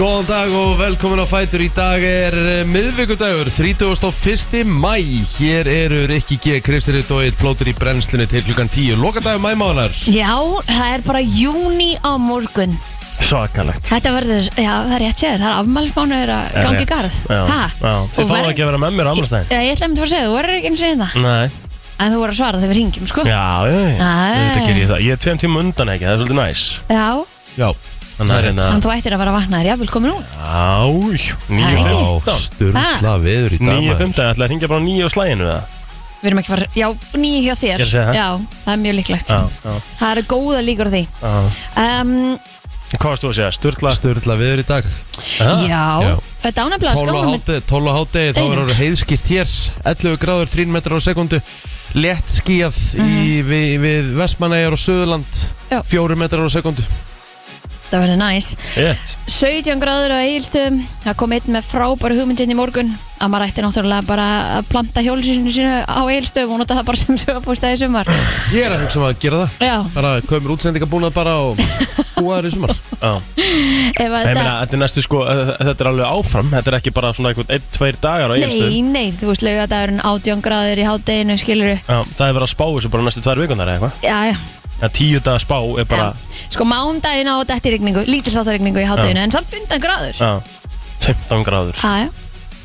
Góðan dag og velkomin á Fætur Í dag er eh, miðvikudagur 31. mæ Hér eru Rikki G, Kristi Rutt og eitt plótur í brennslinu til klukkan 10 Lokadagur mæmáðanar Já, það er bara júni á morgun Svakalegt Þetta verður, já það er rétt sér, það er afmælsmánuður að Er gangi í rétt. garð Já, Ha? já. Þið Og fáðu verð- ekki að vera með mér á afmælstæðin Já, ég ætla einmitt að fara að segja, þú verður ekki eins og það Nei En þú voru að svara þegar við ringjum, sko Já, já, já Nei. Þetta ger ég það Ég er tveim tíma undan ekki, það er svolítið næs Já, Já, Þannig að hérna þannig þú ættir að vera að vakna þér, já, vel komin út Já, Það er ekki. já 9.15 sturla veður í dag maður. 9.15, ætlaði að hringja bara á 9 á slæginu eða? Við erum ekki að fara, já, nýju hjá Ég er þér að segja það. Já, það er mjög líklegt Já, já, Það eru góða líkur á því já um, Hvað varst þú að segja? Sturla Sturla veður í dag Já, Já, Já. þetta 12 ánæfnilega á skála með hádegi, 12 á hádegi, þá Deginum. verður heiðskýrt hér 11 gráður, 3 metrar á sekundu Lett skíjað í, við, við Vestmanæjar og Suðurland Já. 4 metrar á sekundu Það verður næs Rétt 17 gráður á Egilstöðum það kom einn með frábæru hugmyndin í morgun að maður ætti náttúrulega bara að planta hjólsinu sínu á Egilstöðum og nota það bara sem sögabústæði sumar Ég er að hugsa um að gera það Já, bara komur útsendingabúnað bara og búaður í sumar Já ef að Nei, ég meina, þetta þetta er næstu sko, eh, þetta er alveg áfram Þetta er ekki bara svona einhvern 1-2 dagar á Nei, Egilstöðum nei, þú veist laugadagurinn 18 gráður í hátdeginu, skilur Já, það er verið að spá þessu bara næstu tvær vikunar eða eitthvað Já, já, Það tíu daga spá er bara já. Sko mándaginn á detti rigningu, lítilsáttarigningu í hátdeginu en samt undan gráður Já, já. 15 gráður já,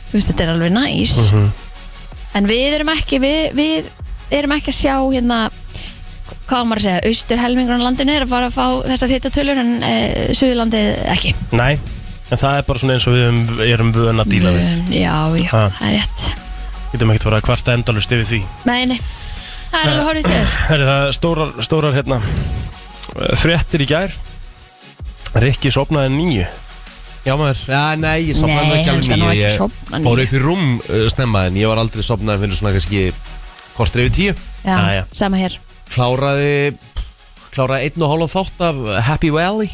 þú veist þetta er alveg næs Mhm. En við erum ekki, við, við erum ekki að sjá hérna hvað á maður að segja, austur helmingurinn á landinu er að fara að fá þessar hittatölur en e, Suðurlandið ekki Nei, en það er bara svona eins og við erum, erum vön að díla við Mm, Já, já, Ha. það er rétt Getum ekkert verið að kvarta endalust yfir því Nei, nei, það er Nei. alveg horfið sér Herri, það er stórar, stórar hérna eh, Fréttir í gær Rikki sopnaði nýju Já maður, já nei, ég sopnaði Nei, nú ekki hann alveg ætlar nú nýju ekki að Ég sofna fór níu. upp í rúm uh, snemma en ég var aldrei sopnaði fyrir svona kannski kortir yfir tíu Já, Já, já. sama hér Kláraði, kláraði einn og hálf þátt af Happy Valley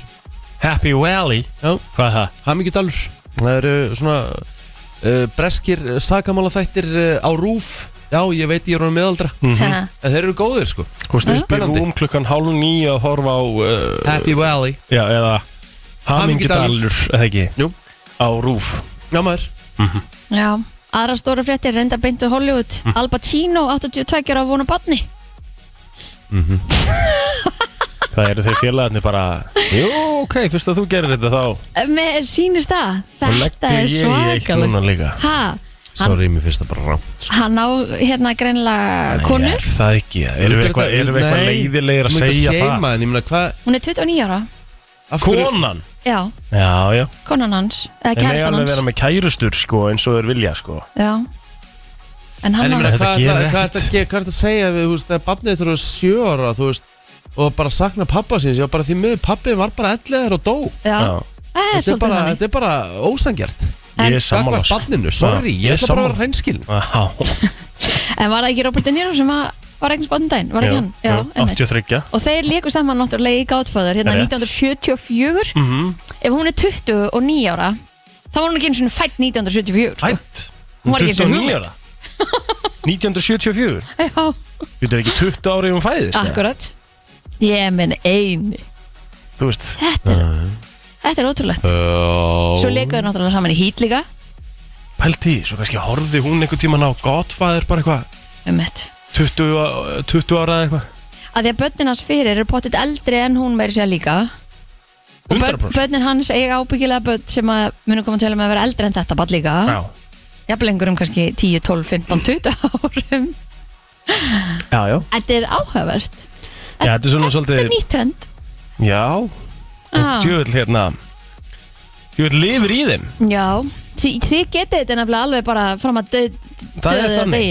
Happy Valley Já, Hvað er það? Hammingjudalur Það eru svona uh, breskir sagamála þættir uh, á rúf Já, ég veit ég er honum meðaldra Mhm. ha, En þeir eru góðir sko Hún styrst í Spennandi. rúm klukkan hálf nýju að horfa á uh, Happy Valley Já, eða Hamingjudalur, eða ekki Jú. Á rúf Já maður Já, aðra stóra fréttir reynda beintu Hollywood Mhm. Al Pacino, 82 ára vonu barni Það eru þeir félagarnir bara Jú, ok, fyrst að þú gerir þetta þá Eh, Með sínist það, þá þetta legg er ég í eitt svakalegt núna líka Ha, hann, Sorry, mér finnst það bara sko. rám hann á hérna greinlega Nei, konur er Það ekki, erum við eitthvað erum við eitthvað leiðilegir að segja það Nei, mér hvað Hún er 29 ára, af hverju- Konan já, Já, já, konan hans eða þeir megi kærastan alveg hans vera með kærustur sko eins og þeir vilja sko Já En En hann ég en meina, Þetta hvað gerir er ekkert. þetta að ge- hvað ertu að segja við, þú veist, þegar barnið þurfa sjö ára, þú veist, og bara sakna pappa síns, já, bara því miður pappið var bara ellegar og dó. Já, Já. það er Þetta er svolítið bara, hann þetta er bara ósangjart. Ég En- er sammála Gakkvart barninu, sorry, Já, sko. ég ætla bara að sammála. vera hreinskiln. Já, En var það ekki Robert De Niro sem að- var eignis bóndaginn? Var ekki já, hann? já, Já, einmitt 83 Og þeir leiku saman náttúrulega í Godfather hérna Rétt. 1974 Mhm. Ef hún er 29 ára þá var hún ekki eins og fætt 1974 sko. Ætt Hún var ekki eins og hugmynd. 1974 Já, Þetta er ekki 20 ári um fæðist eða? akkurat Ég menn einu Þú veist Þetta er, þetta er ótrúlegt Svo leikuðu náttúrulega saman í Heat líka Pælti, í, svo kannski horfði hún einhvern tíman á Godfather bara eitthvað um þetta 20, á- 20 ára eða eitthvað að því að börnin hans fyrir eru pottit eldri en hún meiri sér líka og börn, 100% börnin hans eiga ábyggilega börn sem að munum koma til að vera eldri en þetta bara líka Já, jafnvel einhverjum kannski 10, 12, 15, 20 árum já, já Þetta er áhugavert Já, þetta er svona Þetta er svolítið nýtt trend Já, ah, djöfull hérna Djöfull lifir í þeim Já, Þi, þið getið þetta nefnilega alveg bara fram að döð, Það er döða þannig.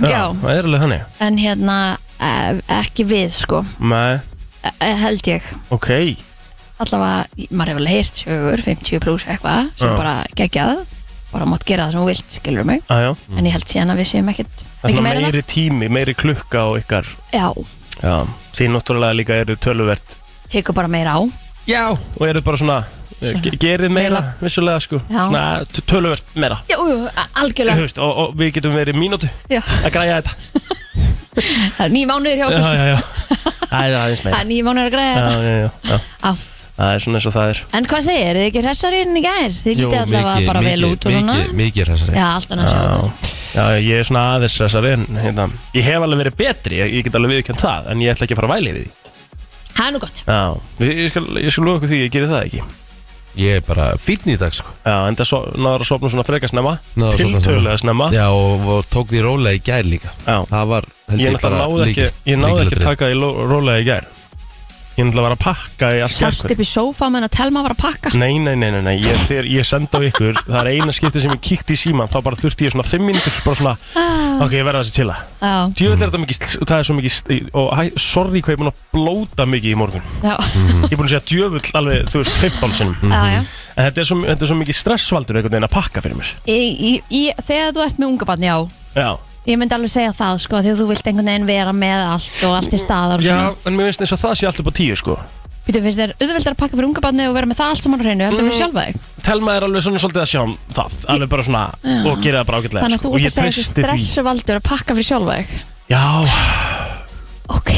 degi Já, það er alveg þannig en hérna eh, ekki við sko, Nei, eh, held ég ok allavega, maður hefur alveg heyrt sögur 50 pluss eitthvað, sem Já. bara geggjað bara mátt gera það sem þú vilt, skilur mig Aðjá en ég held síðan að við séum ekkert Það er ekki svona meira en meiri tími, meiri klukka á ykkar það já, Já Þið náttúrulega líka eru töluvert tekur bara meira á Já Og eru bara svona, svona. Svona. Gerið meira, vissulega sko Já. Svona t- töluvert meira jú, jú, a- Þú algjörlega veist, og, og við getum verið mínútu já, að græja þetta það er nýjum mánuðir hjá Já, okkur sko. já, já Æ, Það er aðeins það meira er nýjum mánuðir að græða Já, já, já, já. Á. Það er svona eins og það er En hvað segir, þið ekki hressarinn í gær? Þið lítið allavega bara vel út og svona mikið, mikið hressari Já, allt annars Já, sjá já, ég er svona aðeins stressari en hérna, ég hef alveg verið betri, ég, ég get alveg viðkjönd það en ég ætla ekki að fara að væli við því Það er nú gott Já, ég, ég skal, ég skal loka því, ég geri það ekki Ég er bara fítn í dag sko Já, en það so, náður að sopna svona frekar snemma, Náður að sofna snemma. tiltölulega snemma Já, og, og tók því rólega í gær líka Já. Það var, held Ég ég, bara náttúrulega náði ekki, lykil- ég náði ekki að lykilatriði. taka því ló- rólega í gær Ég náttúrulega var að pakka í allt Sást gærkvöld. upp í sófa meðan að telma var að pakka Nei, nei, nei, nei, nei. Ég, þegar ég senda á ykkur Það er eina skipti sem ég kíkti í síman Þá bara þurfti ég svona 5 minútur Bara svona, ok, ég verða þessi til að Já, Djöðlega er þetta mikið, sl- það er svo mikið sl- Og hæ, sorry hvað ég er búin að blóta mikið í morgun já, Mhm. Ég er búin að segja djöfull alveg, þú veist, 15 sinnum já, já. En þetta er, svo, þetta er svo mikið stressvaldur einhvern veginn að pakka fyrir mér Í, í, í, Þegar þú ert með unga barn, já Já, Ég myndi alveg segja það, sko, þegar þú vilt einhvern veginn vera með allt og allt í staðar og já svona. en mér finnst eins og það sé alltaf bara 10 sko Býtu, finnst þér auðveldar að pakka fyrir unga barni og vera með það allt saman á hreinu, Mm. heldur þú sjálfa þig? Telma er alveg svona svolítið að sjá um það Alveg bara svona, og gera það bara ágætlega Þannig að þú sko. Og ert ég að segja þessi treysti því. stressvaldur að pakka fyrir sjálfa þig. Já, Ok,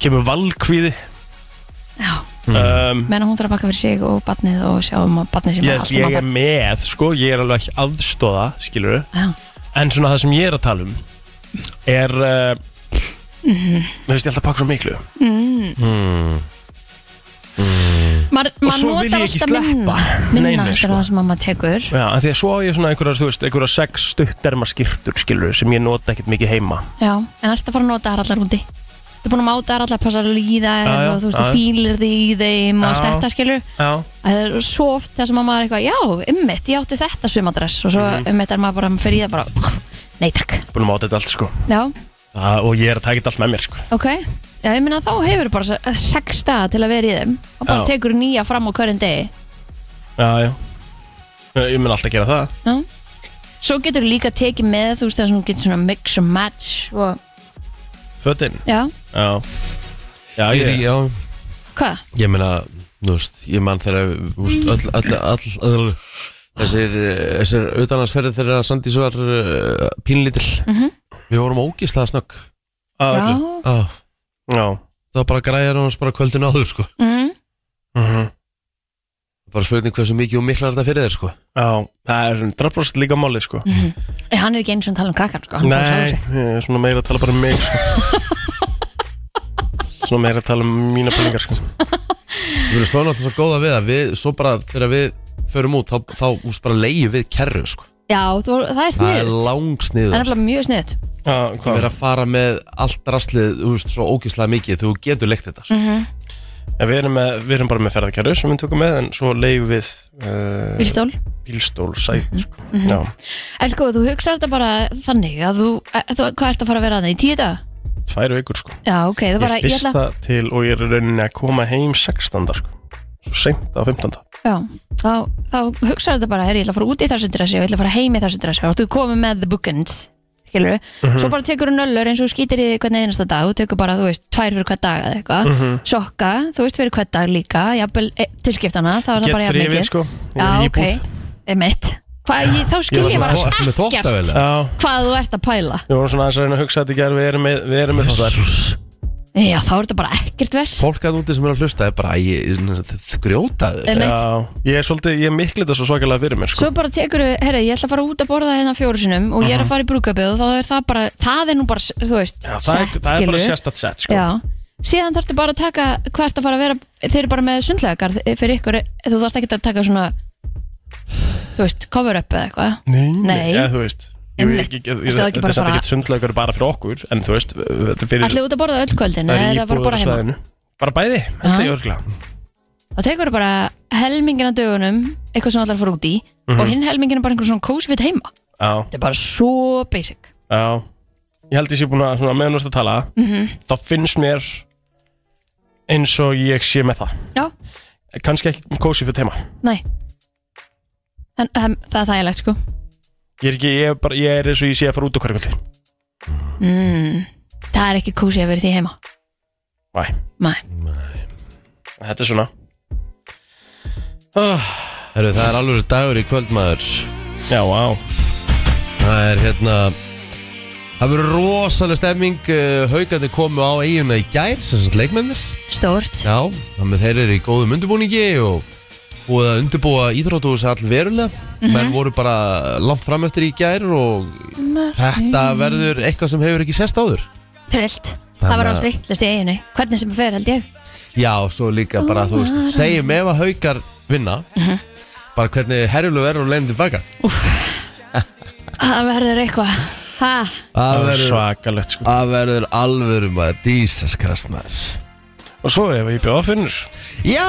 kemur valkvíði já, um, menn að hún þarf að pakka fyrir sig og barnið og sjá um að barnið sem yes, allt ég saman er með, sko, ég er alveg ekki aðstóða, skilur Já. en svona það sem ég er að tala um er uh, Mhm. þú veist, ég ætla að pakka svo miklu Maður maður svo vil ég notar ekki alltaf sleppa minna, neinu, minna eftir sko. það sem að maður tekur. Já, af því að svo á ég svona einhverjar, þú veist, einhverjar sex stutterma skýrtur, skilur sem ég nota ekkert mikið heima Já, en ert að fara að nota þær allar úti Þú er búin að máta þær allar, passa alveg í þær Já, já, og þú veist, já. þú fýlir þig í þeim og allt Já. þetta skilur Já, Það er svo oft það sem að maður er eitthvað, já, ummitt, ég átti þetta sumadress og svo Mhm. ummitt er maður bara fyrir í það bara, nei takk búin að máta þetta allt, sko Já, það, og ég er að taka þetta allt með mér, sko ok Já, ég minna þá hefur bara se- sex staða til að vera í þeim og bara Já. tekur nýja fram á hverjum degi Já, já, ég, ég mun alltaf gera það Já Svo getur líka tekið með, þú veist, það sem þú getur svona mix and match og, fötin, já, já Já, Ég, ég, ég, já, hvað? Ég meina, þú veist, ég man þegar þú veist, öll, öll, öll, öll þessir, eh, þessir utanlandsferðir þegar Sandís var uh, pínlítil Mhm. við vorum ógislega snögg á Já, öllu. ah, já. það var bara græjar hans bara kvöldin áður sko. mm, Mhm. bara spurning hversu mikið og miklar þetta fyrir þér sko. já það er svona drafbrúst líka málið, sko Mhm. hann er ekki eins og að tala um krakkan, sko, hann er Nei, ég er svona meira að tala bara um mig sko. Svona meira að tala um mína peningar sko. við erum svo náttúrulega svo góða við að við, svo bara þegar við förum út, þá, þá úst, bara leiðum við kerru sko. Já, þú, það það er er sniðut Það er langsniður nefnilega mjög sniðut ah, við erum að fara með allt rastlið þú veist, svo ógislega mikið þú getur leikt þetta Mm. sko. ja, við, erum með, við erum bara með ferðarkæru sem við tökum með en svo leiðum við uh, Bílstól bílstól Mhm. sæti sko. Já, En sko, þú hugsar þetta bara þannig að þú, að, þú hvað ert að fara að vera þannig í tíu dag? tvær vikur sko. Já, ok, þú Ég bara, er ég, ætla fyrsta til og ég er í rauninni að koma heim 16. Sko. Svo seint á 15. Já, þá, þá hugsar þetta bara, herri, ég ætla að fara út í þessu dressi og ég ætla að fara heim í þessu dressi og þú komið með the bookends skilur Mhm. svo bara tekur þú nöllur eins og þú skýtir í því hvernig einasta dag, þú tekur bara, þú veist, tvær fyrir hvert dag eða eitthvað, Mhm. sokka, þú veist fyrir hvert dag líka, jafnvel e, tilskiptana þá er það Get bara jafn þrifið mikið sko. Ég er Já, í ok, íbúð. emitt Hvað, ég, þá skil var ég svona bara þó- ertu með ekkert þvottavél? Já, hvað þú ert að pæla við vorum svona aðeins að reyna að hugsa þetta í gerð Við erum með, við erum með þóttar Já, þá er þetta bara ekkert vers fólk að úti sem er að hlusta er bara ég, grjótaður Einmitt. Já, ég er svolítið, ég mikli þetta svo svakalega fyrir mér sko. Svo bara tekur þau, herru, ég ætla að fara út að borða hérna fjóru sinum og ég er að fara í brúkabíð og þá er það bara, það er nú bara, þú veist, Mhm. Já, það, er, það er bara skilurðu. sérstætt sett sko. Já, síðan þarftu bara að taka hvert að fara að vera, þeir eru bara með sundlegar fyrir ykkur, þú þarft ekki að taka svona, þú veist, cover up eða eitthvað. Nei, Nei. Eða, þú veist Jú, Einmitt. ég, ég, Ertu ég, þá ekki þetta bara er samt bara- ekkert sundlegur bara fyrir okkur en þú veist, þetta er fyrir Allir út að borða öll kvöldin það eða er er það bara að borða heima. íbúðarsvæðinu. bara bæði, held Já. ég örgulega Þá tekur þau bara helmingina dögunum, eitthvað sem allar fara út í Mhm. og hinn helmingina bara einhver svona cozy fit heima. Já, Þetta er bara svo basic. já Ég held ég sé búin að, svona, meðan þú ert að tala Mhm. þá finnst mér eins og ég sé með það Já, kannski ekki kósi fyrir teima nei. En, en það er þægilegt sko. ég er, ekki, ég, er bara, ég er eins og ég sé að fara út á hverju kvöldi Mm, það er ekki cozy að vera í því heima. Næ, Nei. þetta er svona oh, Heru, það er alveg dagur í kvöld maður Já, á Það er hérna eh, Það verður rosalega stemming uh, Haukandi komu á eiguna í gær sem sagt leikmennir stórt Já, þannig að þeir eru í góðum undirbúningi og búið að undirbúa íþróttuhús all verulega menn voru bara langt fram eftir í gær og þetta verður eitthvað sem hefur ekki sest áður trillt Það var Þannig að- allt vittlust í eiginu Hvernig sem það fer held ég Já, svo líka bara, þú veist, segjum ef að haukar vinna bara hvernig herjuleg verður og leiðin tilbaka Það verður eitthvað Ha, Það Það er verður- svakalegt sko það verður alvöru maður, dísas krasnar Og svo ef ég bjóða finnur Já,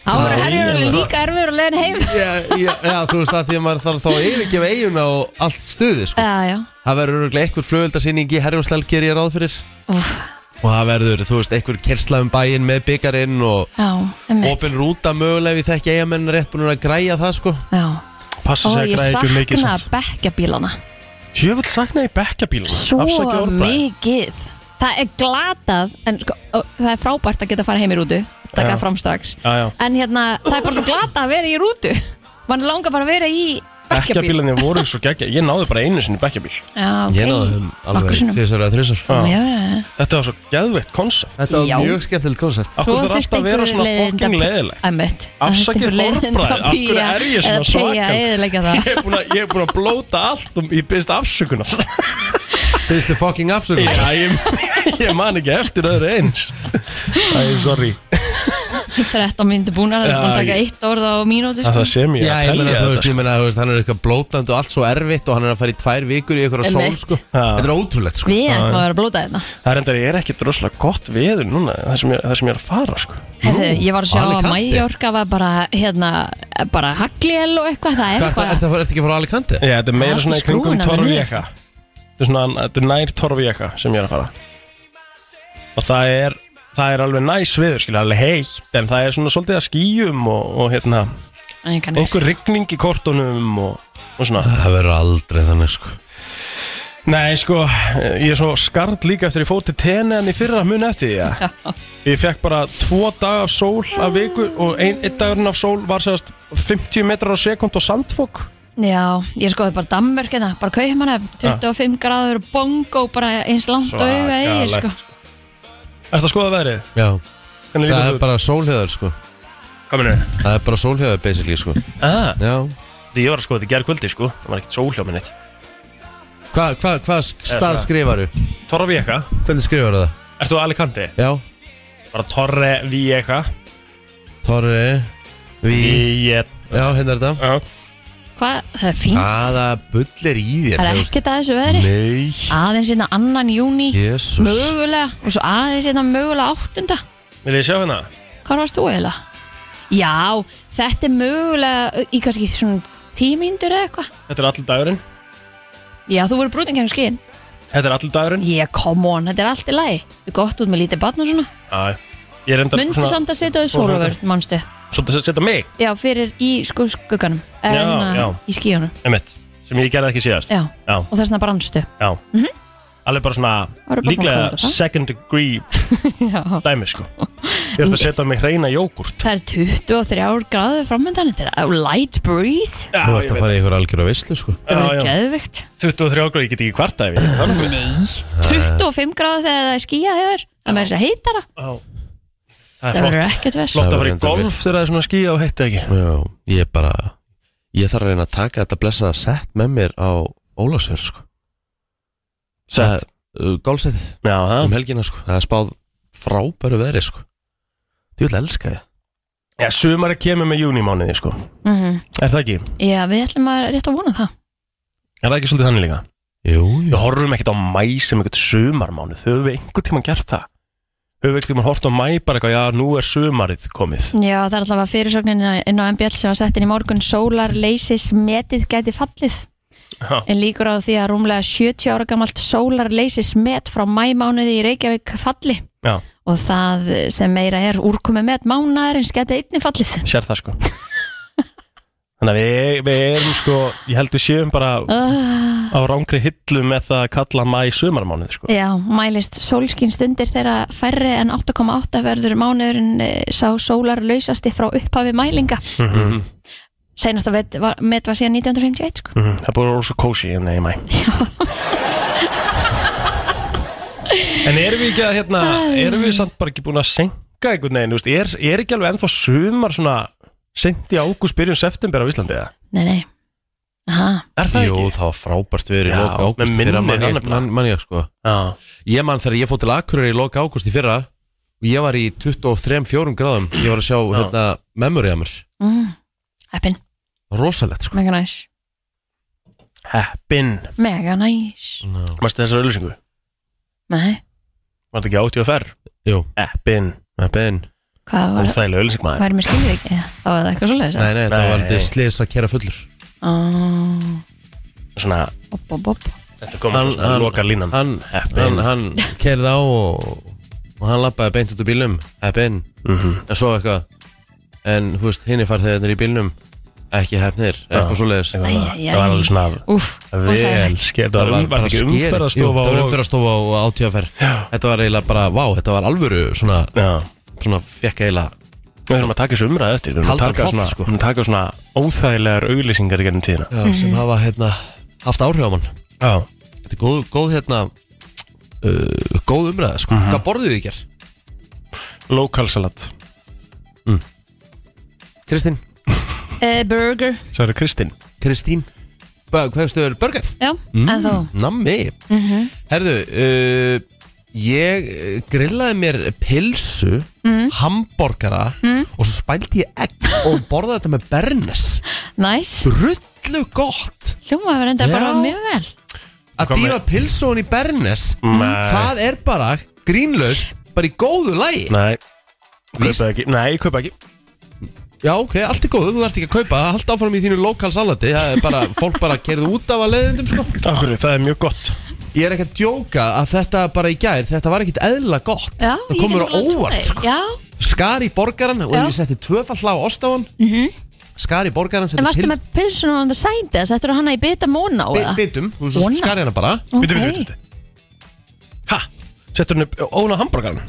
Það voru Já, herjur ég- líka erfur og leiðin heim já, já, já, þú veist það því að maður þarf þá að yfirgefa eiguna og allt stuði sko. Já, já Það verður örglega einhver flugöldasýning í herjumslæl ger ég ráð fyrir Úf, og það verður, þú veist, einhver kersla um bæinn með byggarinn og já, emmi opin rúta mögulega við þekki eigamenn rétt búin að græja það sko Já Ó, Passa sig að ég græða ekki um mikið sakna samt bekkjabílana Ég vil sakna í bekkabílum Svo mikið Það er glatað En sko, ó, það er frábært að geta að fara heim í rútu Taka Já. það fram strax Já, já En hérna, það er bara svo glatað að vera í rútu Man langar bara að vera í bekkjabíl Bekkjabílinni voru svo geggja Ég náði bara einu sinni í bekkjabíl Já, ok Ég náðu þeim Nokkrum alveg sinnum. þessar að þrissar Já, Já. já, já Þetta var svo geðveitt konsept Þetta Já. var mjög skemmtilegt koncept Akkur þarf alltaf að vera svona fokking leiðilegt Æmitt Afsakið orðbragð, af hverju er ég svona Eða svakal? peyja eðilega Ég það er búin að- ég er búin að blóta allt og ég byrst afsökunar Fyrstu fucking afsökun Já, ég, ég man ekki eftir öðru eins Æ, sorry Þetta myndi búin að Já, taka ég- eitt orð á mínúti Það sko. það sem ég Já, að ég meina, telja þú veist, þetta sko. ég meina, þú veist, hann er eitthvað blótandi og allt svo erfitt og hann er að fara í tvær vikur í eitthvað sól, Einmitt. sko Já. Þetta er ótrúlegt, sko Við ættum að vera að blóta hérna. þetta Það er endar, ég er ekki droslega gott veður núna Það sem ég, það sem ég er að fara, sko Herðu, ég var að sjá og að Alicante. Mæjorka var bara hérna, bara hagljel og eitthvað það er Hvað, er eitthvað þetta ertu ekki að fara á Alicante? Já, þetta er Það meira er svona í allt í kringum skrúfunni alveg niður. torfjeka Þetta er svona, þetta er nær torfjeka sem ég er að fara Og það er, það er alveg næs veður, skilja, alveg heitt En það er svona svolítið að skýjum og, og hérna Nei, kannski. Einhver rigning í kortunum og, og svona Það verður aldrei þannig, sko Nei, sko, ég er svo skarð líka eftir ég fór til teneðan í fyrra mun eftir því, ja. Ég fekk bara tvo dag af sól af viku og ein, einn dagurinn af sól var sérst 50 metrar á sekund og sandfók Já, ég skoði bara Danmörkina bara Kauhmanöf, 25 gráður bongo bara eins langt og auga eigir sko. Ertu að skoða veðrið? Já, Hvernig það lítið er bara sólhjöðar, sko Hvað minnur? Það er bara sólhjöðar, basically, sko Ah, Já því ég var að skoða þetta gerð kvöldi, sko Það var ekkert sólhjá minnit Hvað hva, hva stað það- skrifaru? Torra Vieka Hvernig skrifaru það? Ertu á Alicante? Já Bara Torre Vieka Torri Ví Í... Já, hérna er þetta Já, Hvað, það er fínt Hvaða bull er í þér? Það er þú veist? ekkert að þessu veðri Nei aðeins hérna annan júni Jésús mögulega og svo aðeins hérna mögulega áttunda vil ég sjá hérna? hvað varst þú eiginlega? Já, þetta er mögulega í kannski svona tímyndur eða eitthvað Þetta er allir dagurinn Já, þú voru brútin kennum skinn Þetta er allir dagurinn Já, come on, þetta er allt í lagi Við gott út með lítið barn og svona Já, ég er enda Mundu samt að setja þau sólavörn, manstu Svolítið að setja mig Já, fyrir í sko skugganum Eða Já, hérna já. Í skíunum Einmitt, sem ég gerði ekki síðast Já, Já. og þess vegna brannstu Já. Alveg bara svona Var það bara búin að líklega klára það? second degree Já dæmi sko Ég ætti að setja mig hreina jógurt Það er 23 gráðu framöndan Þetta er á light breeze Þú ert að fara í einhver algjör á veislu, sko Það Já, verður já. geðvikt 23 gráð, ég get ekki kvarta ef ég geri það nokkuð. 25 gráðu þegar það er skíjað hefur Það með þess að heita það Já. Það er Það flott verður ekkert vers Flott Það að verður fara í enda golf þegar það er svona skíða og heitti ekki Já, ég bara Ég þarf að reyna að taka þetta blessaða sett með mér á Ólafsverð, sko uh, Sett Gólsettið Já, það um helgina, sko Það er spáð frábæru veðri, sko Þú vil elska ég Já, sumar kemur með júnimániði sko Mhm. Er það ekki? Já, við ætlum að rétt að vona það Er það ekki svolítið þannig líka? Jú, jú Við horfum ekkert á mæ sem ekkert sumarmánuð Höfum við einhvern tímann gert það? Höfum við einhvern tímann hort á mæ bara eitthvað Já, nú er sumarið komið Já, það er alltaf að fyrirsögnin inn á MBL sem var sett inn í morgun Sólar leysis metið gæti fallið Já. en líkur á því að rúmlega 70 ára gamalt sólar leysis met frá mæmánuði í Reykjavík falli Já. og það sem meira er úrkomi met mánaðarins gæti einni fallið Sér það sko Þannig að við, við erum sko Ég held við séum bara uh, á rángri hillu með það að kalla mæ sumarmánuð sko Já, mælist sólskin stundir þegar færri en 8,8 verður mánuðurinn eh, sá sólar lausasti frá upphafi mælinga Mhm. Seinasta vet- var- met var síðan 1951 sko. hérna Mhm, Það búið að vera svo kósi en það í mæ En erum við ekki að hérna Erum við samt bara ekki búin að senka einhvern veginn þú veist, er, er ekki alveg ennþá sumar svona Sent í ágúst byrjun september á Íslandi eða? Nei, nei Aha. Er það Jú, ekki? það var frábært verið í Já, loka ágúst með minni hérna. fyrra man það ég, nefnilega. man, man ég, sko. Já ég man þegar ég fótt til Akureyri í loka ágúst í fyrra og ég var í 23-4 gráðum ég var að sjá hérna, memory hammer mm. Heppin, rosalegt sko mega næs Heppin Mega næs Mæstu þessar öllusingu? Nei, Var þetta ekki átti að fer? Jú, Heppin Ben hvað var Óþægilega öllusing maður Væri mér skilur ekki Það var það eitthvað svoleiðis Nei, nei, þetta Nei. var aldrei slis að kera fullur oh, Svona op, op, op. Þetta kom hann, svona hann- loka línan Hann, Heppin. hann, hann kerði á og, og hann lappaði beint út úr bílnum Heppin, Mhm. en svo eitthvað En, þú veist, hinn er farþegarnir í bílnum Ekki hefnir, eitthvað svoleiðis Æ, Það æ, var- æ. það var alveg svona Úf, Vel skeitt Það var, var ekki skeri. Jú, umferðarstofa Það var og- umferðarstofa og átíðafer Þetta var eiginlega bara, vá, þetta var alvöru Svona, Já svona fekk eiginlega Við höfum að taka þessu umræðu eftir Við höfum að Kaldan taka koll, svona, sko. sko. taka svona óþægilegar auglýsingar í gerðin tíðina já, Sem hafa, hérna, haft áhrif á mann Já Þetta er góð, góð hérna uh, Góð umræða, sko Hvað borðuðu þið í gerð? Lókalsalat Kristín? uh, burger Svo er það Kristinn Kristín Hvað hefstu þau, burger? Já, Mm. en þú Nammi Mhm. Herðu, uh, ég uh, grillaði mér pilsu Mhm. Hamborgara Og svo spældi ég egg Og borðaði þetta með bernes Næs, Brullu gott hljóma verður enda bara Já. mjög vel Að Hvað með- dýfa pilsu hún í bernes Nei. Það er bara grínlaust Bara í góðu lagi Nei Víst. Kaupa ekki Nei, kaupa ekki Já, ok, allt er góðu, þú þarft ekki að kaupa Hald áfram í þínu lokal salati Það er bara, fólk bara kerðu út af að leiðindum sko. Akkur, það er mjög gott Ég er ekki að djóka að þetta bara í gær Þetta var ekkit eðla gott Já, Það ég komur get á alveg trúað óvart því. sko. Já, skar í borgaran og Já. Mhm. ég setti tvöfall á ost á hann skar í borgaran setti en varstu pil- með pilsunum on the side eða settur hana í bita móna á bi- það? bitum, þú svo Óna. skar ég hana bara Vitu, vitu, vitu Ha? Settur henni upp- óna hamburgaran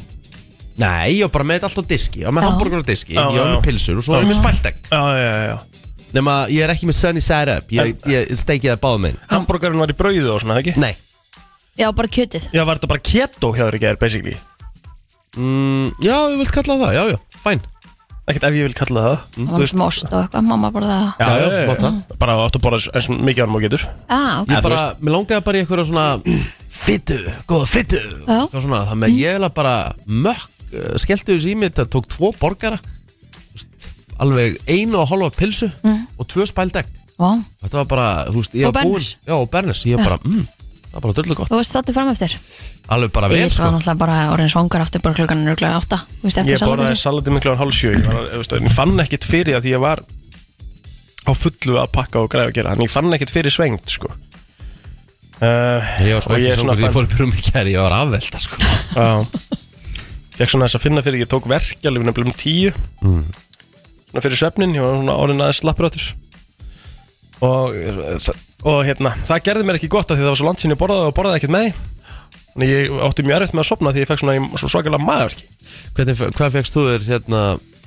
nei, ég var bara með þetta allt á diski ég var með Já. hamburgur á diski, Já, ég var já, með já. pilsur og svo var ég með spæltegg Já, já, já, já nema ég er ekki með sunny side up ég, En- ég steiki það báð megin Hamburgaran var í brauðu og svona, ekki? nei, Já, bara kjötið Já, var þetta bara keto hjá þér ekki, basically mm, já, þú vilt kalla það, já, já, fæn Ekkert ef ég vil kalla það Það var með smást og eitthvað, mamma bara það Já, já, nota. Bara áttu að borða eins og mikið árum og getur ah, ok. ég þú bara, mér langaði bara í eitthvað svona fytu, góða fytu Já. eitthvað svona, þannig Mhm. að ég er bara mökk, uh, skellti þessu í mig þetta tók tvo borgara þú veist, alveg einu og hálfa pilsu Mhm. og tvö spældegg Vá, Þetta var bara, þú veist, ég Og var búinn Bernes. Já, og Bernes, ég var bara, mm, það var bara döllu gott Þú varst sattu fram eftir Alveg bara vel, Ég var sko náttúrulega bara orðin svangar aftur bara klukkan rúglega átta Þú veist, eftir Ég borðaði salatið. salati miklu án hálf sjö Ég, var, ég, veist, ég fann ekkert fyrir að því ég var á fullu að pakka og græða að gera Þannig ég fann ekkert fyrir svengt sko. uh, Ég var svo og ekki er svona því fann- ég fór upp í rúm í kæri Ég var afvelta, sko Já Fekk svona þess að finna fyrir, ég tók verk alveg nefnilega um tíu Mm. Svona fyrir svefnin, ég var svona orðin aðeins slappur áttur og, eh, og hérna, það gerði mér ekki gott að því það var svo langt sinni ég borðaði og borðaði ekkert með því. Þannig ég átti mjög erfitt með að sopna því ég fekk svona ég, svo svakalega maðurki Hvernig, hvað fegst þú þér, hérna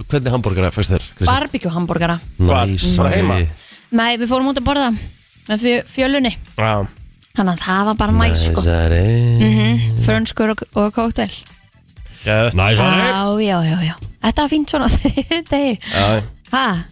Hvernig hambúrgara fegst þér, Kristi? Barbecue hamburgara Hvar? Bara heima? Nei, við fórum út að borða með fjö, fjölunni Já, Þannig að það var bara næs sko Mhm. Næsari Frönskur og, og kóktel geðvegt. Næsari Já, já, já, já Þetta var fínt svona á þriðdegi Já, Ha,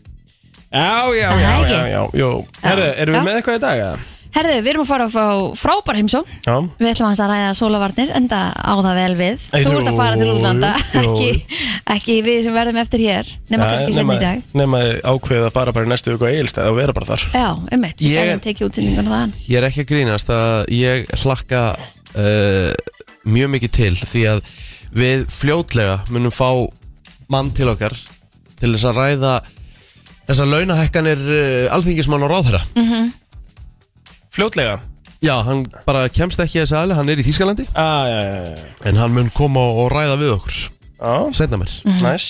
já, já, Það já, ekki? já, já, jú. Já. Herðu, erum Já. við með eitthvað í dag? eða? herðu, við erum að fara að fá frábær heimsó Já. Við ætlum aðeins að ræða sólavarnir enda á það vel við Ei, Þú ert að fara til jú, útlanda jú. ekki, ekki við sem verðum eftir hér Nefna kannski senni í dag Nefna ákveðið að fara bara í næstu viku að eilstæða og vera bara þar. Já, um eitt, við Ég- gætum tekið útsendingar þaðan Ég er ekki að grínast að ég hlakka uh, mjög mikið til því að við fljótlega munum fá mann til okkar til þess að ræða þessar launahekkanir uh, alþingismann og ráðherra Fljótlega. Já, hann bara kemst ekki að þessi aðli, hann er í Þýskalandi Já, já, já, já. En hann mun koma og ræða við okkur Já, Seinna mér Mhm. næs.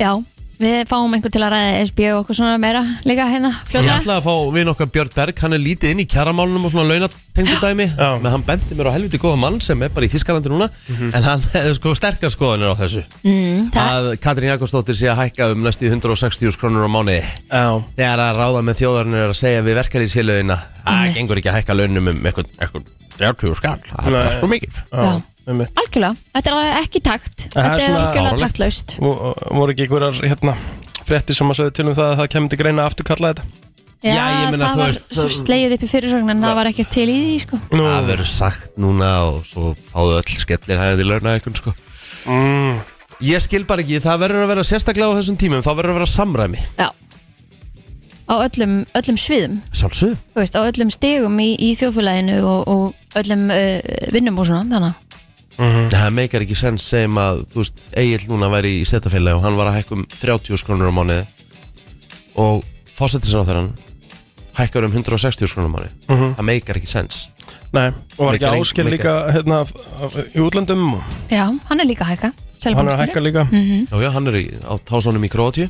Já, við fáum einhver til að ræða SB og okkur svona meira líka hérna Ég fljóta ætlaði að fá við nokkar Björn Berg, hann er lítið inn í kjaramálunum og svona launatengudæmi Já. Mhm. Menn hann bendi mér á helviti góða mann sem er bara í Þýskalandi núna En hann hefði sko sterkar skoðanir á þessu mm, Það Að Katrín Jakobsdóttir sé að hækka um næstu 160 krónur á mánuði Já. Þegar að ráða með þjóðarinn er að segja við verkarísfélögina Það gengur ekki að hækka launum um eitthvað, eitthvað 30 skall, það er Nei. bara sko mikið Já. einmitt. algjörlega, þetta er alveg ekki takt Það er þetta er svona algjörlega fáránlegt. taktlaust Vo- voru ekki einhverjar hérna, fréttir sem að sögðu til um það að það kemur til greina að afturkalla þetta Já, ég meina, það þú var veist, það- slegið upp í fyrirsögn en það var ekkert til í því sko. Nú, Það verður sagt núna og svo fáðu öll skellir hæðið í launa eitthvað sko. mm, Ég skil bara ekki, það verður að vera sérstaklega á þessum tímum, þá verður að vera samræmi já á öllum, öllum sviðum Sjálfsög þú veist, á öllum stegum í, í þjóðfélaginu og, og öllum uh, vinnum og svona þannig að- Það meikar ekki sens sem að þú veist, Egil núna væri í setafélagi og hann var að hækka um 30 skrónur á mánuði og fósettisráþarann hækkar um 160 skrónur á mánuði Mhm. Það meikar ekki sens nei, og var ekki Mikið- áskil mikið- líka hérna, f- f- í útlöndum og já, hann er líka að hækka hann er að hækka líka Mhm. mm. Já, já, hann er í, á tásunum í Kroatíu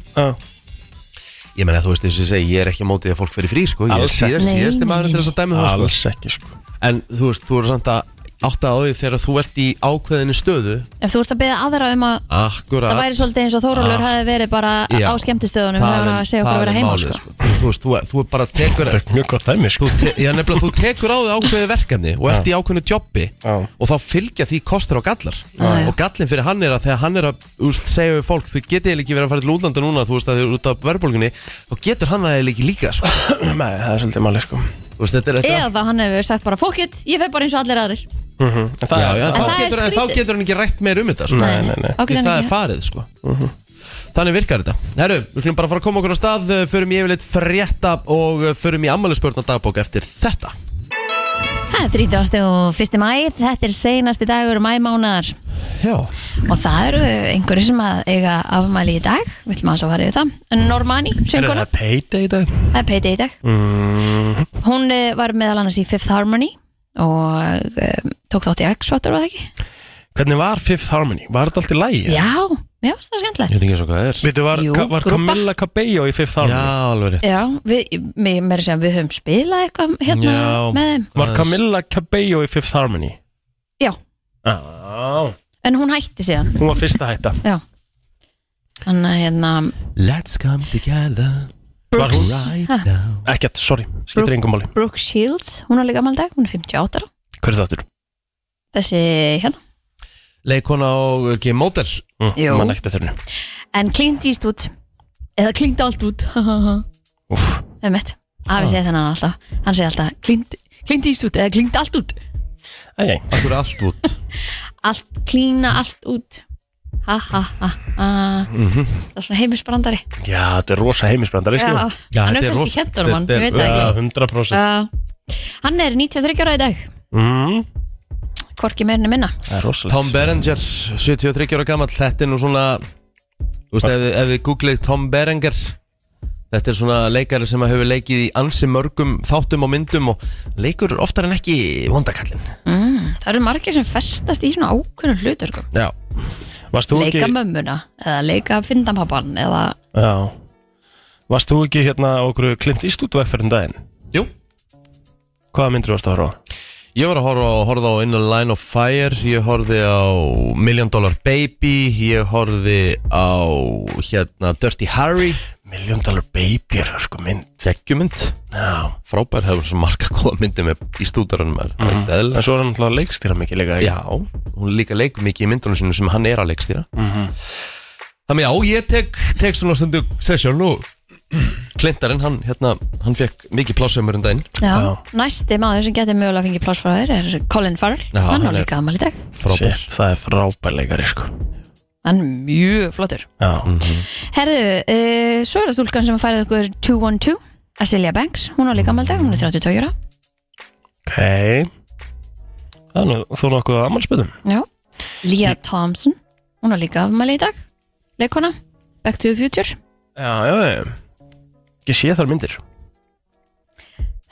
Ég meina, þú veist, eins og ég segi, ég er ekki á mótið að fólk fyrir frí, sko Ég er Alls ekki. síðast, Nei, síðasti nei, maður til nei. þess að dæmi það, sko alls ekki sko En þú veist, þú er samt að átta á því þegar þú ert í ákveðinni stöðu ef þú ert að beða aðra um að Akkurat það væri svolítið eins og Þórólur hefði verið bara Ah. Já. á skemmtistöðunum Það hefur er- að segja það okkur að vera er heima málið, sko. sko. Þú veist, þú, þú er bara tekur þetta er mjög gott dæmi þú, sko te já, nefnilega, þú tekur á því ákveði verkefni og ert í ákveðinu jobbi Já. og þá fylgja því kostur og gallar Já, já. og gallin fyrir hann er að þegar hann er að úst, segja við fólk, þú getið eiginlega ekki verið að fara til útlanda núna þú veist að þið eru út af verðbólgunni þá getur hann það eiginlega ekki líka sko. nei, það er svolítið máli sko Þú veist, þetta er, þetta er allt- eða hann hefur sagt bara fuck it, ég fer bara eins og allir aðrir En það já, er já, En þá, það er getur, en þá skrítið. getur hann ekki rætt meir um þetta sko. Nei, nei, nei. Þá getur Því hann það ekki- er farið sko. Þannig virkar þetta Herru, við skulum bara fara að koma okkur á stað eh, förum í yfirleitt frétta og eh, förum í ammælisbörna dagbók eftir þetta Það er 30. og 1. mæð, þetta er seinasti dagur mæmánaðar Já, og það eru einhverju sem að eiga afmæli í dag, vill maður svo fara yfir það. En Normani, sönguna, payday í dag? það er peiti í dag. Mhm. Hún eh, var meðal annars í Fifth Harmony og um, tók þátt í X-Factor, var það ekki? Hvernig var Fifth Harmony? Var þetta allt í lægi? Já, já, það er ég skemmtilegt. veit ekki eins og hvað það er Vitu, var, Jú, Ka- var grúpa. Camilla Cabello í Fifth Harmony? Já, alveg rétt Já, við, mér, mér sem við höfum spilað eitthvað hérna Já. með þeim. Var Aðeins. Camilla Cabello í Fifth Harmony? Já, Já, en hún hætti síðan, hún var fyrsta hætta já. Þannig að hérna, Let's come together Var hún? right Ha. now Ekkert, sorry, skiptir engum máli Brooke Shields, hún er líka afmæli í dag, hún er 58 ára. Hver er það aftur? Þessi hérna. Leikona og Game Model Mm, Jú. Man ekkert eftir henni En Clint Eastwood Eða Clint Altwood Það Úff, er mitt Afi segi þennan alltaf Hann segi alltaf Clint, Clint Eastwood eða Clint Altwood ei, ei Akkur er allt út Allt, klína allt út Ha ha ha ha Það er svona heimisbrandari Já, þetta er rosa heimisbrandari, Já, sko Já, hann þetta er er kannski rosa- kent honum hann, þetta ég er- veit það Já, ekki 100% Já. Hann er 93 ára í dag mm, Hvorki meirinni minna Það er rosalegt Tom Berenger, 73 ára gammal Þetta er nú svona Þú veist, ef, þið- ef þið googlið Tom Berenger Þetta er svona leikari sem hefur leikið í ansi mörgum þáttum og myndum og leikur oftar en ekki vondakallin mm, Það eru margir sem festast í svona ákveðnum hlutur Já, Varst þú Leika ekki mömmuna eða leika fyndapappan eða Já Varst þú ekki hérna á okkur Clint Eastwood vegferðin daginn? jú Hvaða myndir varst að horfa? á? Ég var að horfa, horfa á In a Line of Fire Ég horfði á Million Dollar Baby Ég horfði á hérna, Dirty Harry Million Dollar Baby er sko mynd Tekjumynd Já frábær hefur svo marga góða myndi með í stúdarunum er mm. ekkert eðla En svo er hann alltaf að leikstýra mikið líka ekki? Já, hún líka leikur mikið í myndunum sínum sem hann er að leikstýra Þannig já, ég tek, tek svona stundu sesjón og Klintarinn, hann, hérna, hann fekk mikið plásumur um daginn Já, Já. næsti maður sem getur mögulega að fengið pláss frá þér er Colin Farrell, Já, hann hann á er- líka aðmæli í dag Frábær Shit, það er frábær leikari sko hann er mjög flottur Já, Herðu, uh, svo er það stúlkan sem að færið okkur 212, Asilia Banks hún á líka aðmæli í dag, hún er 32 ára ok Það er nú, þú nokkuð að ammálspöðum Já. Leah Thompson, hún á líka aðmæli í dag leikona, Back to the Future Já, já, já Ég sé þar myndir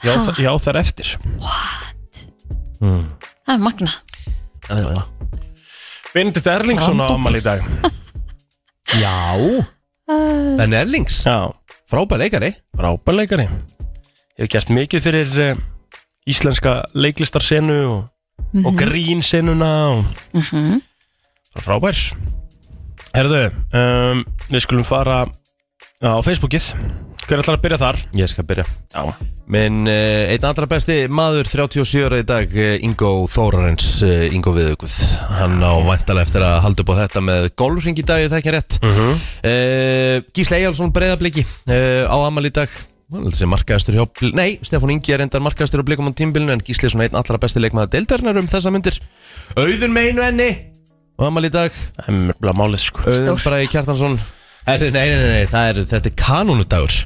Já, Ha. já þar eftir það er magna, Já, já, já. Benedikt Erlingsson á Randolph. ammál í dag Já Ben Erlings, Já, frábær leikari frábær leikari Hefur gert mikið fyrir uh, íslenska leiklistarsenu og, og Mhm. grínsenuna og frábær Herðu, um, við skulum fara á Facebookið Hver ætlar að byrja þar? Ég skal byrja Já Minn uh, einn allra besti maður 37 ára í dag eh, Ingo Þórarins uh, Ingo Viðugud Hann á væntalega eftir að halda upp á þetta með golfring í dag ef Það ekki er rétt Eh, uh -huh. Gísle Eyjálsson breyðabliki uh, á amal í dag Hann er þessi markaðastur hjá Bl- Nei, Stefán Ingi er endar markaðastur á blikum á tímbilinu En Gísle er svona einn allra besti leikmaða deildarinnar um þessa myndir Auðun meinu enni á amal í dag Það er mjög málið sko Auðun Bræði Kjartansson Herðu, nei, nei, nei, nei, það er, þetta er kanunudagur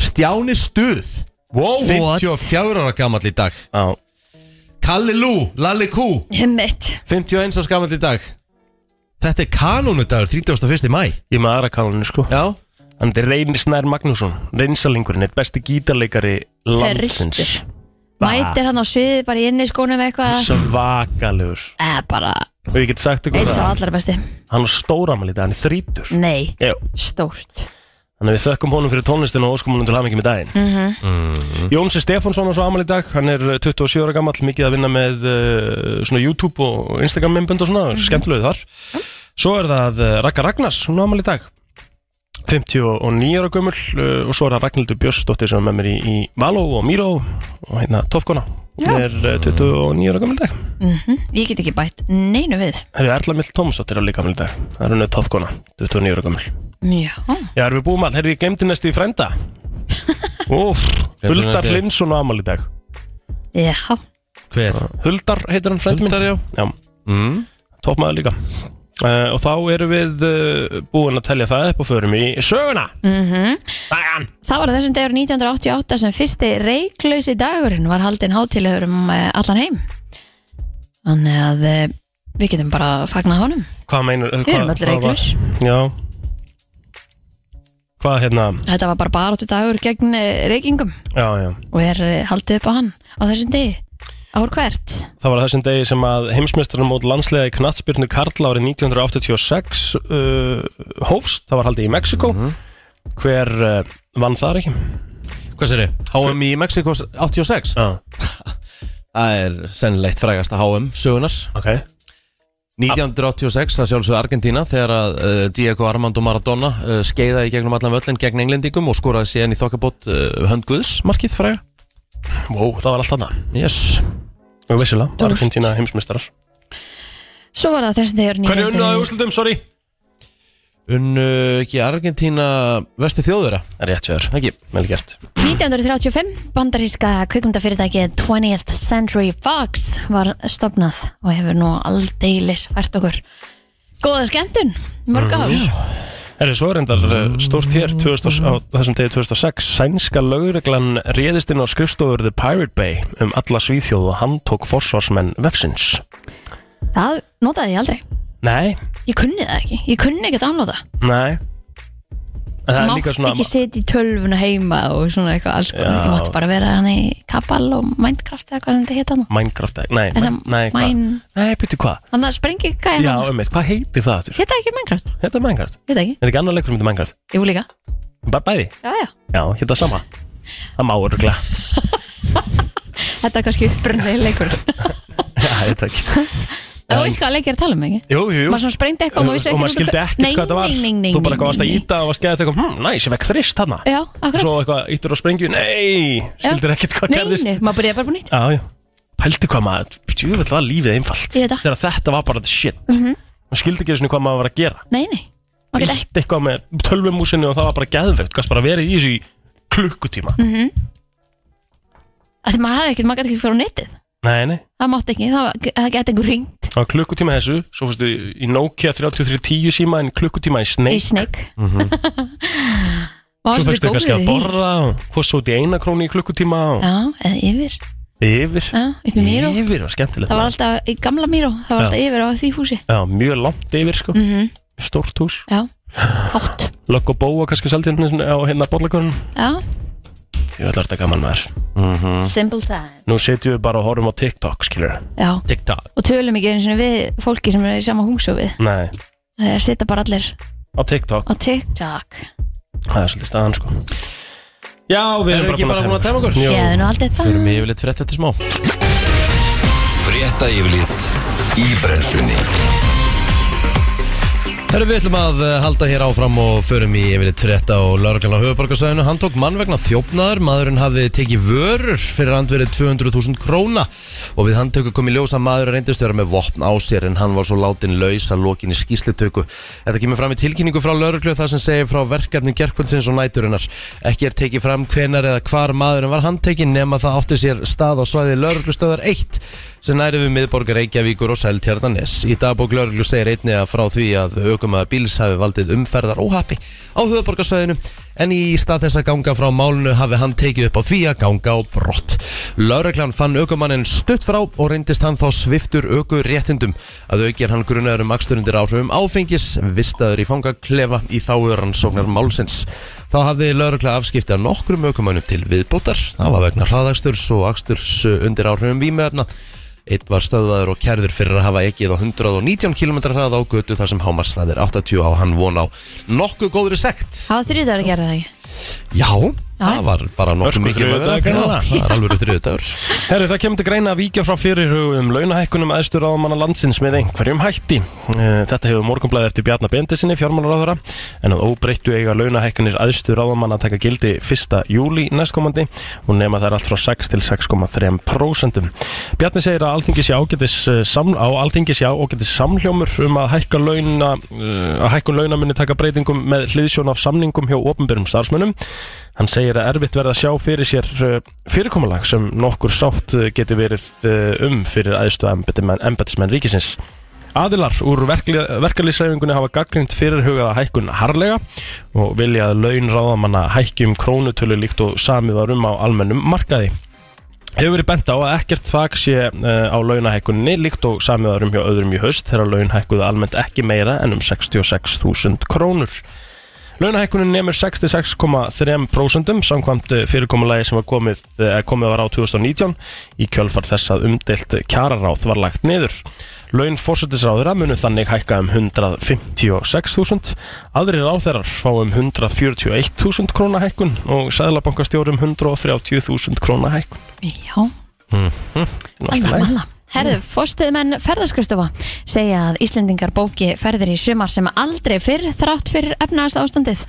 Stjáni Stuð Wow What? 54 ára gamall í dag Já Kalli Lú, Lalli Kú Himmit 51 ára gamall í dag Þetta er kanónudagur 31. mæ Ég er með aðra kanalinu sko Já Hann er Reynir Snær Magnússon Reynsalingurinn, eitt besti gítarleikari landsins Riltur. Mætir hann á sviði bara í inni skónum eitthvað Svakalegur eða bara Og ég get sagt ykkur eins og það allra besti Hann er stóramæl í dag, hann er þrítur Nei, Jú stórt Þannig að við þökkum honum fyrir tónlistinu og óskum honum til hamingjum í daginn mm -hmm. Jónsi Stefánsson á svo amal í dag Hann er uh, 27 ára gamall, mikið að vinna með uh, svona YouTube og Instagram minnbönd og svona, mm skemmtilegu þar Svo er það uh, Ragga Ragnars, hún á amal í dag 59 ára gömul uh, og svo er það Ragnhildur Björnsdóttir sem er með mér í, í Való og Míró og hérna Topkona Hún er uh, 29 ára gömul í dag Ég get ekki bætt neinu við Herri, Erla Mill Tómsdóttir á líka amal í dag Það er hún er Topkona, 29 ára gömul Já, Já, erum við búum all, heyrðu ég glemdi næstu í frenda Úf, Gleymdi Huldar næstu í- Lindsson á amal í dag já Hver? Huldar heitir hann frendi minn Huldar, já. Já, Mm. toppmaður líka uh, Og þá erum við uh, búin að telja það upp og förum í söguna Mhm. Dagan Það var á þessum dagur 1988 sem fyrsti reiklausi dagurinn var haldinn hátilegur um eh, allan heim Þannig að eh, við getum bara fagnað honum Hvað meinar Við erum öll reiklaus Já Hvað hérna Þetta var bara baróttu dagur gegn eh, reykingum Já, já og er eh, haldið upp á hann á þessum degi Ár hvert Það var á þessum degi sem að heimsmeistarum mót landslega í knattspyrnu Karla árið 1986 uh, hófst, það var haldið í Mexiko Mhm. Hver uh, vann þar ekki? Hvað sér þið? HM í Mexiko 86 Já, Það er sennilegt frægasta HM sögunar ok 1986 að sjálfsögðu Argentína þegar að uh, Diego Armando Maradona uh, skeiðaði í gegnum allan völlin gegn englendingum og skoraði síðan í þokkabót uh, hönd Guðs markið fræga Wow, það var alltaf það Yes Jú, vissilega, Argentina heimsmeistarar Svo var það á þessum dagur 1990 úrslutum, sorry? Unnu ekki Argentína vestu þjóðura Það er rétt fyrir, Ekki vel gert 1935 bandaríska kvikmyndafyrirtæki 20th Century Fox var stopnað og hefur nú aldeilis fært okkur góða skemmtun, mörg ár Mm. Er svo reyndar uh, stórt hér 2000, á þessum degi 2006 sænska lögreglan réðist inn á skrifstofur The Pirate Bay um alla svíþjóð og hann tók forsvarsmenn vefsins það notaði ég aldrei Nei, ég kunni það ekki, ég kunni ekki að downloada nei En það er mátti líka svona ekki setja í tölvuna heima og svona eitthvað alls konar, ég mátti bara vera hann í Kabal og Minecraft eða hvað sem þetta heita nú Minecraft, nei, En nei, það- nei, hvað mine- Nei, byrju hvað? hann það sprengi hvað er Já, hann, um hvað heiti það aftur? heita ekki Minecraft Þetta er Minecraft, heita ekki, er ekki annar leikur sem heitir Minecraft? jú líka Bara bæði? já, já. Já, hérna sama Það má öruglega þetta er kannski upprunnið leikur Já, ég takk og veist hvað leikir er að tala um ekki Jú, jú, jú maður svona sprengdi eitthvað og maður vissi Og maður skildi út af- ekkert hvað þetta var nei, nei, nei, Þú bara eitthvað varst að nei, nei. íta og varst gæðið eitthvað hmm, Næs, ég vekk þrist hana já, Og akkurat svo eitthvað íttur á sprengju Nei, skildir ekkert hvað nei, gerðist nei, maður byrjaði bara búin nýtt Já, já Pældi hvað maður Djúvel var lífið einfalt Ég veit það. Mhm. Þegar þetta var bara the shit Maður skildi ekki svona hvað maður var að gera nei, nei, maður geta ekki Ítt eitthvað með tölvumúsinu og það var bara geðveikt Gast bara verið í þessu í klukkutíma Mm. Mhm. af því maður hafði ekkert, maður geta ekki fyrir á netið Nei, nei það mátt ekki, það, var- það geta einhver ringt Það var klukkutíma í þessu Svo fórstu í Nokia 3310 síma En klukkutíma í í Snake Mhm. snegg maður var Svo fyrstu svolítið kannski góður að í því borða og Fórst út í eina krónu í klukkutíma og já, eða yfir, Yfir já, upp í Míró Yfir var skemmtilegt það var alltaf, í gamla Míró, það var Já. alltaf yfir á því húsi Mhm. Já, mjög langt yfir sko Mm. Stórt hús já, hátt Lokk og bóa kannski seldi hérna svona á hérna bollakorn já, Ég ætla þetta gaman maður Mhm. simple time Nú setjum við bara og horfum á TikTok skilur já, TikTok og tölum ekki einu sinni við fólki sem er í sama hús og við Nei, það er að setja bara allir á TikTok á TikTok Það er svolítið staðan sko Já, við Erum við ekki bara búin að tæma okkur? Jú. ég hefði nú aldrei það Fyrir mig yfirleitt fyrir þetta smá Frétta yfirlit í brennslunni Herru, við ætlum að eh, halda hér áfram og förum í yfirleitt frétta og lauruglan á höfuborgarsæðinu. Hann tók mann vegna þjófnaður, maðurinn hafði tekið vörur fyrir andverið 200.000 króna og við handtöku kom í ljós að maður reyndist vera með vopn á sér en hann var svo látin laus að lokinni skýslitöku. Þetta kemur fram í tilkynningu frá lauruglu þar sem segir frá verkefni gerkvöldsins og næturinnar. Ekki er tekið fram hvenar eða hvar maðurinn var handtekinn nema það átti sér stað á svæði lauruglustöðar 1 sem næri við miðborgar Reykjavíkur og Seltjarnanes. Í dagbók lauruglu segir einni að frá því að aukumaða bíls hafi valdið umferðar óhapi á höfuborgarsvæðinu en í stað þess að ganga frá málunu hafi hann tekið upp á því að ganga á brott. Lauruglan fann aukumannin stutt frá og reyndist hann þá sviftur auku réttindum. Að auki er hann grunaður um aksturundir áhrifum áfengis, vistaður í fangaklefa í þáu rannsóknar málsins. Þá hafði laurugla afskipti af nokkrum aukumannum til viðbótar. Það var vegna hraðaksturs og aksturs eh, undir áhrifum vímöfna. Eitt var stöðvaður og kærður fyrir að hafa ekkið á 119 km hraða á götu þar sem hámarsræðir 80 á hann von á nokkuð góðri sekt. Hafa þrjúðar að gera það ekki? Já, það var bara nokkuð Örku mikið um að vera. þriðjudagur, Já, greinilega. Það er alveg þriðudagur Herri, það kemur til greina að víkja frá fyrirhugum launahækkunum aðstur áðumanna landsins með einhverjum hætti. Eh, Þetta hefur morgunblæði eftir Bjarnar Bendisinni, fjármálaráðara, en að óbreyttu eiga launahækkunir aðstur áðumanna að taka gildi 1. júli næstkomandi og nema það er allt frá 6 til 6,3%. Bjarni segir að alþingis já ágætis, eh, sam, á alþingis já ágætis samhljómur um að hækka launa, eh, að hækkun launa muni taka breytingum með hliðsjón af samningum hjá ofinbyrjum starfsmönnum. Hann segir að erfitt verða að sjá fyrir sér eh, fyrirkomulag sem nokkur sátt eh, geti verið eh, um fyrir aðstu embætismenn ríkisins. Aðilar úr verkarlýsræfingunni hafa gaggrind fyrirhugaða hækkun harlega og vilja að laun ráðamanna hækki um krónutölu líkt og samið var um á almennum markaði. Hefur verið bent á að ekkert þak sé eh, á launahækkunni líkt og samiðarum hjá öðrum í haust þegar laun hækkuðu almennt ekki meira en um 66.000 krónur. Launahækkunin nemur 66,3% samkvæmt eh, fyrirkomulagi sem var komið, eh, komið var á 2019 í kjölfar þess að umdelt kjararáð var lagt niður. Laun fórsetisráðura munu þannig hækka um 156.000, aðrir ráðherrar fá um 141.000 króna hækkun og um sæðlabankastjórum 130.000 króna hækkun. Já, alla, Mm. alla. Herðu, fórstuðmenn ferðarskristofa segja að Íslendingar bóki ferðir í sumar sem aldrei fyrr þrátt fyrir efnaðast ástandið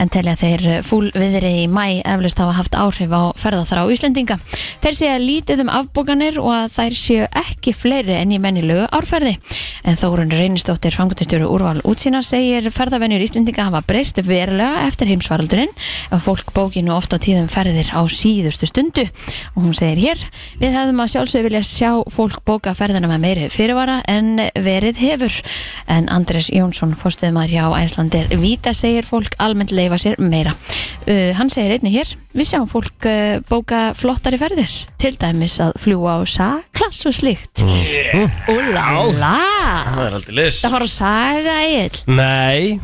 en telja þeir fúl viðrið í mæ eflust hafa haft áhrif á ferðarþrá Íslendinga. Þeir segja lítið um afbókanir og að þær séu ekki fleiri enn í mennilögu árferði. En Þórun Reynistóttir, fangutistjóru úrval útsýna, segir ferðarvenjur Íslendinga hafa breyst verulega eftir heimsvaraldurinn en fólk bóki nú oft á tíðum ferðir á síðustu stundu. Og hún segir hér, við hefðum að sjálfsög vilja sjá fólk bóka ferðina með meiri fyrirvara en verið hefur. En Andrés Jónsson, fórstuðumar hjá Æslandir Víta, segir fólk almennt leifa sér meira. Uh, hann segir einnig hér, við sjáum fólk uh, bóka flottari ferðir, til dæmis að fljúa á saklas og slíkt. Úlala! Það er aldrei lis Það fara að saga eill. Nei,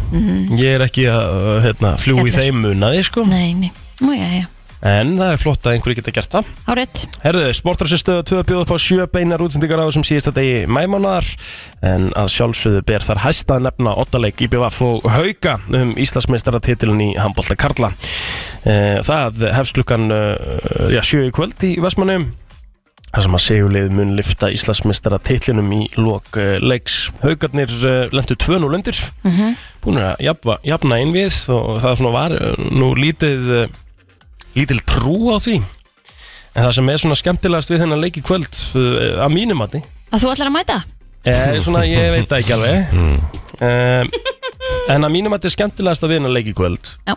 ég er ekki að hérna, fljú í Skellur. þeim munaði sko Nei, nei. Nú, já, já. En það er flott að einhverju geta gert það Árið. Herðu, sportrarsistöðu 2 bjóð upp á sjö beinar útsendingar á þessum síðasta degi mæmánaðar En að sjálfsögðu ber þar hæsta að nefna ottaleik í BVF og hauka um Íslandsmeistaratitilin í handbólta Karla Eh, Það hefst klukkan eh, já, sjö í kvöld í Vestmannum þar sem að segjulið mun lifta Íslandsmeistara titlinum í lok eh, leiks. Haukarnir eh, lentu 2-0 undir, mm -hmm. búinir að jafna, jafna inn við og það svona var eh, nú lítið, eh, lítil trú á því. En það sem er svona skemmtilegast við þennan leik í kvöld, eh, að mínum mati, Að þú ætlar að mæta? er svona, ég veit það ekki alveg, Eh, en að mínum mati skemmtilegast að við þennan leik í kvöld Já. Eh,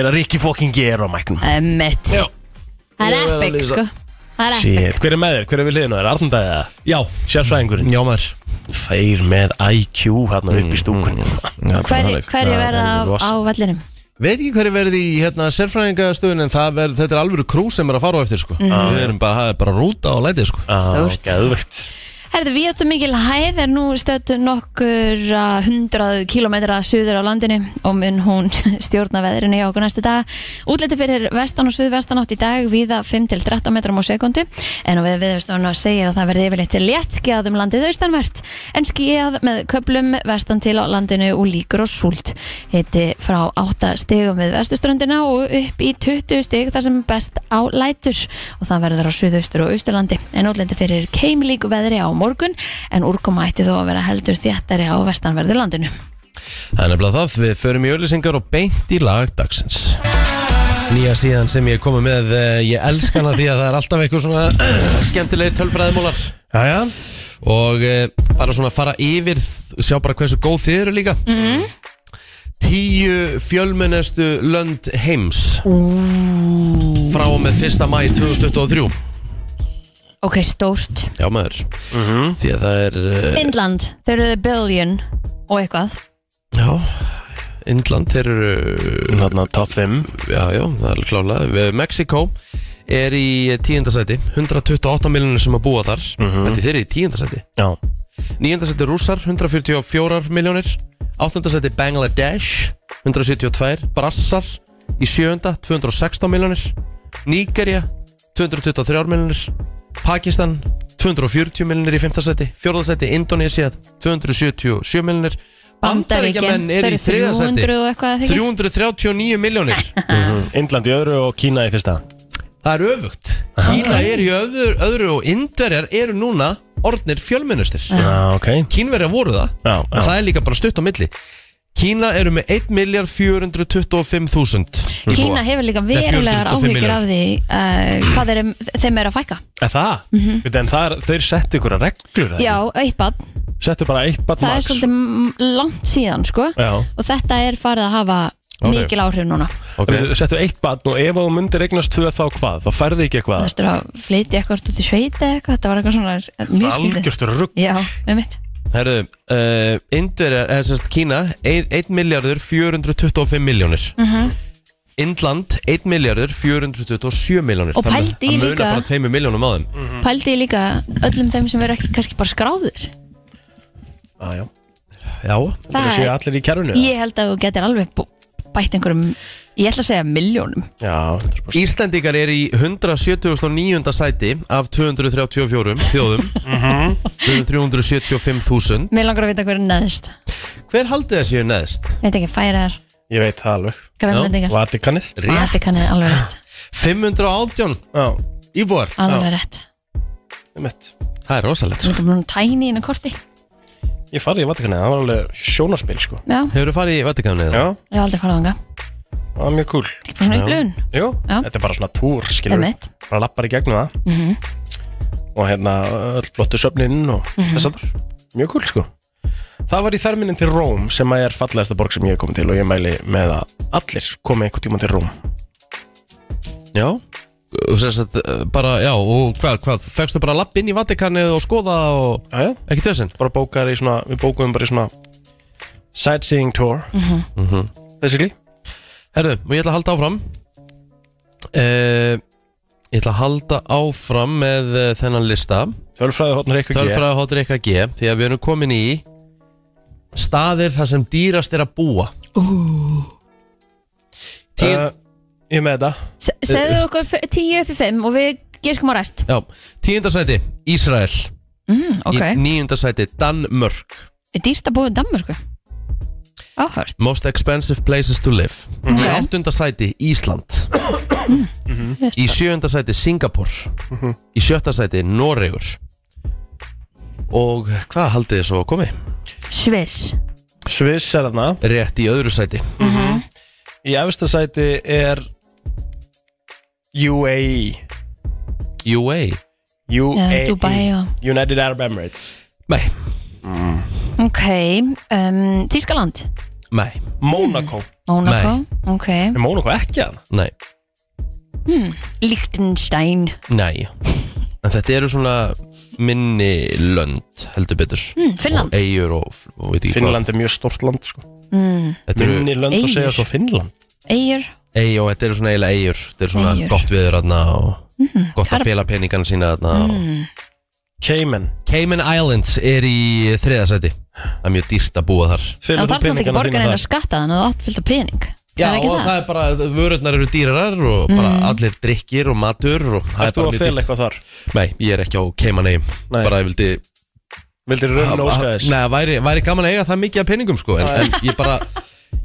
er að Rikki fokking ger á mæknum. Emmett. Það Ég er verð að epic, lýsa. sko. Það er epic. Shit, hver er með þér? Hver er við hliðinu? Er Arndaðið það? Já, Sérfræðingurinn? já maður Þeir með IQ hérna upp í stúkunni Já, Hverju þannig. hver Já, verða það er á, á rosa. vallinum? Veit ekki hverju verði í hérna, sérfræðingastöðun en það verð, þetta er alvöru krú sem er að fara á eftir sko. Við erum bara, það er bara rúta á lætið sko. Ah, Stórt. Gæðvögt Herðu, við áttum mikil hæð er nú stöttu nokkur uh, hundrað kilometra suður á landinu og mun hún stjórna veðrinu hjá okkur næstu dag. Útliti fyrir vestan og suðvestan átt í dag viða 5-13 metrum á sekundu en á við viðstofna segir að það verði yfirleitt létt skíðað um landið austanvert en skíðað með köplum vestan til á landinu og líkur og súlt. Hitti frá 8 stigum við vestuströndina og upp í 20 stig þar sem best á lætur og það verður á suðaustur og austurlandi en útlindi fyrir keimlíku veðri á morgun en úrkoma ætti þó að vera heldur þéttari á vestanverður landinu Það er nefnilega það, við förum í öllisingar og beint í lag dagsins Nýja síðan sem ég komi með, eh, ég elska hana því að það er alltaf eitthvað svona skemmtilegi tölfræðimólar Jæja, Og eh, bara svona fara yfir, þ- sjá bara hversu góð þið eru líka Tíu fjölmennestu lönd heims Frá og með 1. mæ 2023 Ok, stórt Já maður Því að það er eh, Indland, þau eru the billion og eitthvað Já Indland, þeir eru Um, þarna top 5 Já, já, það er alveg klálega Mexiko er í tíundasæti 128 miljonir sem að búa þar Þetta er þeir eru í tíundasæti Já, Níundasæti rússar, 144 miljonir Áttundasæti Bangladesh 172 Brassar í sjöunda, 216 miljonir Nígerja 223 miljonir Pakistan 240 miljonir í fymtasæti Fjórðasæti Indonesia 277 miljonir Bandaríkjamenn Bandaríkin, er í þriðasæti 300 og eitthvað þykir. 339 miljonir Ah. Mhm. Indland í öðru og Kína í fyrsta Það er öfugt Kína er í öðru, öðru og indverjar eru núna orðnir fjölmennustir Já, Ah, ok Kínverjar voru það Já, og það er líka bara stutt á milli Kína eru með 1.425.000 Kína hefur líka er verulegar 45 áhyggjur af því uh, hvað er, þeim er að fækka Er það? Mm -hmm. En það er, þeir settu ykkur að reglur eða? Mhm. Já, eitt badn, Settu bara eitt badn það er max svolítið m- langt síðan sko Já og þetta er farið að hafa Áhrif. mikil áhrif núna okay. Settu eitt badn og ef þú myndir eignast tvö þá hvað? Þá færði ekki Það eitthvað þurftur að flytja eitthvað út í sveiti eða eitthvað, þetta var eitthvað svona mjög skrítið Algjört rugg Já, með mitt Herðu, uh, Indverjar, eða semst Kína 1.425.000 mm Mhm. -hmm. Indland 1.427.000 Og pældu í Það munar líka- bara 2 miljónum á þeim Mm. Pældi ég líka öllum þeim sem eru ekki kannski bara skráðir ah, Já, Já, það Það séu er, allir í kerfinu eða? ég held að þú getur alveg bú- bætt einhverjum, ég ætla að segja miljónum Já, 100%. Íslendingar er í 179. sæti af 234 þjóðum Mhm. Við erum 375.000 Mér langar að vita hver er neðst Hver haldið þessi er neðst? Ég veit ekki, færar, ég veit það alveg grænlendingar Vatikanið Vatikanið, alveg rétt, 518 Já, íbúar alveg rétt mitt Það er rosalegt Ég sko. er búin að tæni inn á korti Já, Ég farði í Vatikanið, það var alveg sjónaspil sko ég Hefur þú farið í Vatikanið? Já, hef aldrei farað ánga það var mjög cool Ekki bara svona upplöfun, Jú, Já. þetta er bara svona túr, skilur með mitt Bara lappar í gegnum það Mhm. Og hérna, öll flottu söfnin og þess að þar Mjög cool sko Það var í þerminin til Róm sem að er fallegasta borg sem ég hef komið til og ég mæli með að allir komi einhvern tíma til Róm Já Og sem sagt, eh, bara, já, og hvað, hvað, fegstu bara lapp inn í Vatikanið og skoða og Já, já ekki tveirsinn? bara bókaðar í svona, við bókuðum bara í svona sightseeing tour mm Mhm. -hmm. Mhm. basically Herðu, og ég ætla að halda áfram uh, Ég ætla að halda áfram með uh, þennan lista tölfræði hóttnur eitthvað Tölfræði hóttir eitthvað G Því að við erum komin í Staðir þar sem dýrast er að búa Tíu, uh, ég er með þetta Se- Segðu okkur f- tíu upp í fimm og við giskum á rest já, Tíundasæti, Ísrael Ok, okay. Níundasæti, Danmörk er dýrt að búa í Danmörku? Áhört, Most expensive places to live Ok. Mhm. Í áttundasæti, Ísland veist Í sjöundasæti, Singapur Mhm. Í sjöttasæti, Noregur Og hvað haldið þið svo að komi? Sviss Sviss er þarna Rétt í öðru sæti í efsta sæti er E. UAE UA Já, UAE Dubai og- E. United Arab Emirates Nei, Ok, um, Þískaland nei, Monaco Mhm. Monaco, ok er Monaco ekki að nei, Liechtenstein nei En þetta eru svona minni lönd heldur betur mm, Finland, Eyjur og, og veit ekki Finnland er mjög stort land sko. hvað Þetta eru minni lönd að Eyjur. segja svo Finnland Eyjur eyjur og þetta eru svona eiginlega eyjur Þetta eru svona Eyjur. Mhm, gott viður aðna og gott Kar- að fela peningana sína aðna Mhm. mm. Cayman Cayman Islands er í þriðasæti Það er mjög dýrt að búa þar En það þarf Felur þú náttúrulega ekki peningana borgar þína en að þar? skatta þannig að þú átt fyllt af pening Já það er ekki og það, Mhm. það er bara, vörurnar eru dýrarar og bara allir drikkir og matur og það er Ertu bara að mjög fela dýrt eitthvað þar? Nei, ég er ekki á Cayman eigum Nei. Bara ég vildi Vildir raun og Nei, óskæðis? það væri, væri gaman að eiga það mikið af peningum sko En, en ég bara,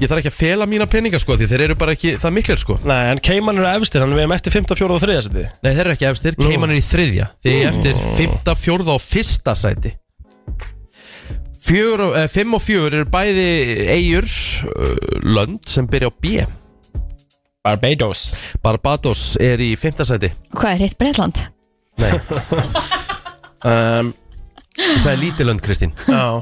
ég þarf ekki að fela mína peninga sko Því þeir eru bara ekki það miklir sko Nei, en Cayman eru efstir, hann er við erum eftir 5. 4. og 3. seti Nei, þeir eru ekki efstir, Cayman er í þriðja Þeir eru eftir 5. 4. og 1. sæti fjögur, og- eh, Fimm og fjögur eru bæði eigur lönd sem byrja á B Barbados Barbados er í fimmtasæti Hvað er hitt Breitland? Nei, um, það er lítið lönd Kristín Já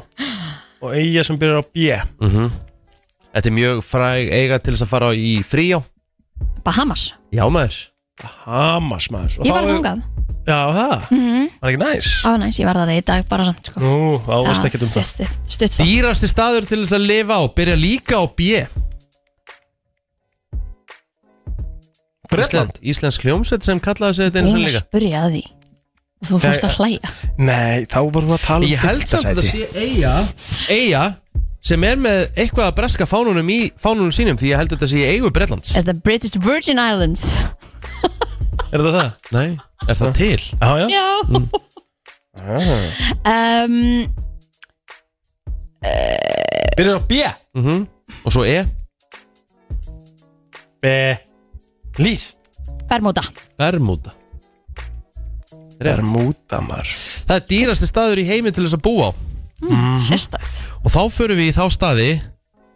Og eiga sem byrjar á B Þetta er mjög fræg eiga til þess að fara í frí á Bahamas Já maður Hamas maður Og Ég þá var Mhm. er- þungað Já það, var ekki næs Á næs, ég var það í dag bara samt sko. Nú, þá veist ekki um það stutt, stutt, stutt það. Dýrasti staður til þess að lifa á byrja líka á B Bretland? Ísland, Íslensk hljómsveit sem kallaði sig þetta eins og Hún líka spurja að því og þú fórst Nei, að hlæja Nei, þá vorum við að tala um Ég held samt að fimmta þetta sé eiga Eiga sem er með eitthvað að breska fánunum í fánunum sínum því ég held að þetta sé í eigu Bretlands Er það British Virgin Islands? sæti. Er þetta það? Nei, er það til? Já, já Já Mm. um, Byrjar á B Og svo E, B Lís Bermuda Bermuda Bermuda maður Það er dýrasti staður í heimi til þess að búa á Mhm. Sérstakt Og þá förum við í þá staði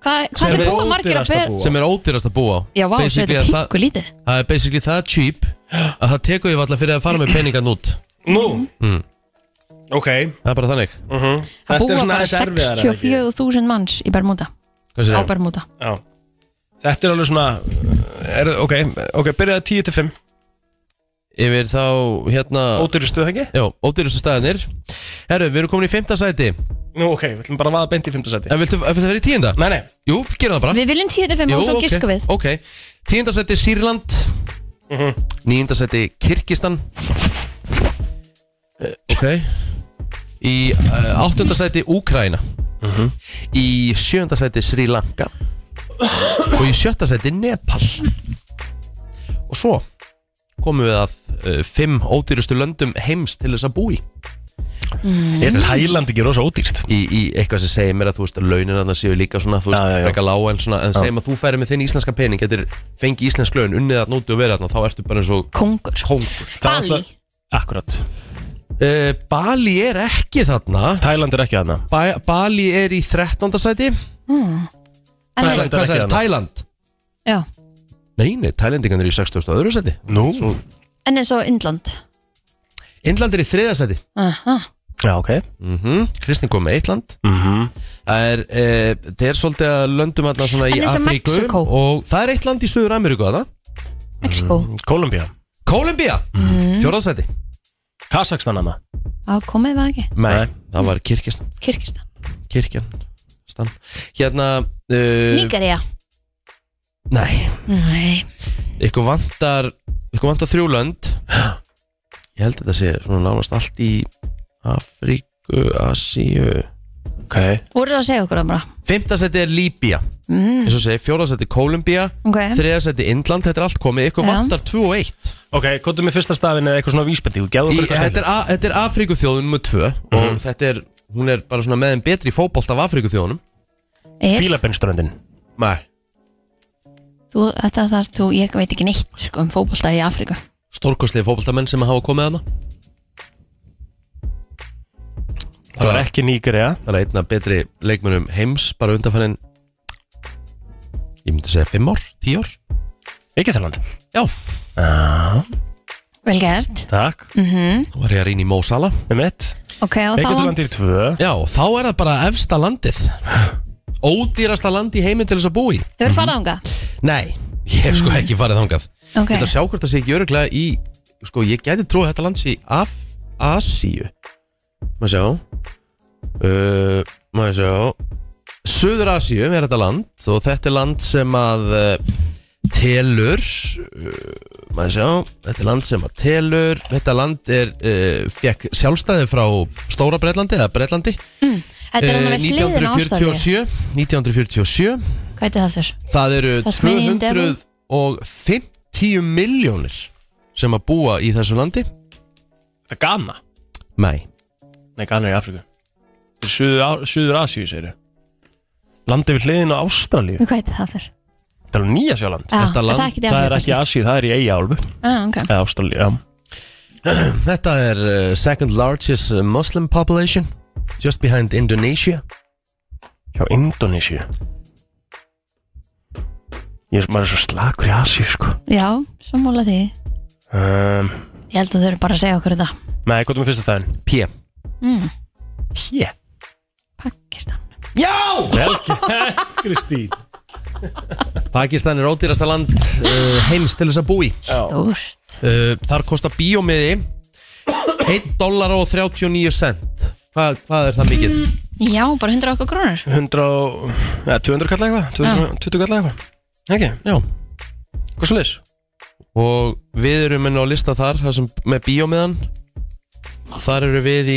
Hvað hva Sem er er búið margir að ódýrast að ber? búa. sem er ódýrast að búa á Já, vá, svo er Basically þetta að það- pingu lítið Það er basically það cheap að það tekur ég alltaf fyrir að fara með peningan út Nú Ok Það er bara þannig Það Þetta er Mhm. búa svona bara aðeins erfiðar 64.000 manns í Bermuda Hvað Á segir það? Bermuda Já Þetta er alveg svona er, Ok, ok, byrjaði 10 til 5 Yfir þá hérna Ódýristu það ekki? Já, ódýrustu staðinir Herru, við erum komin í fimmta sæti En Nú ok, við ætlum bara að vaða beint í 5. seti viltu, viltu það vera í tíunda? Nei, nei Jú, gerum það bara Við viljum 25 og svo ok, gisku við ok Tíunda sæti Sýrland Níunda sæti Kirkistan Eh, Ok Í uh, áttunda sæti Úkraina Í sjönda sæti Sri Lanka Og í sjötta sæti Nepal Og svo komum við að uh, fimm ódýrustu löndum heims til þess að búi Er Tæland ekki rosa ódýrt? í, í eitthvað sem segir mér að þú veist að launin að það séu líka svona, þú veist, Já, já, já. frekar lág en svona, en segjum að þú færi með þinn íslenska pening getur fengið íslensk laun, unnið að nóti og verið þarna, þá ertu bara eins og Kongur kongur Bali Akkurat uh, Bali er ekki þarna Tæland er ekki þarna ba Bali er í 13. sæti En- Hvað sagði- er hvað ekki sagði- þarna. Tæland? Já Nei, nei, Tælendingan er í 60. öðru sæti Nú En eins og Indland Indland er í 3. sæti Aha. Já, ok mm Kristinn kom með eitt land Mhm. Það er, uh, það er svolítið að löndum þarna svona í En eins og Afríku Mexíkó. og það er eitt land í Suður Ameríku að það Mexiko Kolumbía Kólumbía, Mhm. mm. fjórðarsæti Kazakstan hana Á, komið við ekki Nei, það var kirkistan Kirkistan Kirkjan stan. Hérna uh, Nigeria Nei, Nei ykkur vantar Ykkur vantar þrjúlönd Ég held að þetta sé svona nánast allt í Afríku, Asíu Ok Voru það að segja okkur um það bara Fymtasæti er Líbía mm, Eins og segi, fjórðarsæti Kólumbía Ok Þriðarsæti Indland, þetta er allt komið Ykkur Já. vantar 2 og 1 Ok, kóttu með fyrsta stafin eða eitthvað svona vísbendi í, þetta, er, A- þetta er Afríku þjóðun nummer 2 Og þetta er, hún er bara svona með en betri fótbolt af Afríku þjóðunum Er, Fílabennströndin Nei þú, Þetta þar þú Ég veit ekki neitt sko, um fótbolta í Afrika stórkostlið fótboltamenn sem hafa komið hana Það er ekki Nígeria Það er einna betri leikmönum heims bara undanfærin ég myndi segja 5 ár, 10 ár Egyptaland Já, Vel gert Takk þá var ég að rýna í Mo Salah Með mitt Ok og þá Egyptaland er tvö Já, þá er það bara efsta landið Ódýrasta land í heiminn til þess að búi Þau eru farað ánga Nei, ég hef sko ekki farið þangað Ok. Þetta sjá hvort það sé ekki öruglega í Sko, ég gæti trúið að þetta land sé í Af Asíu Maður sjá uh, Maður sjá Suður Asíu er þetta land Og þetta er land sem að uh, Telur uh, Maður sjá Þetta er land sem að telur Þetta land er uh, Fekk sjálfstæði frá Stóra Breitlandi Eða Breitlandi Þetta er hann að eh, vera hliðin á ástæði 1947 1947 Hvað heitir það þurr? Það eru Tasmanian devil. 250 miljónir sem að búa í þessu landi Þetta er Ghana Nei, Nei, Ghana er í Afriku Þetta er Suður, Suður Asíu, segir Landi við hliðin á Ástralíu Hvað heitir það þurr? Þetta er alveg nýja Ah, sjáland Þetta land- Það er ekki Asíu, það er í Eyja álfu okay. Eða Ástralíu, já eh, þetta er uh, second largest Muslim eh, population Just Behind Indonesia hjá Indonesia ég er maður er svo slakur í Asi sko Já, sammála því um, Ég held að þau eru bara að segja okkur þetta nei, hvað er með fyrsta staðin? P mm, Pjö Pakistan Já! Kristín Pakistan er ódýrasta land uh, heims til þess að búi Stórt uh, Þar kostar bíómiði 1 dólar og 39 cent Hva, Hvað er það mikið? Já, bara 100 okkar krónur 100 og, neða, 200 kalla eitthvað 220 kalla eitthvað ekki, Já Ah. hvað svo leys? Og við erum inn á lista þar, þar sem, með bíómiðan Þar eru við í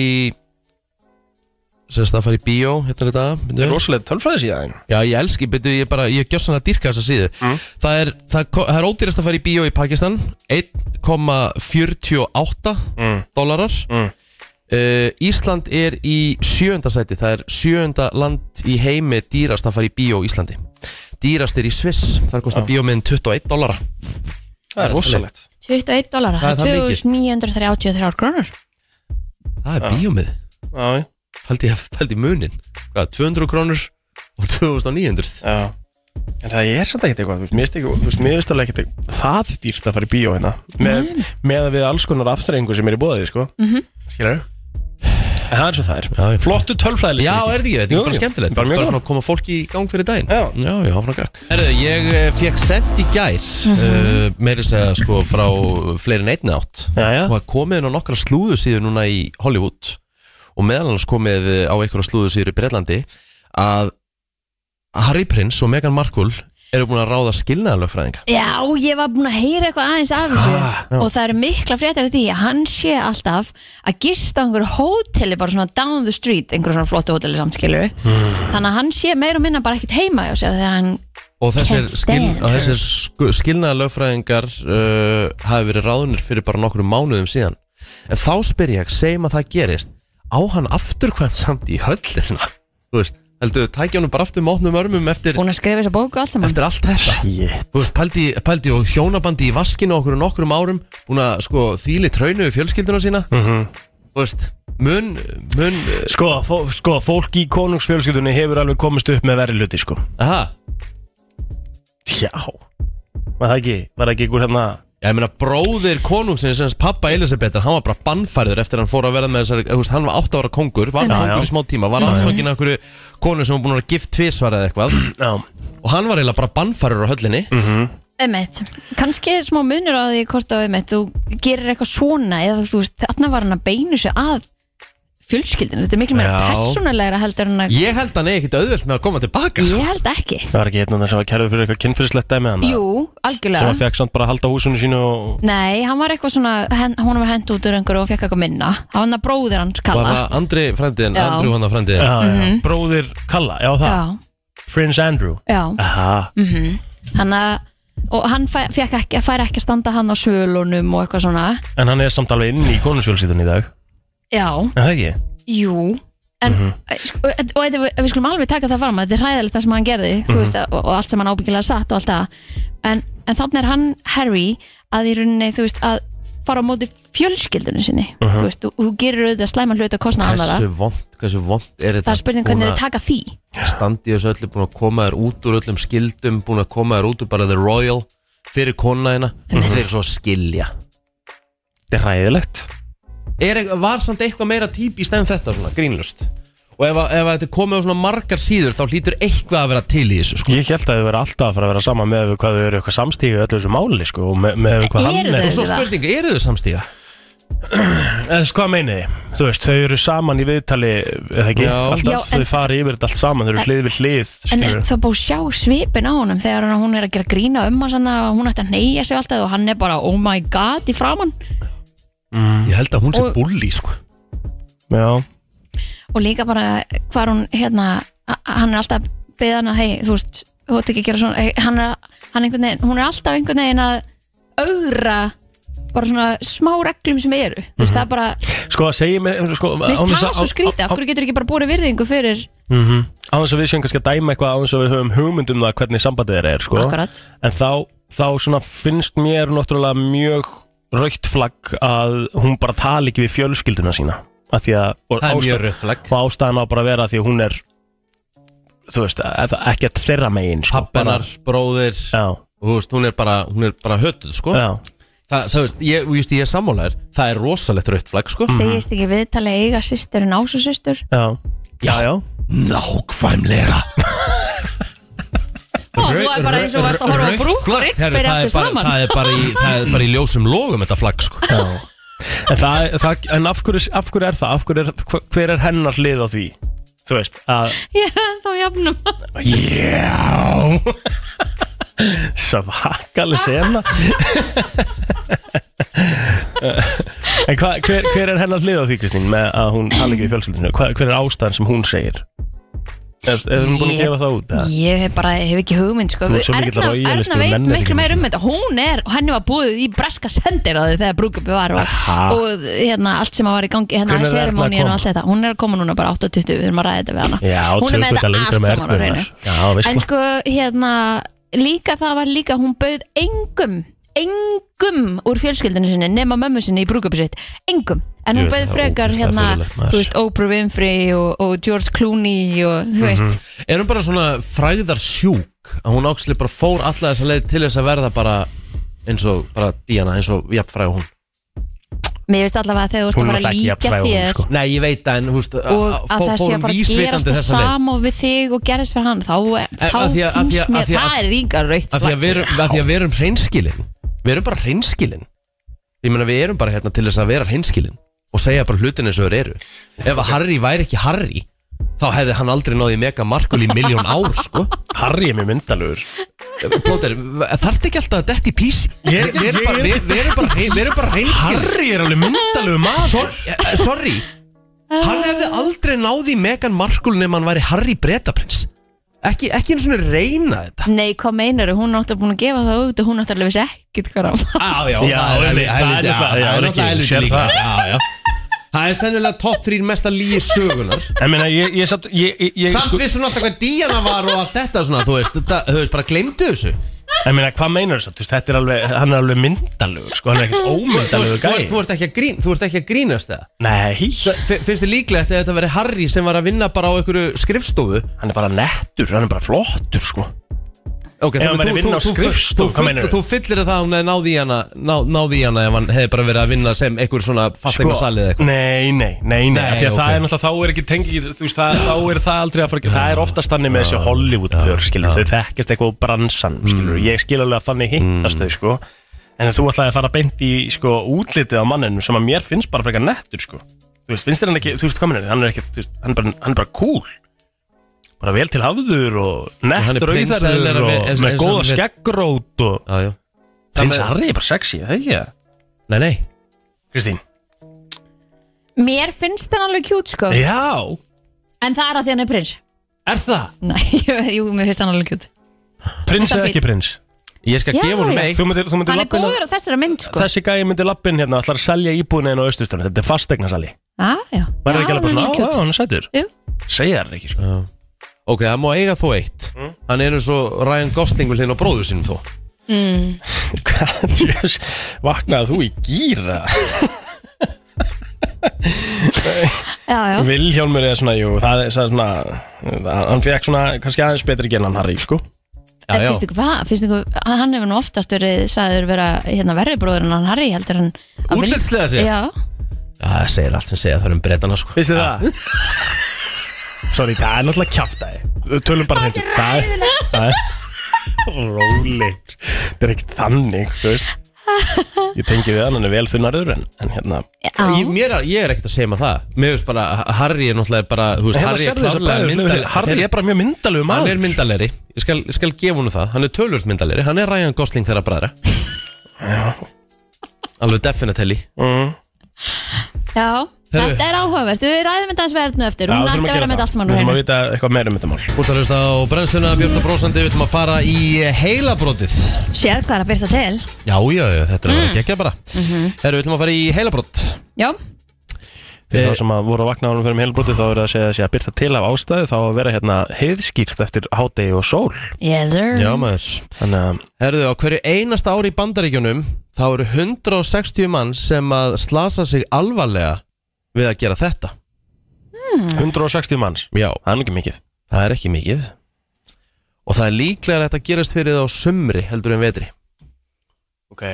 Sérst að fara í bíó hérna þetta byrju. rosalega tölfræði síðan Já, ég elski, betur ég bara, ég gjör svona dyrka þessa síðu Mm. það, er, það, ko- það er ódýrast að fara í bíó í Pakistan 1,48 Mm. dólarar Mm. Uh, Ísland er í sjöunda sæti Það er sjöunda land í heimi dýrast að fara í bíó í Íslandi Dýrast er í Sviss Þar kostar Já. bíómiðin 21 dólara það er rosalegt 21 dólar, Það er það er það mikið. 2933 krónur Það er bíómið já, Faldi ég faldi munin Hvað, 200 krónur og 2900 já en það er samt ekkert eitthvað, þú veist, mér veist ekki þú veist, mér veist alveg ekkert það dýrst að fara í bíó hérna með, með að við alls konar aftreyingu sem er í bóðið, sko mm -hmm. skilur en það er svo það Já, er ég- flottu tölfræðilist Já, er þetta ekki, þetta Jú, er bara jú. skemmtilegt Bara Bara, mjög bara gaman. svona að koma fólki í gang fyrir daginn Já. já, já áfram gakk Herðu, ég fekk send í gær mm uh, meiri segja sko frá fleiri en einni átt já, já, og það komið inn á nokkra slúðu síður núna í Hollywood og meðal annars komið á einhverja slúðu síður í Breitlandi að Harry Prince og Meghan Markle eru búin að ráða skilnaðalögfræðinga Já, ég var búin að heyra eitthvað aðeins af þessu já. og það eru mikla fréttar af því að hann sé alltaf að gista á einhverju hóteli bara svona down the street, einhverju svona flottu hóteli samskilur Hmm. þannig að hann sé meir og minna bara ekkert heima hjá sér þegar hann, og þessir, Can't stand skil, og þessir sku- skilnaðalögfræðingar uh, hafi verið ráðunir fyrir bara nokkru mánuðum síðan en þá spyr ég, segjum að það gerist á hann afturkvæmt samt í höllina þú veist, heldur, tækja hann bara aftur mótnum örmum eftir, búin að skrifa þessa bóku allt saman eftir allt þetta Shit. þú veist, pældi, pældi og hjónabandi í vaskinu okkur nokkrum árum, búin að sko, þýli traunu við fjölskylduna sína þú veist, mun, mun sko, fó, sko, fólk í konungsfjölskyldunni hefur alveg komist upp með verri hluti, sko aha, já, var það ekki var það ekki ykkur hérna Já, ég meina bróðir konungsins hans pappa Elisabethar, hann var bara bannfærður eftir hann fór að verða með þessari, þú veist, hann var 8 ára kongur var Já, kongur já. í smá tíma, var aðstokkin af einhverju konu sem var búin að vera gift tvísvar eða eitthvað já, og hann var eiginlega bara bannfærður á höllinni Mm. Emmett, kannski er smá munur á því hvort að Emmett, þú gerir eitthvað svona eða þú veist, þarna var hann að beinu sig að fjölskyldinu, þetta er miklu meira Já. persónulegra heldur en að ég held hann eigi ekkit auðvöld með að koma tilbaka sko. ég held ekki það var ekki hérna þess að var kærður fyrir eitthvað kynfyrirslegt dæmi hann Jú, sem algjörlega að fekk samt bara að halda húsinu sínu og Nei, hann var eitthvað svona, hen, hún var hend út úr einhverju og fekk eitthvað minna. Hann var bróðir hans var kalla. það Andri frendiðin, Já. Andrew hann að frendiðin já, já. Mhm. bróðir Kalla, já Mm. það, Já, Prince Andrew já. Aha. Hann að, og hann fæ, fekk ekki, fær ekki að standa hann á svölunum og eitthvað svona. en hann er samt alveg inn í konusfjölsýtun í dag Já, en það ekki, jú. En, Mhm. mm og, og, og við, við skulum alveg taka það fram að þetta er hræðilegt það sem hann gerði, Mhm. þú veist, og, og allt sem hann ábyggilega satt og allt það. En, en þannig er hann, Harry, að í rauninni, þú veist, að fara á móti fjölskyldunum sinni. Mhm. Þú veist, þú, þú gerir auðvitað slæma hlut að kostna annara. hversu vond, hversu vond er þetta Það er spurning Búin hvernig þau taka því. að standa í þessu öllu, búin að koma þér út úr öllum skildum, búin að koma þér út úr bara the royal fyrir konaðina og þeir svo að skilja þetta er ræðilegt er, eitth- var samt eitthvað meira típist en þetta svona, grínlust og ef, að- ef að þetta er komið á svona margar síður þá hlýtur eitthvað að vera til í þessu sko. ég held að þau verið alltaf að fara að vera saman með hvað þau eru eitthvað samstífi öllu þessu máli sko, og með, með hvað hann Eru er og svo Ég veit það. spurninga, eru þau samstíða? eða þessu Eh, sko, hvað meinið þið, þú veist, þau eru saman í viðtali eða ekki, Já. alltaf Já, en- þau fari yfir þetta allt saman, þau eru hlið við hlið En skilurðu. er það búið að sjá svipin á honum þegar hann- hún er að gera grína um hans og hún ætti að neyja sig alltaf og hann er bara oh my god í framann Ég held að hún sé Og- bulli sko. og já, líka bara hvar hún hérna, a- hann er alltaf að beða hann að hei, þú veist, þú ætti ekki að gera svona hey, hann er, hann einhvern veginn, hún er alltaf einhvern veginn að augra bara svona smá reglum sem eru þú veist, það er bara, Mhm. sko að segja mér sko, án minnst þess það að- svo skrítið af hverju getur ekki bara búið virðingu fyrir Mhm. Á þess að við séum kannski að dæma eitthvað á þess að við höfum hugmyndum það hvernig sambandið þeirra er sko. akkurat, en þá, þá svona finnst mér náttúrulega mjög raukt flagg að hún bara tali ekki við fjölskylduna sína að því að og Það er ástæ- mjög rött flagg og ástæðan á bara að vera að því að hún er þú veist, eða ekkert þeirra megin sko, Pappanar, bróðir bara- já, og þú veist, hún er bara, hún er bara höttuð sko. já, Þa, það veist, ég, og just, ég er sammálaður það er rosalegt rött flagg sko. segist ekki viðtali eiga systur en ásu systur já Já. já, nákvæmlega og þú er bara eins og varst að horfa á brúk og Herru, rittberi það, er eftir bara, saman það, er bara í, það er bara í ljósum logum þetta flagg sko. já. en, það, það, en af, hverju, af hverju er það af hverju er, hver- hver er hennar hlið á því þú veist, að ég er þá jafnum já svakalig sena en hva, hver, hver er hennar hlið á því Kristín með að hún tala ekki í fjölskyldinu hva, hver er ástæðan sem hún segir er, er hún búin að gefa það út eða? ég hef bara, hef ekki hugmynd sko. Þú ert svo Erna, mikill royalisti, Erna þú veit nennir miklu ekki meir þessu. um þetta hún er, og henni var búið í breska sendir á því þegar brúkupi var og, Aha. og hérna, allt sem var í gangi hérna, Hvenær er Erna að sérimóníun og koma? allt þetta hún er að koma núna bara 8.20, við erum að ræða þetta við hana Já, hún er með tölvölda þetta lengra allt með saman á Ernu hreinu þar. Já, en veistla sko, hérna líka það var líka, hún bauð engum engum úr fjölskyldinu sinni nema mömmu sinni í brúkupi sitt engum, en Ég hún veit bauð það, frekar ógeðslega hérna, furðulegt, maður. þú veist, Oprah Winfrey og, og George Clooney og Mhm. þú veist er hún bara svona fræðar sjúk að hún áksli bara fór alla þessa leið til þess að verða bara eins og bara Diana, eins og jafnfræð og hún Mér veist allavega að þegar þú ert Hún að er fara náttúrulega að ekki jafn líka fræg og hún, þér sko. Nei, ég veit það, en þú veist og að það sé að fara að gerast það sama og við þig og gerist fyrir hann þá, Eh, þá að því að- að því finnst að- mér að því að- það er líka raukt að því að við erum, að því að við erum hreinskilin við erum bara hreinskilin ég meina við erum bara hérna til þess að vera hreinskilin og segja bara hlutin eins og þeir eru ef að Harry væri ekki Harry þá hefði hann aldrei náði mega markul í miljón ár sko Harry er mér myndalur Plóter, þarf ekki alltaf að detti pís Ég- við erum ég bara, er- við- við erum bara, hrein- við erum bara hreinskilin Harry er alveg myndalur maður Eh, sorry hann hefði aldrei náði megan markul nema hann væri Harry Bretaprins ekki, ekki einu svona reyna þetta Nei, hvað meinar hún átti að búin að gefa það út og hún átti alveg vissi ekkert hvað ráð Já, já, Já, það er einmitt, helviti- það helviti- er náttúrulega- það já, er Rikki, náttúrulega helviti sér líka það. Já, já. Það er sennilega topp þrýr mesta líi sögunar En meina, ég, ég, samt, ég, ég, ég Samt vissi hún alltaf hvað Díana var og allt þetta svona, þú veist, þetta, þú veist, bara glemdu þessu En meina, hvað meinar þess að þetta er alveg, hann er alveg myndalur, sko, hann er Þú, ekkert þú, þú, ómyndalur þú, gæði. ert ekki að grín, þú ert ekki að grínast það Nei, F- Finnst þið líklegt að þetta veri Harry sem var að vinna bara á einhverju skrifstofu hann er bara nettur, hann er bara flottur, sko. Ok, Ef hann væri að vinna á þú, þú, þú, skrifstofu, hvað full- meinarðu? þú fyllir það að hún hefði náði í hana ná, náði í hana ef hann hefði bara verið að vinna sem einhver svona fattegna salið eitthvað Sko, Nei, nei, nei, nei, Nei, af því að ok. það er náttúrulega, þá er ekki tengi, þú veist, það, þá er það aldrei að fara ekki, það er oftast þannig með þessi Hollywood-pör, skilur, þau þekkist eitthvað úr bransan, Mm. skilur, ég skil alveg að þannig hittast þau, sko, en þú ætlaði að fara beint í, sko, útlitið á manninu sem að mér finnst bara frekar nettur, sko, þú veist, finnst þér hann ekki, þú veist, hvað minnur, hann er ekki, þú veist, hann er bara, hann er bara cool, bara vel til hafður og hann er nettur prins, eðlilega auðarður ve- og eins- með eins og góða hann vill. skeggrót og, Já, já prins Harry er bara sexy, það ekki, það? Nei, nei Kristín, Mér finnst það alveg kjút sko já, en það er að því hann er prins er það? Nei, jú, mér finnst hann alveg kjút Prins Þetta eða fín. ekki prins? Ég skal Já, gefa honum já. eitt Þú myndir, þú myndir Hann er labbin góður á þessari mynd sko Þessi gæi myndir labbin hérna ætlar að selja íbúinu en á austustunum Þetta er fastegna sali ah, Já, Var það ekki Já, alveg bara hann er svona, á, cute. á, hann er sætur Jú. Segja það ekki, sko Ok, það má eiga þó eitt Mm. Hann er eins og Ryan Gosling vil hinn á bróður sínum þó Hvað, djöss, Vaknaði þú í gýra Já, já, Vilhjálmur er svona, jú, það er það er svona það- Hann fekk svona, kannski aðeins betri genn hann Harry, sko Já, En já, finnst ykkur hvað? Finnst ykkur að hann hefur nú oftast verið sagður vera hérna verri bróður en hann Harry heldur hann að vil- Útlitslega séð? Já, Já, það segir allt sem segja það um breytana sko Veistu það? Sorry, það er náttúrulega kjáftæði Tölum bara hendur Það er Róleg Það er ekki þannig, þú veist Ég tengi við hann, hann er vel þunnarður en, en hérna já. Ég, mér er, ég er ekkert að segja maður það Mér veist bara, Harry er náttúrulega bara þú veist, Hérna Harry er sérðu þessar klárlega bræður, myndalegri Harry er bara mjög myndalegu Hann er maður myndalegri, ég skal, ég skal gefa honum það Hann er tölvöld myndalegri, hann er Ryan Gosling þeirra bræðra Já Alveg definitely Já, Herru. þetta er áhugavert, við ræðum þetta aðeins verðinu eftir, hún ætti að vera með þetta allt saman úr Við þurfum að henni vita eitthvað meira um þetta mál Úrst að hlusta á brennsluna Björta Brósandi Við ætlum að fara í heilabrótið Sér hvað er að byrsta til Já, já, já, þetta er að vera geggja bara Herru, við ætlum að fara í heilabrót Já, Fyrir Eh, þá sem að voru að vakna ánum fyrir heilbroti þá er það að segja að sé að byrta til af ástæðu þá að vera hérna heiðskýrt eftir hádegi og sól yes sir Já, maður Þannig að Herðu, á hverju einasta ári í bandaríkjunum þá eru 160 mann sem að slasa sig alvarlega við að gera þetta Mm. 160 manns Já, Það er nú ekki mikið það er ekki mikið og það er líklega að þetta gerast fyrir það á sumri heldur en vetri Ok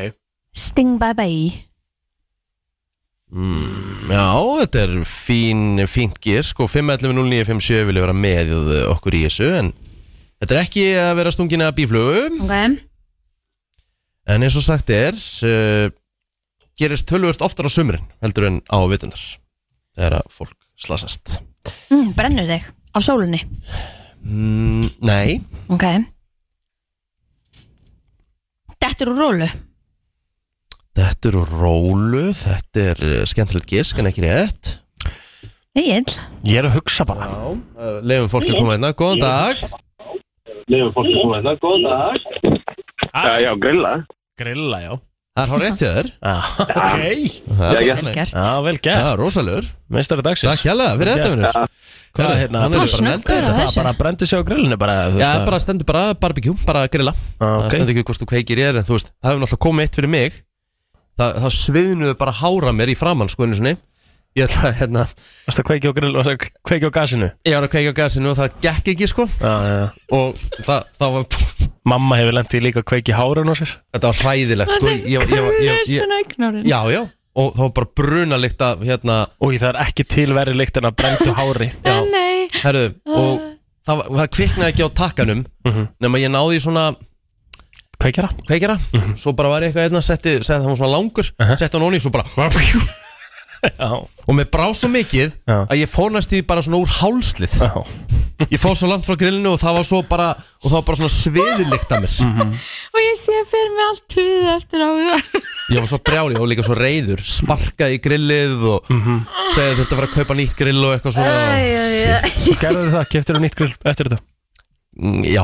Sting bye bye Já, þetta er fín, fínt sko. gisk og 5.11.09.57 vilja vera með okkur í þessu en þetta er ekki að vera stungin að bíflögu Ok en eins og sagt er uh, gerist tölvöft oftar á sumrin heldur en á vitundar þegar að fólk slasast mm, Brennur þig á sólunni mm, Nei, Ok Dettur úr rólu þetta eru rólu þetta er eh, skemmtilegt gisk en ekki rétt Egil Ég er að hugsa bara uh, Leifum fólk að koma einna, góðan dag Já, já, grilla. Grilla, já Það er hár rétt hjá þér ah, Ok Það er Já, þannig. Velgert Já, vel Já, gert rosalur Meistari dagsins Takk hérlega fyrir þetta vinnur Hvað Já, er hérna, hérna? Hann þú er varst bara með snöggur á þetta Það Þessu. bara brendi sig á grillinu bara þú Já, veist það. bara stendur bara barbecue, bara grilla Ah, Það ok. stendur ekki hvort þú kveikir ég er en þú veist Það hefur náttúrulega komið eitt fyrir mig Það, það sviðnuðu bara hára mér í framann sko einu sinni Ég ætla að hérna Varstu að kveiki á grill og kveiki á gasinu Ég var að kveika á gasinu og það gekk ekki sko Já, já, já Og það, það var Mamma hefur lendið líka að kveiki hárun á sér Þetta var hræðilegt sko ég, ég, ég, ég, ég, augnarin Já, já Og það var bara brunalikt að hérna Og það er ekki tilverið líkt en að brendu hári Já, Nei herru Og það, var- það kviknaði ekki á takkanum Mhm. Nema ég náði í svona Kveikjara kveikjara Mhm. Svo bara var ég eitthvað hérna Setti, setti það var svona langur Setti hann onni svo bara Já, Og mér brá svo mikið Já. að ég fór næstu því bara svona úr hálslið já Ég fór svo langt frá grillinu og það var svo bara Og það var bara svona sviðilikt að mér Og ég sé fyrir mig allt tuðið eftir á Ég var svo brjáli og líka svo reyður Sparkaði í grillið og mm -hmm. Segði þetta var að kaupa nýtt grill og eitthvað svona Æ, Svo gerðu það, keftir þú nýtt grill eftir þetta Mm, Já,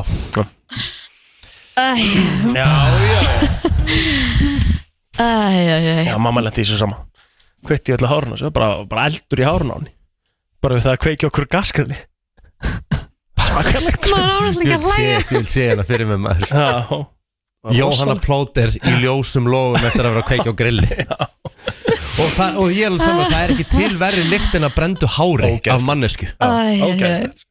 Já, já æ, æ Já, mamma lendi í þessu sama Kveitti öllu hárun á sér, bara, bara eldur í hárun á henni Bara við það að kveiki okkur gasgrinni Svakalegt Maður ára ég vil líka að sé, hlæja ég vil sé hana fyrir mig maður Já, Jóhanna plóter í ljósum lofum eftir að vera að kveikja á grilli og, það, og ég er alveg saman Það er ekki til verri lykt en að brendu hári Ógeðslegt. Af mannesku Æ, æ, æ. ógæðslegt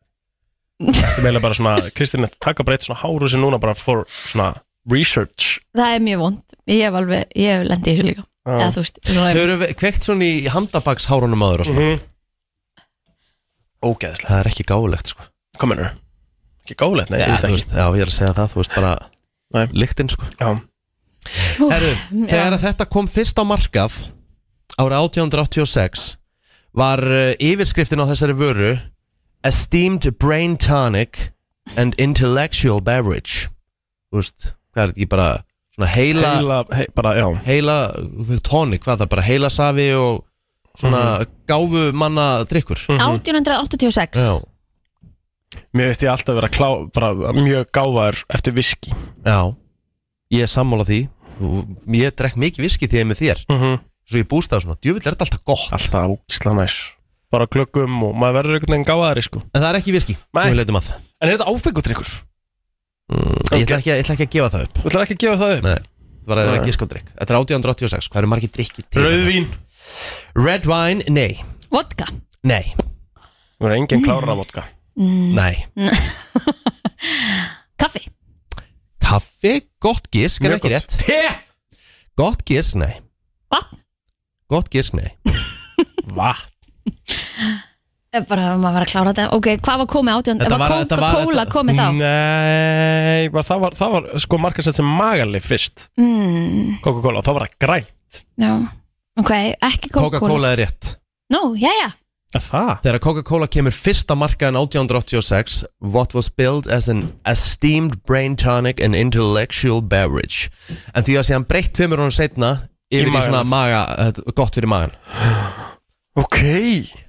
Þetta meila bara svona, Kristín, taka bara eitt svona háru sem núna bara for svona research Það er mjög vond Ég hef alveg, ég hef lendið í þessu líka Eða þú veist svona- Þau eru kveikt svona í handabakshárunum aður og svona Mhm. Ógæðslegt Það er ekki gáfulegt sko Kominur, ekki gálegt, nei, Já, þetta þú ekki veist, já, ég er að segja það, þú veist bara Nei. Líktinn sko Já, Úff, Heru, já. Þegar að þetta kom fyrst á markað Ára 1886 Var uh, yfirskriftin á þessari vöru Esteemed brain tonic And intellectual beverage Þú veist, hvað er þetta ekki bara Svona heila, heila, heila, hei, bara, já tonic Hvað er það, bara heila safi og Svona Mhm. gáfu manna drikkur 1886 Já, Mér veist ég alltaf vera klá, bara mjög gáðar eftir viski já Ég er sammála því Ég drekk mikið viski því ég er með þér mm -hmm. Svo ég búst það svona, djöfull er þetta alltaf gott Alltaf ógæsla næs Bara glöggum og maður verður einhvern veginn gáðari sko En það er ekki viski Nei. sem við leitum að En er þetta áfengutrykkur? Ég ætla ekki, að- ég ætla ekki að gefa það upp Þú ætlar ekki að gefa það upp? Nei, það var að ekki skóndrykk Þetta er 1886, hvað eru margir drikki til? Rauðvín Red wine, nei Vodka Nei, Þú verður enginn klárar af vodka nei Kaffi Kaffi, gott gisk, er Mjög ekki gott. rétt Gott gisk, nei Vatn Gott gisk, nei Vatn Eh, Bara maður var að klára þetta Ok, hvað var komið átjón? Þetta Var var- þetta var- Coca-Cola þetta- komið þá? Nei, bara það var, það var sko markasett sem magalið fyrst Mm, Coca-Cola, það var það grænt já Ok, ekki Coca-Cola Coca-Cola er rétt Nú, jæja Er Það? Þegar Coca-Cola kemur fyrst á markaðin 1886 What was billed as an esteemed brain tonic and intellectual beverage En því að sé hann breytt tveimur honum setna Yfir í, magann. svona maga, þetta- gott fyrir magan Ok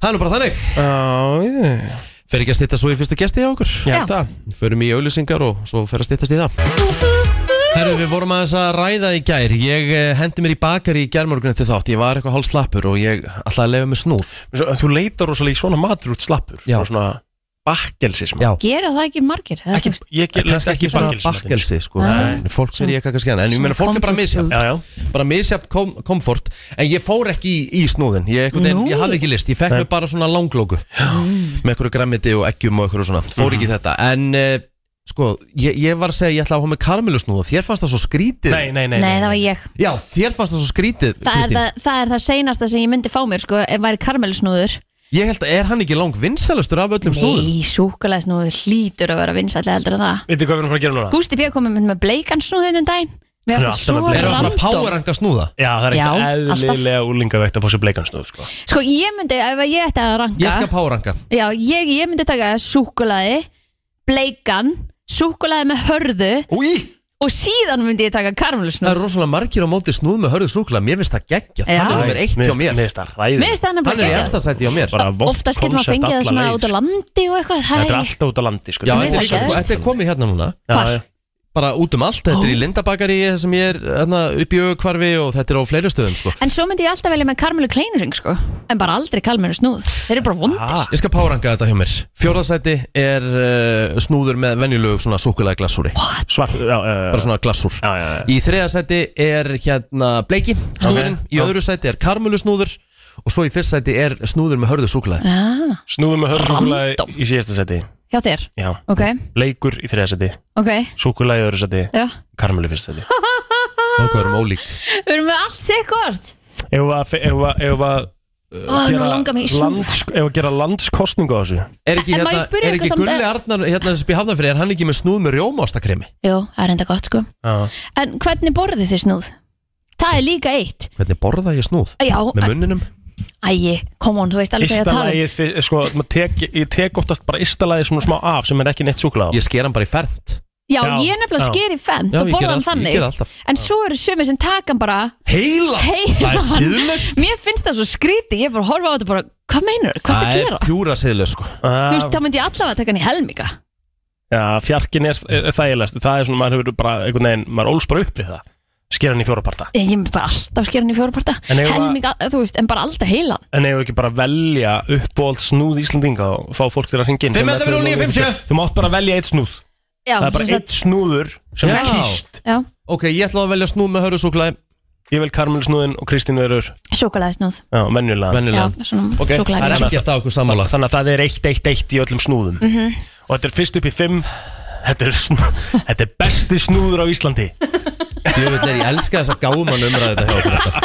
Það er nú bara þannig Já, ég Fer ekki að stýttast svo í fyrstu gesti hjá okkur Ég Já. held að Förum í auðlýsingar og svo fer að stýttast í það Herru, við vorum aðeins að ræða í gær Ég eh, hendi mér í bakari í gærmorgunni til þátt Ég var eitthvað hálf slappur og ég ætlaði að lefa með snúð Svo, Þú leitar rosalega í svona matur út slappur Já. Og svona bakkelsismat Já. Gera það ekki margir? eða ekki, þú veist, Ég ger kannski ekki svona bakkelsismat bakkelsi sko. Nei. En fólk sem ég kannski hann en ég Svona meina fólk er bara comfort misjafn Já, já bara misjafn kom komfort en ég fór ekki í, í snúðin ég, einhvern veginn- ég hafði ekki list, ég fekk Nei. mér bara svona langlóku með einhverju græmiti og eggjum og einhverju svona fór ekki í þetta en eh, sko, ég, ég var að segja ég ætla að hafa með karmelusnúð og þér fannst það svo skrítið Nei, nei, nei, Nei, það var ég já, þér fannst það svo skrítið það er Kristín. það, það er það seinasta sem ég myndi fá mér sko, ef væri karmelisnúður ég held að er hann ekki lang vinsalastur af öllum snúðum Nei, súkulæðisnúður hlýtur að vera vinsætlega heldur en það Veitir hvað við erum að fara að gera núna? Gústi B. komið með bleikan snúður um daginn Mér Hann er finnst það alltaf svo með er það svona random poweranga snúða Já, það er Já, ekkert alltaf. eðlilega úlingavegt að fá sér bleikansnúð sko. Sko, ég myndi, ef ég ætti að ranka ég skal poweranga Já, ég, ég myndi taka súkulæði bleikan, súkulæði með hörðu Úi! og síðan myndi ég taka það karmelisnúður eru rosalega margir á móti snúð með hörðu súkula mér finnst það geggja, Já. það er nummer eitt hjá mér Mér finnst það ræðið Ah. Mér finnst það hann er í nefnilega geggjað. eftasæti hjá mér Oftast getur maður fengið það svona út sko. á landi og eitthvað það sko. Þetta er er- alltaf út á landi sko. Já, Mér þetta er, finnst það sko, þetta er komið hérna núna Hvar? bara út um allt, þetta er í Lindabakari sem ég er hérna, upp í aukvarfi og þetta er á fleiri stöðum sko. En svo myndi ég alltaf velja með karmelu kleinurring sko En bara aldrei karmelu snúð Þeir eru bara vondir Ah, Ég skal páranga þetta hjá mér Fjórðasæti er uh, snúður með venjulegu svona súkulega glassúri svart já, já, bara svona glassúr já, já, já. Í þriðasæti er hérna bleiki snúðurinn, í Já. öðru sæti er karmulusnúður og svo í fyrst sæti er snúður með hörðu súkulega ah, Snúðum með hörðsúkulæði Random. í síðasta seti Hjá þér, Já, ok, leikur í þriða seti ok Súkulæði í öðru seti Já. Karmelu fyrst seti og hvað erum ólík Við erum með allt sikkort Ef að, ef að, ef að uh, Ó, Nú langar mig í snúð lands, ef að gera landskostningu á þessu Er ekki, En- en má ég hérna, spyrja er ykkur ekki samt Gulli að- Arnar hérna sem býr hafnafyrir, er hann ekki með snúð með rjómaostakremi? Jú, það er enda gott sko Já. En hvernig borðið þið snúð? Það er líka eitt Hvernig borða ég snúð? Já, Með munninum? ægi, come on, þú veist alveg hvað ég er að tala um. Ístalagið, fyr- sko, maður tek, ég tek oftast bara ístalagið svona smá af sem er ekki neitt súkulega á Ég sker hann bara í fernt Já, Já, ég er nefnilega já. skeri fendt Já, og ég borða geri hann alltaf- ég geri þannig alltaf. En svo eru sömur sem taka hann bara Heila! Það er heilan siðlaust Mér finnst það svo skríti, ég er bara að horfa á þetta bara Hvað meinar, hvað er það að Það gera? er pjúra siðlaust sko Þú veist, þá myndi ég allavega taka hann í helminga Ah, Já, fjarkin er, er þægilegst Það er svona, maður hefur bara einhvern veginn Maður óls bara upp við það Sker hann í fjóraparta Eh, Ég ég myndi bara alltaf skera hann í fjóruparta En ef að- Helminga, þú veist, en bara aldrei heilan En ef við ekki bara velja uppbólt snúð Íslandinga og fá fólk til að hringja inn 5.09.50. Þú mátt bara velja eitt snúð Já, Það er bara sem eitt snúður sem Já. er kýst Já, Ok, ég ætla að velja snúð með hörðusúklaði Ég vil Karmel snúðin og Kristín verður sjúkulega snúð Já, menjulega Já, Venjulega Ok, svona það er súkkulaði. ekkert að okkur sammála Þannig að það er eitt, eitt, eitt í öllum snúðum Mhm. -hmm. Og þetta er fyrst upp í fimm Þetta er, snú... þetta er besti snúður á Íslandi Djöfull er ég elska þess að gáum hann umræði þetta hjá okkur alltaf.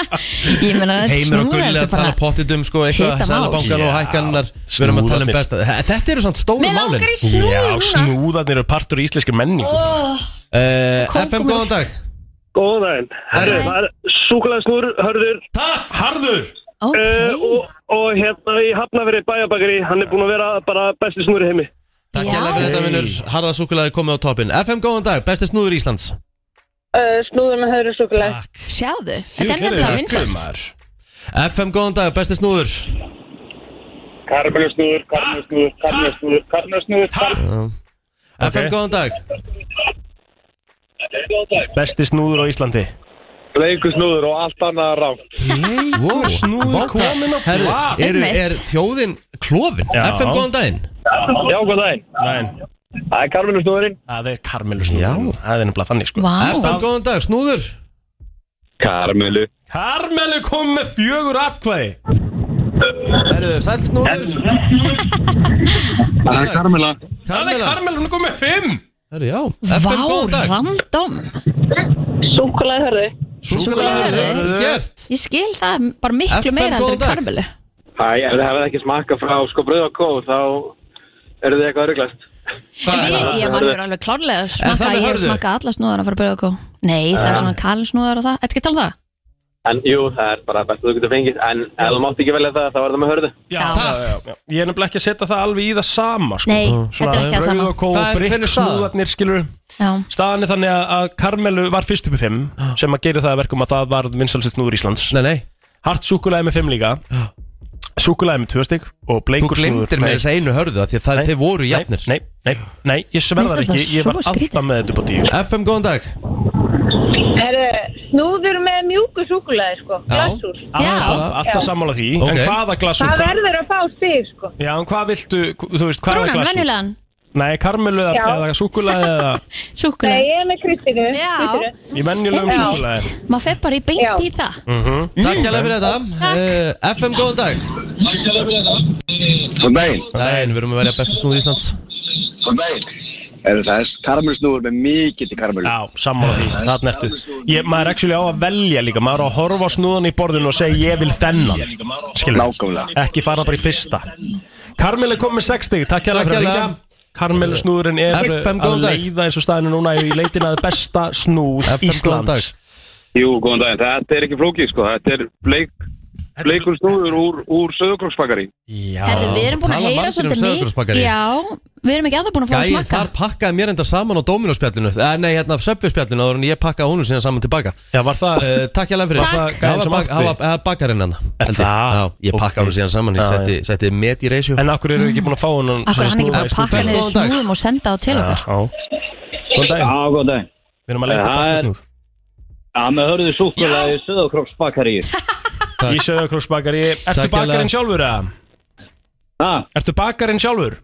Ég meina, þetta Heimir og snúð Gulli er að tala bara pottit um sko eitthvað Hitamál. Sælabankan og Já, hækkannar Við erum að tala um snúðarnir. besta Þetta eru samt stóru Mér málin langar í Já, snúð núna snúðarnir eru partur í íslenski menningu Eh, Kóngum FM, og- góðan dag Góðan daginn. Herru, það er súkulæðsnúr, hörður Harður! uh, Ok, og, og hérna í Hafnaveri bæjabakari, hann er búinn að vera bara besti snúri heimi. Takk Já. ég fyrir þetta Hey. vinnur Harða súkulaði komið á toppin FM, góðan dag, besti snúður Íslands Uh, snúður með höfður súkulega. sjáðu Þetta er nefnilega vinsast FM, góðan dag, besti snúður Karmelusnúður, karmelusnúður, karmelusnúður, karmelusnúður, FM, góðan dag Besti snúður á Íslandi Bleikusnúður og allt annað rámt. wow. Vá, komin á Herru, blað. eru, Einmitt. er þjóðin klófin? Já. FM, góðan daginn Já, góð daginn. Nein, Það er karmelusnúðurinn. það er karmelu snúður Það er nefnilega þannig sko FM, Vá, góðan dag, snúður Karmelu. Karmelu kom með fjögur atkvæði Herru, sæl snúður Það er karmela. Það er Karmela Karmel, hún er komið með fimm Herru, já FM, góðan vá, dag random Súkulega höfðu. Súkulaði, Súkkulaði. gert Ég skil það bara miklu FM, meira heldur góðan en dag. karmelu Æ, ef þið hefði ekki smakka frá sko bröð og kóð, þá eru þið eitthvað örglast. En Hvað er við, það? ég maður verið alveg klárlega að Er smakka það með Ég hörðu? Eh. smakka alla snúðana fyrir bröðu Nei, það er svona kalsnúðar og það Þetta getur talað um það? En jú, það er bara best að þú getur fengið, en ef þú mátt ekki velja það, þá er það með hörðu. Já, Já. já, já, já. Ég er nefnilega ekki að setja það alveg í það sama sko. Nei, þetta er ekki það sama Rauð og kóð, Það er- brikk, hver er staðan? snúðarnir skilur Já, Staðan er þannig að- að Karmelu var fyrst uppi fimm sem að gera það að verkum að það var vinsalsist snúður Íslands Nei, nei, Hart súkulæði með fimm líka Súkulæði með tvö stygg og þú bleikur snúður glimtir með Nei, þess einu hörðu af Því að það, Nei. þeir voru nei, jafnir nei, nei, nei, ég Mér sverðar finnst ekki þetta Ég var svo skrítið. alltaf með þetta upp á tíu FM, góðan dag Herðu, snúður með mjúku súkulæði, sko. Glassúr. Alltaf, alltaf sammála því En Ok. hvaða glassúr? Það verður að fá stig, sko. Já, en hvað viltu, þú veist, hvaða Brúnan, glassúr? venjulegan, Nei, karmelu eða, Já. eða súkulæði eða Nei, súkulega ég er með kristinu. Já. Í venjulegum súkulæði Maður fer bara í Já. beint í það Mm. Takk hjá fyrir þetta uh, FM, góðan dag Góðan daginn. Nei, við erum að verja besta snúð Íslands Góðan daginn. Er það er karmelsnúður með mikið til karmelu. Já, sammála því, þarna ertu ég, Maður er actually á að velja líka Maður er að horfa á snúðan í borðinu og segja ég vil þennan Skilur, Nákvæmlega. ekki fara bara í fyrsta Karmelu kom með 60, Takk takk hjá fyrir að hérlega. ringa Karmelu snúðurinn er FM, að góðan dag. leiða eins og staðinu núna í leitin að besta snúð FM, góðan dag Íslands Jú, góðan daginn, þetta er ekki flókið sko, þetta er bleik, bleikur snúður úr, úr söðurkrossbakari. Herðu, við erum búin að tala heyra margir um svolítið nýtt sauðárkróksbakarí. Já, við erum ekki aðra búin að fá að Gæi, smakka þar pakkaði mér enda saman á Dominos-spjallinu eh, Nei, hérna, Söpfjörspjallinu Áður en ég pakkaði honum síðan saman tilbaka Já, var það uh, Takk hjá fyrir Var það Það gæinn var sem bak- átti? Það var- það var bakarinn hann Er það? Já, ég Ok. pakkaði honum síðan saman Já, Ég setti, setti met í reisju En akkur eru ekki búin að fá hún Akkur er hann ekki bara að pakka niður Góðan dag. snúðum og senda á til okkar Já Góðan daginn, góðan daginn. Eh, við erum að leita Það besta er- snúð Já, með hörðu súkulæði söðokropsbakari. Í Söðakróksbakari, ertu Takk bakarinn hérlega. sjálfur eða? Ha, Ertu bakarinn sjálfur?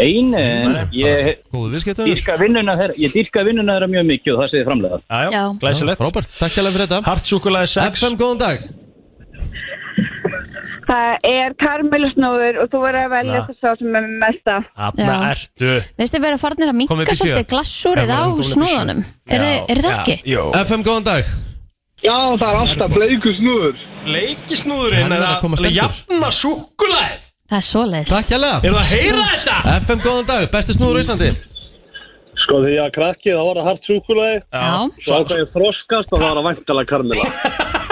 einu, en ég Góðu viðskiptum dýrka vinnuna þeirra, ég dýrka vinnuna þeirra mjög mikið og það segir framlega. Já, já, Já. glæsilegt Frábært, takk hjá fyrir þetta Hartsúkulæði 6 FM, góðan dag Það er karmelusnóður og þú verður að velja Ja. þess að sem er með mesta. Þarna Já. ertu Veist þið verið að farnir að Komið upp í minka sjö. svolítið glassúrið á snúðunum Er þið- er það ekki? Jó FM, góðan dag Já, það er alltaf bleikur snúður. Leikisnúðurinn Hann er að koma eða sterkur. jafna súkulæð Það er svoleiðis Takk hjá Er það að heyra þetta? FM, góðan dag, besti snúður á Íslandi Sko því að krakkið, það var að hart súkulæði, Já, svo ákveði þroskast og það var að væntalega karmela.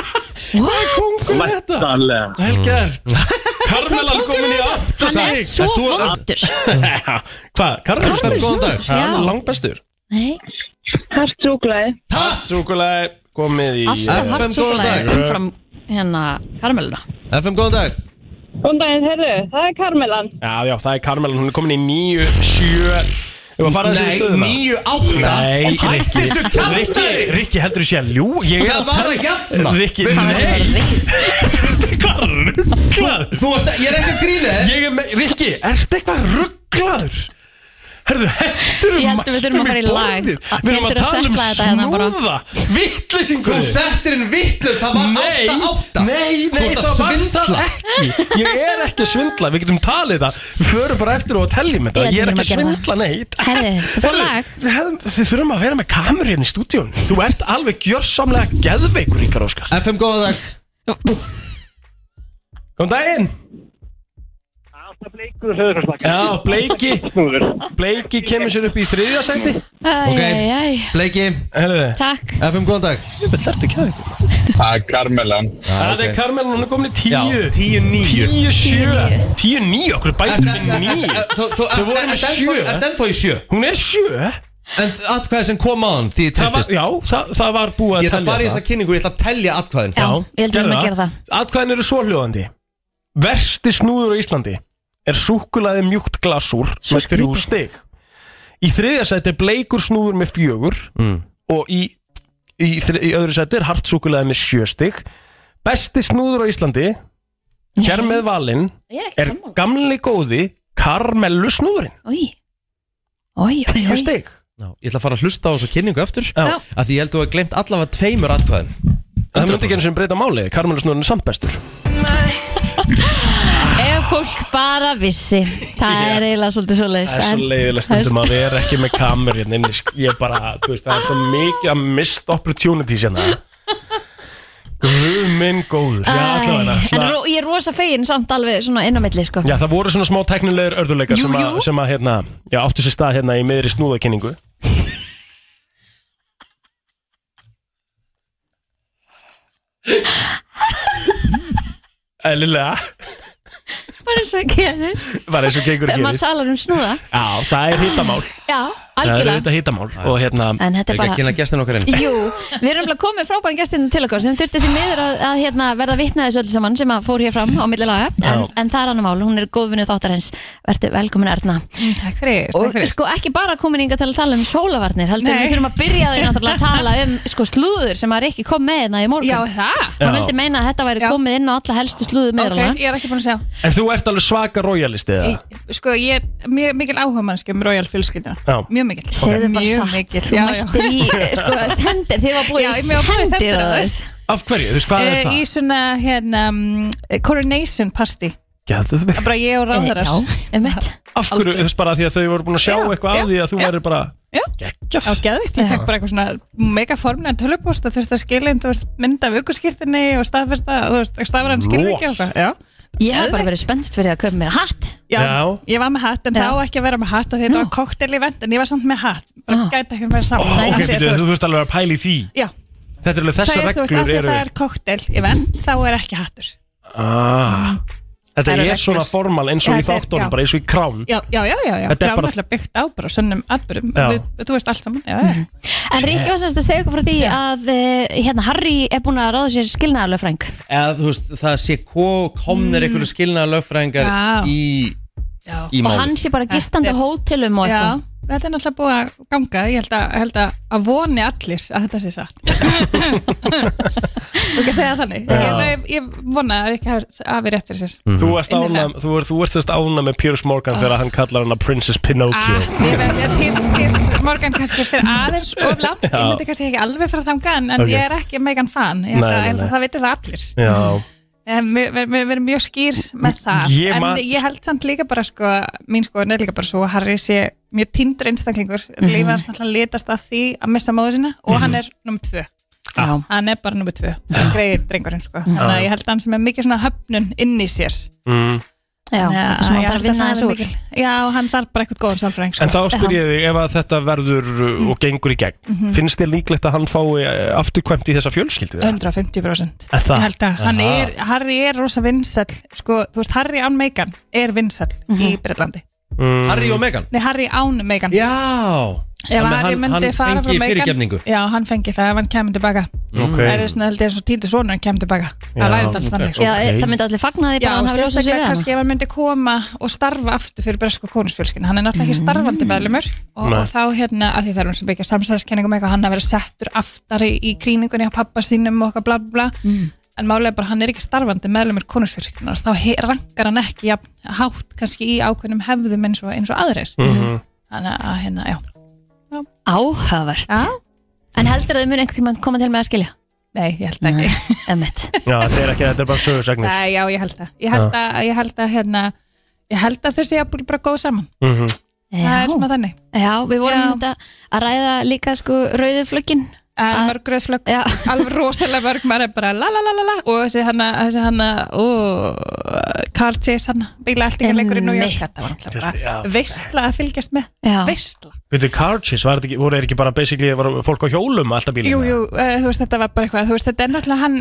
Væntalega. Mm. Helgert Karmelan komin í átt hann er svo Ert þú að- vondur Hvað, FM, Karmelan? góðan dag Hann er Já, langbestur nei, Hart súkulæði. Hartsúkulæði komið í alltaf FM, hart góðan dag. súkulega umfram hérna karmeluna FM, góðan dag Góðan daginn, herðu, það er karmelan. Já, já, það er Karmelan, hún er komin í 9, 7 Þú var farað að segja stöðuna Nei, 9-8 Nei, Hætti þessu Rikki, kjáttæði Rikki heldur þú sé að ljú Ég er Það var að jafna Rikki, Veistu Hann er nei, svo reynd. hvað rugglað Þú ert að, ég er ekki að grína þér Ég er með, Rikki, ertu eitthvað rugglaður? Herðu, hendur Ég held að við þurfum að fara í lag. Við erum Pétur að er að tala um setla þetta hérna bara. snúða Vittlisingu Þú settir inn vittlust, það var Nei, 8-8 nei, ert nei, að það var það svindla. ekki Ég er ekki að svindla, við getum talið það Við förum bara eftir og teljum þetta Ég held Ég er við ekki að þurfum að svindla neitt Herðu, þú fór lag. Við, hefðum, við þurfum að vera með kameru hérna í stúdíun Þú ert alveg gjörsamlega geðveikur, Ríkar Óskar FM, góðan dag Góðan daginn Alltaf bleikur söðurkrossbakari. Já, Bleiki Bleiki kemur sér upp í þriðja seti Æ, Ok. æ, æ, Bleiki, Herðu, takk FM, góðan dag Jöfnveld, ertu ekki að ykkur? Það er karmelan. Það er Karmel, hún er komin í Já, tíu 10-9 Tíu sjö Tíu níu, okkur bætum við níu Þau voru með sjö. Er den þó í sjö? Hún er sjö En atkvæði sem kom á hann því ég Það var, tristist já, það, það var búið að Ég ætla að fara í telja þessa kynningu, ég ætla að telja atkvæðin Já, ég held að við erum að gera það Atkvæðin eru svo hljóðandi Versti snúður á Íslandi Er súkulaði mjúkt glasúr Svo Með þrjú stig Í þriðja sæti er bleikur snúður með fjögur mm. Og í, í, þri- í öðru sæti er hart súkulaði með sjö stig Besti snúður á Íslandi Hér með valinn Ég er ekki Er sammála gamli góði Karmelu snúðurinn Í, í, í, Sjö í stig Já, Ég ætla að fara að hlusta á þessa kynningu eftir Já. Já. Af því ég held að þú hafði glemt allavega tveimur atkvæðin Það myndi ekki eins og breyta máli Karmelu snúðurinn er samt bestur Ef fólk bara vissi Það er eiginlega svolítið svoleiðis Það er svo en- leiðilega stundum að vera ekki með kamer hérna inni sko. Ég bara, þú veist, það er svo mikið að mist opportunity sérna Guð minn góður Já, allavega Æ, En svona, ro, ég er rosa fegin samt alveg svona inn á milli sko. Já, það voru svona smá teknilegur örðuleikar sem, að- sem að, hérna, já, áttu sér stað hérna í miðri snúðakynningu Eðlilega, Bara eins og gerist bara eins og gengur Þegar ekki maður talar um snúða Já, það er hittamál Já, Það er algjörlega auðvitað hittamál og hérna En þetta er Ekki að bara kynna gestin okkar inn Jú, við erum alveg komið frábæran gestinni til okkar sem þurfti því miður að, að hérna, verða vitna þessu öllu saman sem að fór hér fram á milli laga en, en það er annar mál, hún er góðvinni þáttarins Vertu velkomin Erna Mm, Takk fyrir, Og takk fyrir. sko ekki bara komin inga til að tala um sólavarnir heldur Nei. við þurfum að byrja því náttúrulega að tala um sko slúður sem að Rikki kom með hérna í morgun Já, það? Hann vildi meina að þetta væri Já. komið inn á alla helstu slúðu Ok, meðalana ég er ekki búin að segja En þú ert alveg svaka royalisti eða? Ég- Sko, ég er mjög mikil áhuga mannski um Royal fjölskyldina Já. Mjög mikil Segðu bara Mjög satt, mikil, þú já, já. mættir í eh, sko, sendir, þið var Já, búið í ég var búin í sendir sendiráðið. Af hverju? Þú veist hvað er Eh, það? Í svona, hérna, mm, coronation party Gæðvig Bara ég og ráðarar Eh, Já, einmitt Af hverju? Aldrei. Þú veist bara því að þau voru búin að sjá Já, eitthvað já, af því að þú já. væri bara Já. geggjað Já, geðvikt, ég fekk bara eitthvað svona mega formlega tölupóst og þurfti að skilja inn, þú veist, mynda af aukurskýrtinni og staðfesta, þú veist, staðfæran skilja ekki Lol. okkar, já. Ég hef bara verið spennt fyrir að köpa mér hatt já. Já. Ég var með hatt, en Já. það á ekki að vera með hatt af því þetta Nú. var koktel í vend, en ég var samt með hatt, bara Ah. gæti ekki að vera saman. Ok, af því að, þú þú veist alveg að pæla í því Já, Þetta er alveg það þessar er, þú veist, af reglur því að eru það er koktel í vend, þá er ekki hattur. Ah, Þetta Mm. Það eru er svona reglur. formal eins og Já, í þetta er- já. þáttunum, bara eins og í krán Já, já, já, já, já. Þetta er Þetta er bara- bara byggt á bara sönnum atbyrðum, Já. þú veist, allt saman, já, já. En Ríkki var semst að segja okkur frá því að eh, hérna Harry er búin að ráða sér skilnaðarlöfræng Eða þú veist, það sé ko- komnir mm. einhverju skilnaða lögfræðingar Já. í, já. í og málið hann sé bara gistandi á Þetta er- hótelum og Já, eitthvað þetta er náttúrulega búið að ganga ég held að, held að, að voni allir að þetta sé satt Þú ekki að segja það þannig ég, ég, ég vona að ekki hafi rétt fyrir sér Þú ert Innilega. ána, þú ert, þú ert sérst ána með Piers Morgan þegar hann kallar hann að Princess Pinocchio Ah, Ég veit að Piers, Piers Morgan kannski fyrir aðeins of langt ég myndi kannski ekki alveg fyrir þangað en Ok. okay. ég er ekki Megan fan ég held Nei, að, nei, ég held nei. að það veitir það allir Já, En Eh, við við- við erum mjög skýr með það Ég en man- ég held samt líka bara sko mín sko er líka bara svo að Harry sé mjög tindur einstaklingur Mhm. mm -hmm. lífið hans náttúrulega litast að því að missa móðu sína og hann er nummer tvö Já. hann er bara nummer tvö, greiði drengurinn sko. þannig að ég held að hann sem er mikið svona höfnun inn í sér mm. Já, Þannig eitthvað sem hann þarf ég að held vinna það þessu hafi úr mikil- já, hann þarf bara eitthvað góðan sálfræðing sko. Mm. En þá spyr ég þig ef að þetta verður uh, og gengur í gegn Mhm. Finnst þér líklegt að hann fái uh, afturkvæmt í þessa fjölskyldu? 150% Er það? ég held að hann er, Harry er rosa vinsall sko, þú veist, Harry án Megan er vinsall Mhm. í Breitlandi Harry og Meghan Nei, Harry án Megan Já Þannig Ef að Harry hann- myndi hann fara frá fengi Megan fyrirgefningu. Já, hann fengi það ef hann kemur tilbaka Það er okay. svona held ég eins og týndi sonur hann kemur tilbaka Já, Það væri þetta ok. alltaf þannig Já, sko. eh, það myndi allir fagna því Já, bara að hann og hafi ljósað sér við sérstaklega hann kannski ef hann myndi koma og starfa aftur fyrir bresku konusfjölskynu Hann er náttúrulega Mm. ekki starfandi meðlumur og, Nei. og þá hérna, að því það er um svo byggja samsælskenningum eitthvað hann að vera settur aftari í kríningunni á pappa sínum og okkar bla bla bla Mm. En málega bara hann er ekki starfandi meðlumur konusfjölskynnar þá he- rankar hann ekki jafn, hátt kannski í ákveðnum hefðum eins og, eins og aðrir Mhm. Þannig að hérna, já Áhugavert Já, En heldur að þau mun einhvern tímann koma til með að skilja? nei, ég held ekki Emmett Já, þetta er ekki, þetta er bara sögursegnir Nei, já, ég held það. Ég held að, ég held að, hérna, ég held að þau séu bara, bara góð saman. mm -hmm. Það er smá þannig. Já, við vorum Já. þetta að ræða líka sko rauðu flöggin Uh, Að- mörg rauðflögg, Já. alveg rosalega mörg, maður er bara la la la la la og þessi hana, þessi hana, ó, Carl Chase hana, bíla allt ekki leikur í New York. Einmitt. Þetta var náttúrulega Kristi, já. bara veistla að fylgjast með, Já. veistla. Byrju, Carches, var þetta ekki, voru þeir ekki bara basically var fólk á hjólum alltaf bílum? Jú, jú, uh, þú veist, þetta var bara eitthvað, þú veist, þetta er náttúrulega hann,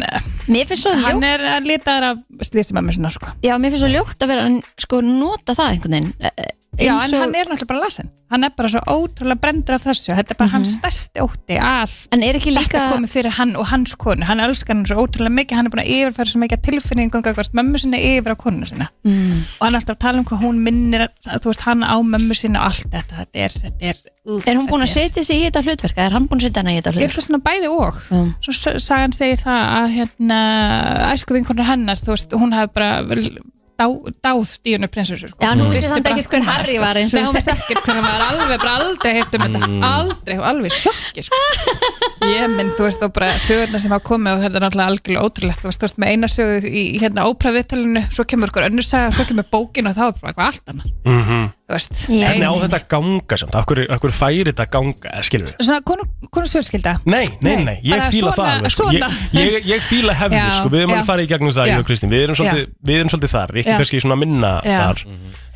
Mér finnst svo hann ljótt er að litaður af slísimamur sinna, sko. Já, mér finnst svo ljótt að vera að sko nota það einhvern veginn Eh, eh, Já, eins en og- hann er náttúrulega bara lasin. Hann er bara svo ótrúlega brendur af þessu, þetta er bara Mhm. hans stærsti ótti að En er ekki líka þetta komið fyrir hann og hans konu hann elskar hann svo ótrúlega mikið, hann er búin að yfirfæra svo mikið tilfinningum gagvart mömmu sinni yfir á konuna sinna Mm. og hann er alltaf að tala um hvað hún minnir að- þú veist, hann á mömmu sinna og allt þetta þetta er, þetta er, úf, Er hún búin að setja sig í þetta hlutverk? eða Er hann búin að setja hana í þetta ég held hlutverk? að svona bæði og Mm. svo s- sagan segir það að hérna, æskuðinkonur hennar þú veist, hún hafi bara vel- dá, dáð díunu prinsessu sko. Já, nú vissi Vissi samt bara ekkert hver allt um hana, Harry sko. var, eins og Mm. Nei, ég hún segi. vissi ekkert hver hann var Alveg bara aldrei heyrt um þetta Aldrei, hún var alveg í sjokki sko. Ég minn, þú veist, og bara sögurnar sem hafa komið og þetta er náttúrulega algjörlega ótrúlegt Þú veist, þú veist, með eina sögu í í hérna óprafiðtalinu Svo kemur ykkur önnur saga, svo kemur bókin og þá er bara eitthvað allt annað mm -hmm. Þú veist, Já. Hvernig á þetta að ganga samt? Akkur, akkur færi þetta að ganga, eh, skilur við? Svona konu, konu svölskylda Nei, nei, nei, ég bara fíla það svona- alveg sko. ég, svona. ég, ég fíla hefði, Já, sko, við erum alveg já. farið í gegnum það Já. ég og Kristín, við erum svolítið, við erum svolítið þar ekki Já. kannski svona minna Já. Mhm. þar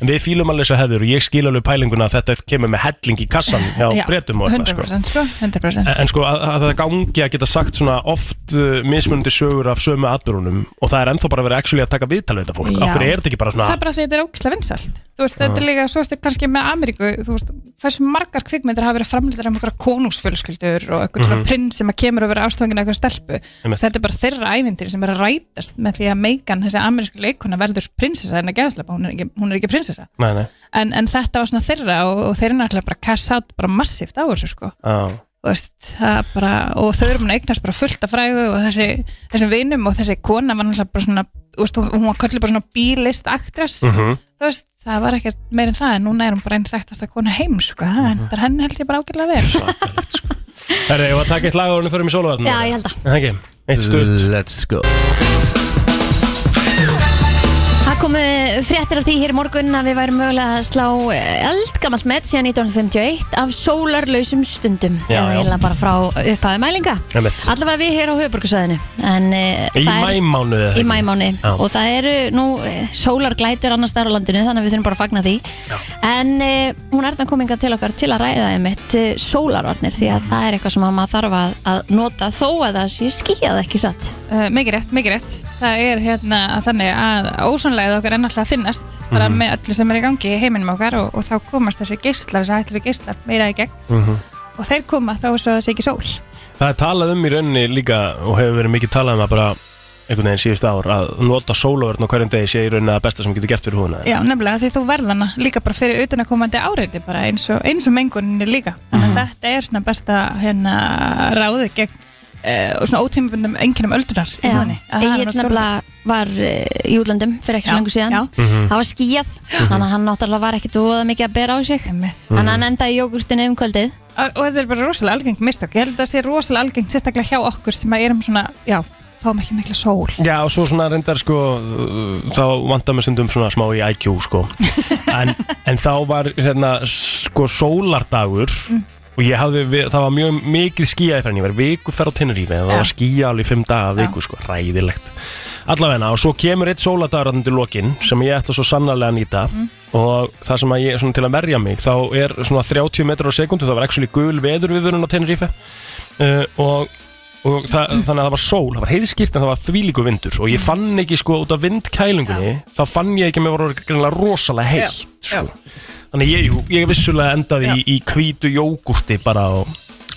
en við fílum alveg þess að hefður og ég skil alveg pælinguna að þetta kemur með helling í kassan hjá Já, breytum og eitthvað sko. 100% sko, 100% En- en sko að, að það gangi að geta sagt svona oft uh, mismunandi sögur af sömu atbyrunum og það er ennþá bara verið actually að taka viðtal við þetta fólk, Já. okkur er þetta ekki bara Það er svona bara því að þetta er ógislega vinsalt þú veist, þetta er líka, svo ertu kannski með Ameríku, þú veist, hversu margar kvikmyndir hafa verið framlýttar um einhverja konungsfjölskyldur og einhvern svona Mhm. prins sem að kemur og vera ástofangin af einhverja stelpu, Einmitt. þetta er bara þeirra ævindir sem er að rætast með því að Megan, þessi amerísku leikona, verður prinsessa en að geðaslepa, hún er ekki, hún er ekki prinsessa Nei, nei en, en þetta var svona þeirra og, og þeirra náttúrulega bara cash out bara massíft á þessu sko Já, Þú veist, það er bara, og þau eru mun að eignast bara fullt af frægu og þessi, þessum vinum og þessi kona var náttúrulega bara svona þú veist, hún hún var kallið bara svona bílist aktress Mhm. þú veist, það var ekkert meir en það en núna er hún bara einn þekktasta kona heims sko, það hendar henni held ég bara ágætlega vel Herri, ég var að taka eitt lag og hann fyrir mig sóluvarn Já, ég held að. Það ekki, eitt stutt Let's go Það komu fréttir af því hér í morgun að við værum mögulega að slá eh, eldgamalt met síðan 1951 af sólarlausum stundum Já, eða já. eiginlega bara frá upphafi mælinga Einmitt. allavega við hér á höfuborgarsæðinu en uh, Í mæmánu í mæmáni Já. og það eru nú eh, sólarglætur annars þar á landinu þannig að við þurfum bara að fagna því já. en uh, hún er þannig kominga til okkar til að ræða einmitt uh, sólarvarnir því að það er eitthvað sem að maður þarf að, að nota þó að það sé skíjað ekki satt uh, mikið rétt, mikið rétt það er hérna þannig að ósónlegið okkar er náttúrulega að finnast bara með öllu sem er í gangi í heiminum okkar og, og þá komast þessi geislar, þessi hættilegu geislar meira í gegn og þeir koma þá svo það sé ekki sól Það er talað um í rauninni líka og hefur verið mikið talað um að bara einhvern veginn síðust ár að nota sóluvarn á hverjum degi sé í rauninni að besta sem getur gert fyrir húna Já, nefnilega því þú verðana líka bara fyrir utanakomandi áreiti bara eins og, eins og menguninni líka þannig að Mhm. þetta er svona besta hérna, ráðið gegn uh, og svona ótímabundum enginnum öldunar í Já, húðinni, að það er Egil náttúrulega nefnilega var eh, í útlöndum fyrir ekki Já, svo lengur síðan já. Mhm. það var skíjað, þannig að hann náttúrulega var ekkit voða mikið að bera á sig Einmitt. þannig að hann endaði í jógurtinu um kvöldið og og þetta er bara rosalega algengt mistök ég held að það sé rosalega algengt sérstaklega hjá okkur sem að erum svona, já, fáum ekki mikla sól Já og svo svona reyndar sko uh, þá vantar mér stundum svona smá í IQ sko en, en þá var hérna sko sólardagur Mm. og ég hafði, við- það var mjög mikið skíjaði fyrir en ég var viku ferð á Tenerife og það Já. var skíja alveg fimm daga að Já. viku sko, ræðilegt allavegna og svo kemur eitt sólardagur þannig til lokin sem ég ætla svo sannarlega að nýta og það sem að ég, svona til að verja mig þá er svona 30 metrar á sekundu það var actually gul veður við á Tenerife uh, og, og það, þannig að það var sól, það var heiðskýrt en það var þvílíku vindur og ég fann ekki sko út af vindkælingunni þá fann ég ekki að mér voru greinlega rosalega heitt sko. þannig ég, jú, ég vissulega endaði í, í hvítu jógurti bara og,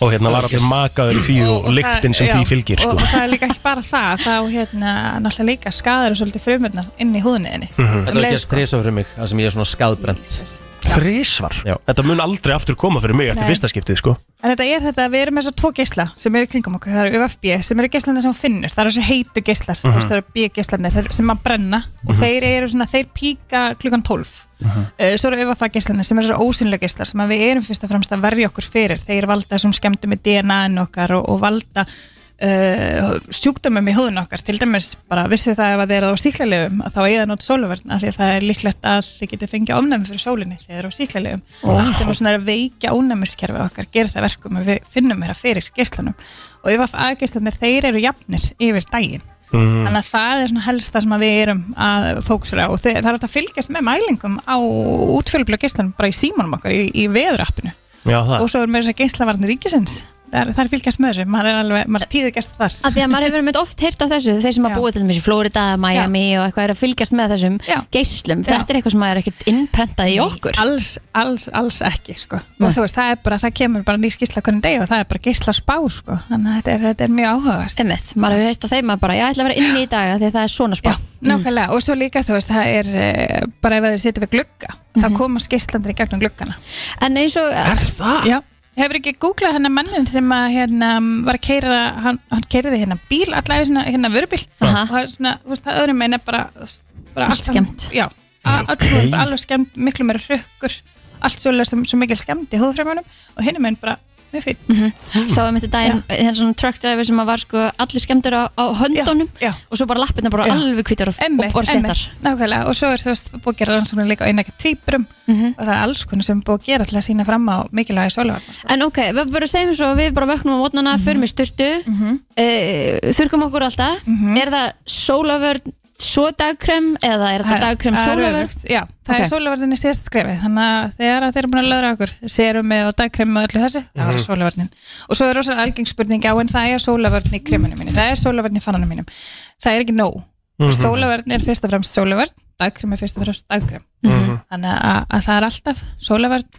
og hérna var allir makaður í því og, og lyktin sem já, því fylgir og, sko. og það er líka ekki bara það, þá hérna náttúrulega líka skadar og svolítið frumurnar inn í húðinni mm -hmm. Mhm. Þetta var ekki að stresa fyrir mig Það sem ég er svona skadbrend þrísvar, Já. þetta mun aldrei aftur koma fyrir mig eftir Nei. fyrsta skiptið sko. En þetta er þetta að við erum með þessar tvo geisla sem eru í kringum okkur, það eru UFB sem eru geislarnir sem hún finnur, það eru þessi heitu geislar mm -hmm. það eru B-geislarnir þeir- sem að brenna og þeir eru svona, þeir píka klukkan 12 uh, svo eru UFA geislarnir sem eru þessar ósynlega geislar sem að við erum fyrst og fremst að verja okkur fyrir þeir valda þessum skemmtum í DNA-in okkar og, og valda uh, sjúkdömmum í húðun okkar til dæmis bara vissu það ef að þið eru á síklalegum að þá eigið að nota sóluverðn af því að það er líklegt að þið getið fengið ofnæmi fyrir sólinni þegar þið eru á síklalegum og allt sem er svona að veikja ónæmiskerfi okkar gerir það verkum að við finnum hérna fyrir geislanum og ef að aðgeislanir þeir eru jafnir yfir daginn Þannig að það er svona helsta sem að við erum að fókusra á og þe- það er hægt að fylgjast með mælingum á útfjölubla geislanum bara í símanum okkar í, í veðurappinu Já, það. og svo er með þess að geislavarnir ríkisins það er, það er fylgjast með þessu, maður er alveg maður er tíðu gæst þar að því að maður hefur einmitt oft heyrt af þessu þeir sem að Já. búa til dæmis í Florida, Miami og eitthvað er að fylgjast með þessum Já. geislum, Já. þetta er eitthvað sem maður er ekkit innprentað í okkur alls, alls, alls ekki sko. Nei. og þú veist, það er bara, það kemur bara ný skýrsla hvernig deg og það er bara geisla spá sko. þannig að þetta er, þetta er mjög áhugavert Einmitt, maður hefur heyrt af þeim að bara, já, ég ætla að vera inni í dag af því að það er svona spá Já, nákvæmlega, og svo líka þú veist, það er eh, bara ef þeir sitja við glugga Mhm. þá komast geislandir í gegnum gluggana en eins og, eh, ah. Já, hefur ekki googlað hennar mannin sem að hérna var að keira, hann, hann keiriði hérna bíl allavega svona, hérna vörubíl Aha. og það er svona, þú veist, það öðrum meina bara, þú veist, bara Allt saman- skemmt. Já, a- allt okay. bara alveg skemmt, miklu meira hrökkur allt svolítið sem, sem mikil skemmt í húðfremunum og hinn meina bara, mjög fín Mhm. sáum þetta daginn, hérna svona truck driver sem að var sko allir skemmtur á, á höndunum Já, já. og svo bara lappirna bara Já. alveg hvítar og, og, Einmitt, og sléttar einmitt, nákvæmlega og svo er þú veist búið að gera rannsóknir líka á einnækja týpurum Mhm. og það er alls konar sem er búið að gera til að sína fram á mikilvægi sóluvarnar En ok, við bara segjum svo að við bara vöknum á mótnana, förum í styrtu, mm Mhm. þurkum okkur alltaf. Er það sólavörn svo dagkrem eða er þetta dagkrem Það er sólavörn? öfugt, Já, það Ok. er sólavarnin í síðasta skrefi þannig að þegar að þeir eru búin að löðra okkur serumi og dagkremi og öllu þessu það Mhm. var sólavarnin og svo er rosalega algeng spurning á en það er sólavarn í kremunum mínum, það er sólavarn í fannanum mínum það er ekki nóg og Mhm. sólavörn er fyrst og fremst sólavörn dagkrem er fyrst og fremst dagkrem Mhm. þannig að, að það er alltaf sólavörn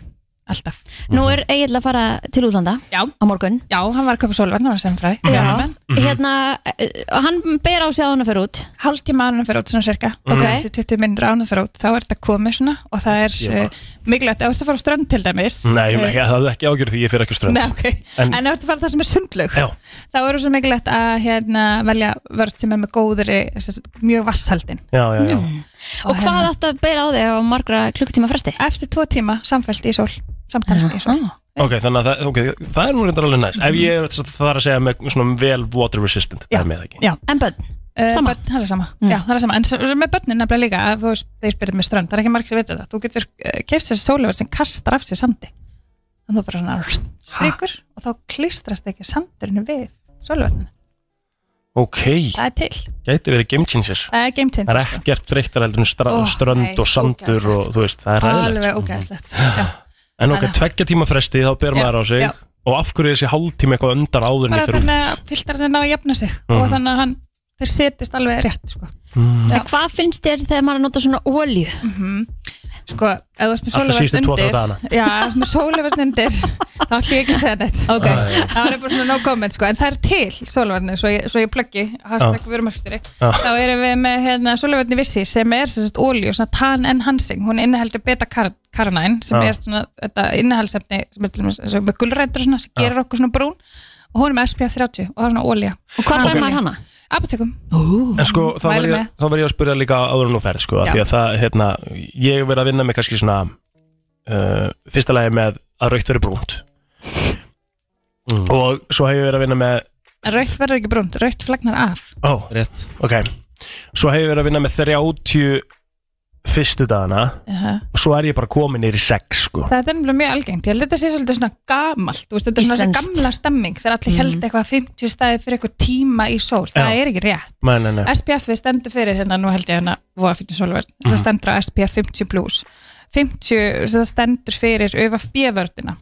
alltaf Nú er Egil að fara til útlanda Já. á morgun Já, hann var að köpa sólavörn, hann var sem fræði Mhm. Hérna, eh, hann ber á sig að hann að fyrir út Hálftíma áður en hann fyrir út svona cirka Ok. 20 minnur án að fyrir út, þá er þetta komið svona og það Ég er uh, mikilvægt ef þú ert að fara á strönd til dæmis Nei, ég, ég, það er ekki ágjörð því ég fyrir ekki á strönd Nei, ok, En- en, en ef þú ert að fara það sem er sundlaug Já. þá er svo mikilvægt að hérna, velja vörð sem er með góðri sem sagt, mjög vasshaldin Já, já, já Og, hvað hérna. áttu að bera á þig á margra klukkutíma fresti? Eftir tvo tíma samfælt í sól samtals í sól Ok, þannig að það, okay, það er nú reyndar alveg næst Ef ég er það er að segja með svona vel water resistant Já. Það er með ekki Já. En börn? Uh, Sama? börn, það er sama, já, það er sama en s- með börnin nefnilega líka að þú veist, þeir spyrir með strönd það er ekki margir sem veit þetta, þú getur uh, kefst þessi sólevar sem kastar af sér sandi þannig þú bara svona rst, strikur og þá klistrast ekki sandurinn við sólevarnin, Ok, það er til gæti verið game changers það er game Það er changer sko. ekkert þreyttar heldur en stra- Ó, strönd nei, og sandur og þú veist, það er ræðilegt alveg ógæðslegt já. En ok, Þannig að- tveggja tíma fresti, þá ber Já, maður á sig já. Og af hverju er þessi hálftíma eitthvað öndar áður en bara ég fyrir Mhm. þannig að filtrarnir ná að jafna sig og þannig að hann, þeir setjast alveg rétt sko, Já. En hvað finnst þér þegar maður er að nota svona olju? sko ef þú ert með Alltaf síðustu sólevarn tvo, þrjá undir dagana. já, ef þú ert með sólevarn undir þá ætlum ég ekki að segja neitt okay. það er bara svona no comment sko, en það er til sólevarnir, svo ég, svo ég pluggi hashtag vörumarkstýri, Já. þá erum við með hérna, sólevarnir vissi sem er sem sagt olíu, svona tan enhancing, hún inniheldur beta-karanæn sem Já. er svona þetta innihaldsefni sem er til dæmis eins og með gulrætur og svona sem gerir okkur svona brún og hún er með SPF 30 og það er svona olía Og hvað fær maður hana? apotekum En sko, þá verð Mæli ég, með. þá verð ég að spyrja líka áður en þú ferð, sko, af Já. því að það, hérna, ég hef verið að vinna með kannski svona, uh, fyrsta lagi með að raukt verið brúnt og svo hef ég verið að vinna með, Raukt verður ekki brúnt, raukt flagnar af ó, Rétt ok, svo hef ég verið að vinna með 30 fyrstu dagana og svo er ég bara komin nýri 6, sko. Það er nefnilega mjög algengt, ég held að þetta sé svolítið svona gamalt þú veist, Þetta er svona þessi Íslenskt. gamla stemming þegar allir held eitthvað 50 staði fyrir eitthvað tíma í sól Það Já. er ekki rétt Nei, nei, nei. SPF -ið stendur fyrir hérna, nú held ég hérna Voða fyrir sólverð, það Mhm. stendur á SPF 50 plus 50, sem það stendur fyrir ÖFB-vördina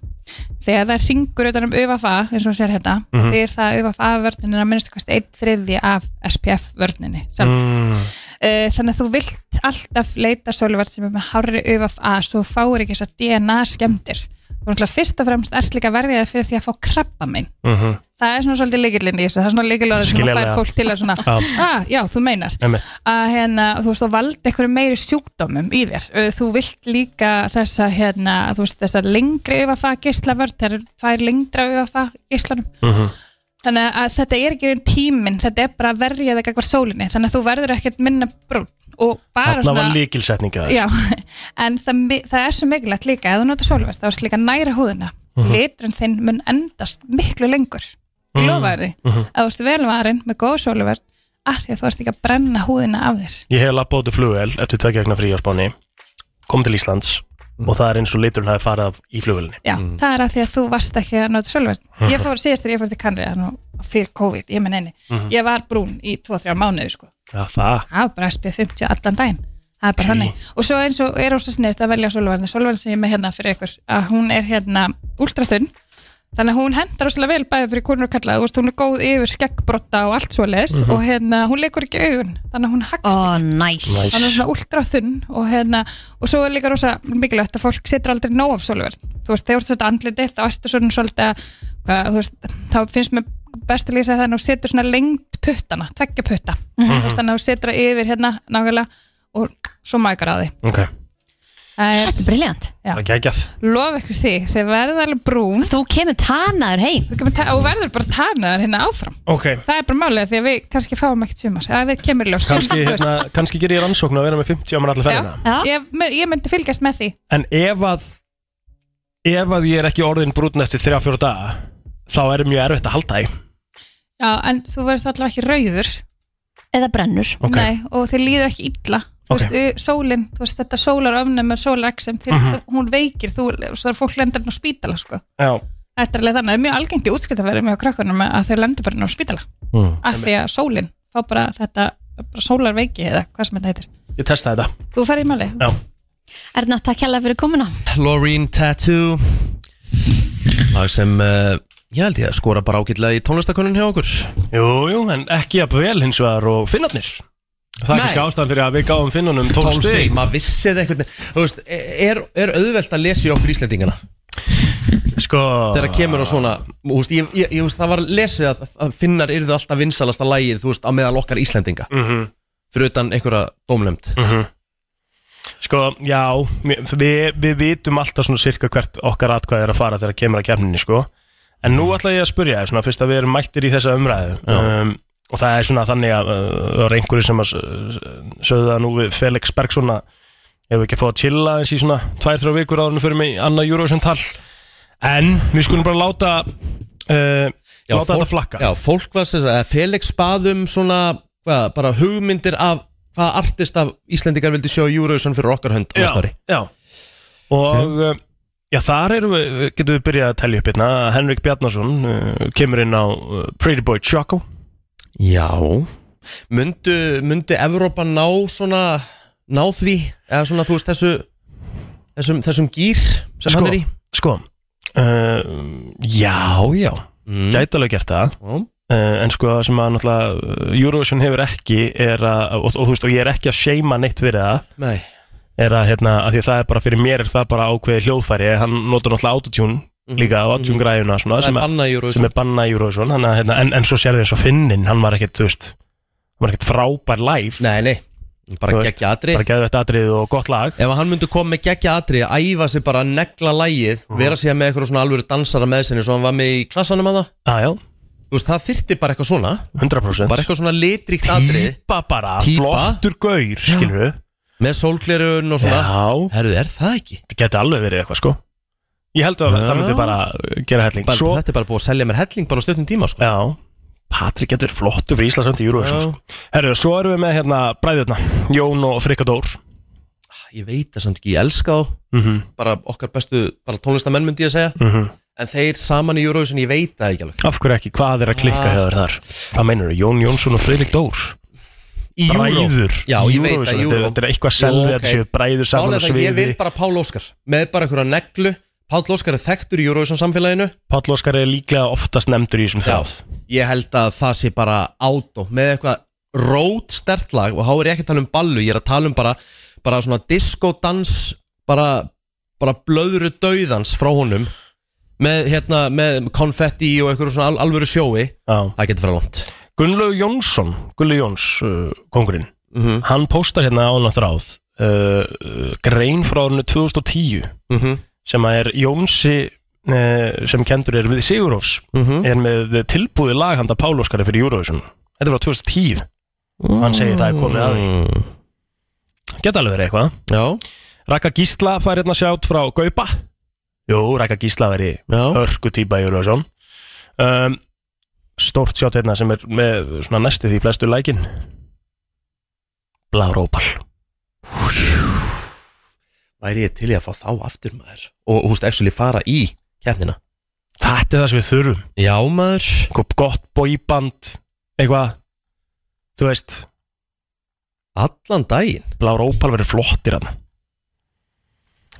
Þegar það ringur utan um ÖFA eins og sér hérna, mm Mhm. -hmm. þegar það ÖFA-vördin er að minnstu kosti 1 þriði af SPF-vördninni sem Mm, Uh, þannig að þú vilt alltaf leita sóluverð sem er með hárri UFA svo þú fáir ekki þessar DNA skemmtir og náttúrulega fyrst og fremst ert líka verðið fyrir því að fá krabba minn mm það er svona svolítið líkillinn í þessu, það er svona líkillóður sem að fær Skiljanlega. fólk til að svona ah, já, þú meinar Einmitt. að hérna, þú veist, þú valdi einhverju meiri sjúkdómum í þér, Uh, þú vilt líka þessa, hérna, þú veist, þessa lengri UFA gislavörð, það eru tvær lengra UFA gislanum Mhm. Þannig að þetta er ekki um tíminn, þetta er bara að verja þig eitthvað sólinni, þannig að þú verður ekkert minna brún og bara Þarna var svona líkilsetninga Já, en það, mi- það er svo mikilvægt líka, ef þú notar sólverð, þá er þetta líka að næra húðina liturinn þinn mun endast miklu lengur, ég lofa þér því ef þú ert velvarinn með góð sólverð af því að þú ert ekki að brenna húðina af þér Ég hef labbað út í flugvél eftir tvekja vegna frí á Spáni kom til Íslands og það er eins og liturinn hafi farið af í flugvélinni Já, það er að því að þú varst ekki að nota sölverð Ég fór síðast þegar ég fór til Kanriða fyrir COVID, ég menn einni Ég var brún í 2-3 mánuði sko. Já, það það er bara SPF 50 allan daginn það er bara þannig og svo eins og er ósa sniðt að velja solvarni solvarni sem ég er með hérna fyrir ykkur að hún er hérna últraþunn þannig að hún hendar óslega vel bæði fyrir konur og kalla þú veist hún er góð yfir skeggbrotta og allt svo les og hérna hún leikur ekki augun þannig að hún Ó, hagst oh. næs Næs. Hann er svona últraþunn og, hérna, og svo er líka rosa mikilvægt að fólk setur aldrei nóg af solverð þú veist, þegar þú ert andlitið þá ertu svona svolítið að, hvað, þú veist, þá finnst mér best að lýsa það að þú setur svona lengt puttana, tveggja putta Þú veist, þannig að þú setur það yfir hérna nákvæmlega og svo mækar á því Ok, Það er- Þetta er briljant það er geggjað lofa ykkur því, þið verður alveg brún Þú kemur tanaður heim þú kemur ta- og verður bara tanaðar hérna áfram Ok, það er bara málið því að við kannski fáum ekkert sumar það er kemur í ljós kannski, hérna, kannski gerir ég rannsókn að vera með 50 ámar allir ferðina Já, ég, ég myndi fylgjast með því En ef að ef að ég er ekki orðin brútin eftir 3-4 daga þá er mjög erfitt að halda því Já, en þú verður allavega ekki rauður Eða brennur Ok. Nei, og þér líður ekki illa Þú Ok. veist, ö- sólin, þú veist þetta sólaröfnum með sólarexem, uh Mhm. hún veikir þú, svo er fólk lendur á spítala sko. Já, Þetta er alveg þannig, það er mjög algengt í útskiptaverðum hjá krökkunum að þau lendur bara inn á spítala Mm. af því að sólin fá bara þetta bara sólarveiki eða hvað sem þetta heitir ég testa þetta Þú ferði í máli Já. Erna, takk hérlega fyrir komuna Loreen Tattoo Lag sem uh, ég held ég að skora bara ágætlega í tónlistakonun hjá okkur Jú, jú, en ekki að vel hins vegar og finnarnir Það er ekki ástæðan fyrir að við gáum finnunum 12 stig maður vissi þetta einhvern veginn Þú veist, er, er auðvelt að lesa í okkur Íslendingana Sko þegar það kemur á svona þú veist, ég, ég, ég, veist, það var lesið að, að finnar yrðu alltaf vinsalasta lægið þú veist, á meðal okkar Íslendinga Mhm. fyrir utan einhverja dómlemd Sko, já, við, við- við vitum alltaf svona sirka hvert okkar atkvæði er að fara þegar kemur að kemninni, sko. En Mhm. nú ætla ég að spurja þér, svona, fyrst að við erum mættir í þessa umræðu. Um, og það er svona þannig að uh, það er einhverju sem að s- s- sögðu það nú við Felix Bergson að ef við ekki að fá að chilla eins í svona 2-3 vikur áður áðurinn fyrir mig annað Eurovision tal. En við skulum bara láta, uh, láta þetta flakka. já, fólk var sem sagt, Felix baðum svona hvað, bara hugmyndir af hvaða artist af Íslendingar vildi sjá í Eurovision fyrir okkar hönd Já, næsta ári Já Og uh, já, þar erum við, getum við byrjað að telja upp hérna Henrik Bjarnason uh, kemur inn á uh, Pretty Boy Choco já myndu, myndu Evrópa ná svona ná því eða svona þú veist þessu þessum, þessum gýr sem hann er í Sko uh, Já, já mm. Gæti alveg gert það Já. Uh, en sko sem að náttúrulega uh, Eurovision hefur ekki er að, og, og þú veist og ég er ekki að seima neitt fyrir það nei er að hérna að því að það er bara fyrir mér er það bara ákveði hljóðfæri hann notur náttúrulega autotune líka og autotune græðuna Mhm. svona það sem er að- bannað í Eurovision sem er banna í Eurovision hana, hérna, en, en svo sér þið eins og Finnin, hann var ekkert, þú veist hann var ekkert frábær live Nei, nei, bara Þú veist, geggja atri bara geðvægt atrið og gott lag Ef hann myndi koma með geggja atri að æfa sig bara að negla lægið Mhm. vera síðan með eitthvað svona alvöru dansara með sinni svo hann var með í klassanum að það aðjá, Þú veist, það þyrti bara eitthvað svona 100% bara eitthvað svona litrikt atri típa bara, Típa. flottur gaur skilur við, með sólglerun og já, svona Herðu, er það ekki? þetta geti alveg verið eitthvað sko ég held að Já. það myndi bara gera helling Bara, svo, Þetta er bara búið að selja mér helling bara á stöttum tíma sko. já, Patrik getur verið flottur fyrir Íslands höndi í Eurovision Já. sko. herru, svo erum við með hérna bræðurna Jón og Frikadór Ég veit það samt ekki, ég elska þá mm -hmm. bara okkar bestu bara tónlistamenn myndi ég að segja Mhm. en þeir saman í Eurovision, ég veit það ekki alveg af hverju ekki, hvað er að klikka Ah. ah. hefur þar hvað meinur Jón Jónsson og Fredrik Dór Í Euro. bræður Já, ég veit að Eurovision, þetta er- Euro- þetta er eitthvað Jú, ok. selðið að séu bræður saman Málega og það, ég vil sviði bara Pál Óskar með bara einhverja neglu Pál Óskar er þekktur í Eurovision samfélaginu Páll Óskar er líklega oftast nefndur í þessum Já. þráð ég held að það sé bara átó með eitthvað rót stert lag og þá er ég ekki að tala um ballu, ég er að tala um bara bara svona diskodans bara, bara blöðru dauðans frá honum með, hérna, með konfetti og einhverju svona al alvöru sjói það getur fyrir langt Gunnlaug Jónsson Gunnlaug Jóns, uh, kongurinn mm -hmm. hann póstar hérna á hann þráð uh, uh, grein frá árinu 2010 Mm -hmm. sem að er Jónsi uh, sem kendur er við Sigurhófs mhm. er með tilbúið lag handa Páll Óskari fyrir Eurovision þetta er frá 2010 hann segir það er komið að því geta alveg verið eitthvað Mm, Já, Raka Gísla fær hérna sjátt frá Gaupa Jú, Raka Gísla veri já, örgu típa í Eurovision um, Stort sjátt hérna sem er með svona næstu því flestu lækin Blárópal væri ég til í að fá þá aftur maður og húst actually fara í keppnina Þetta er það sem við þurfum Já maður, Eitthvað gott bóiband Eitthvað Þú veist, allan daginn Blárópal verið flottir hann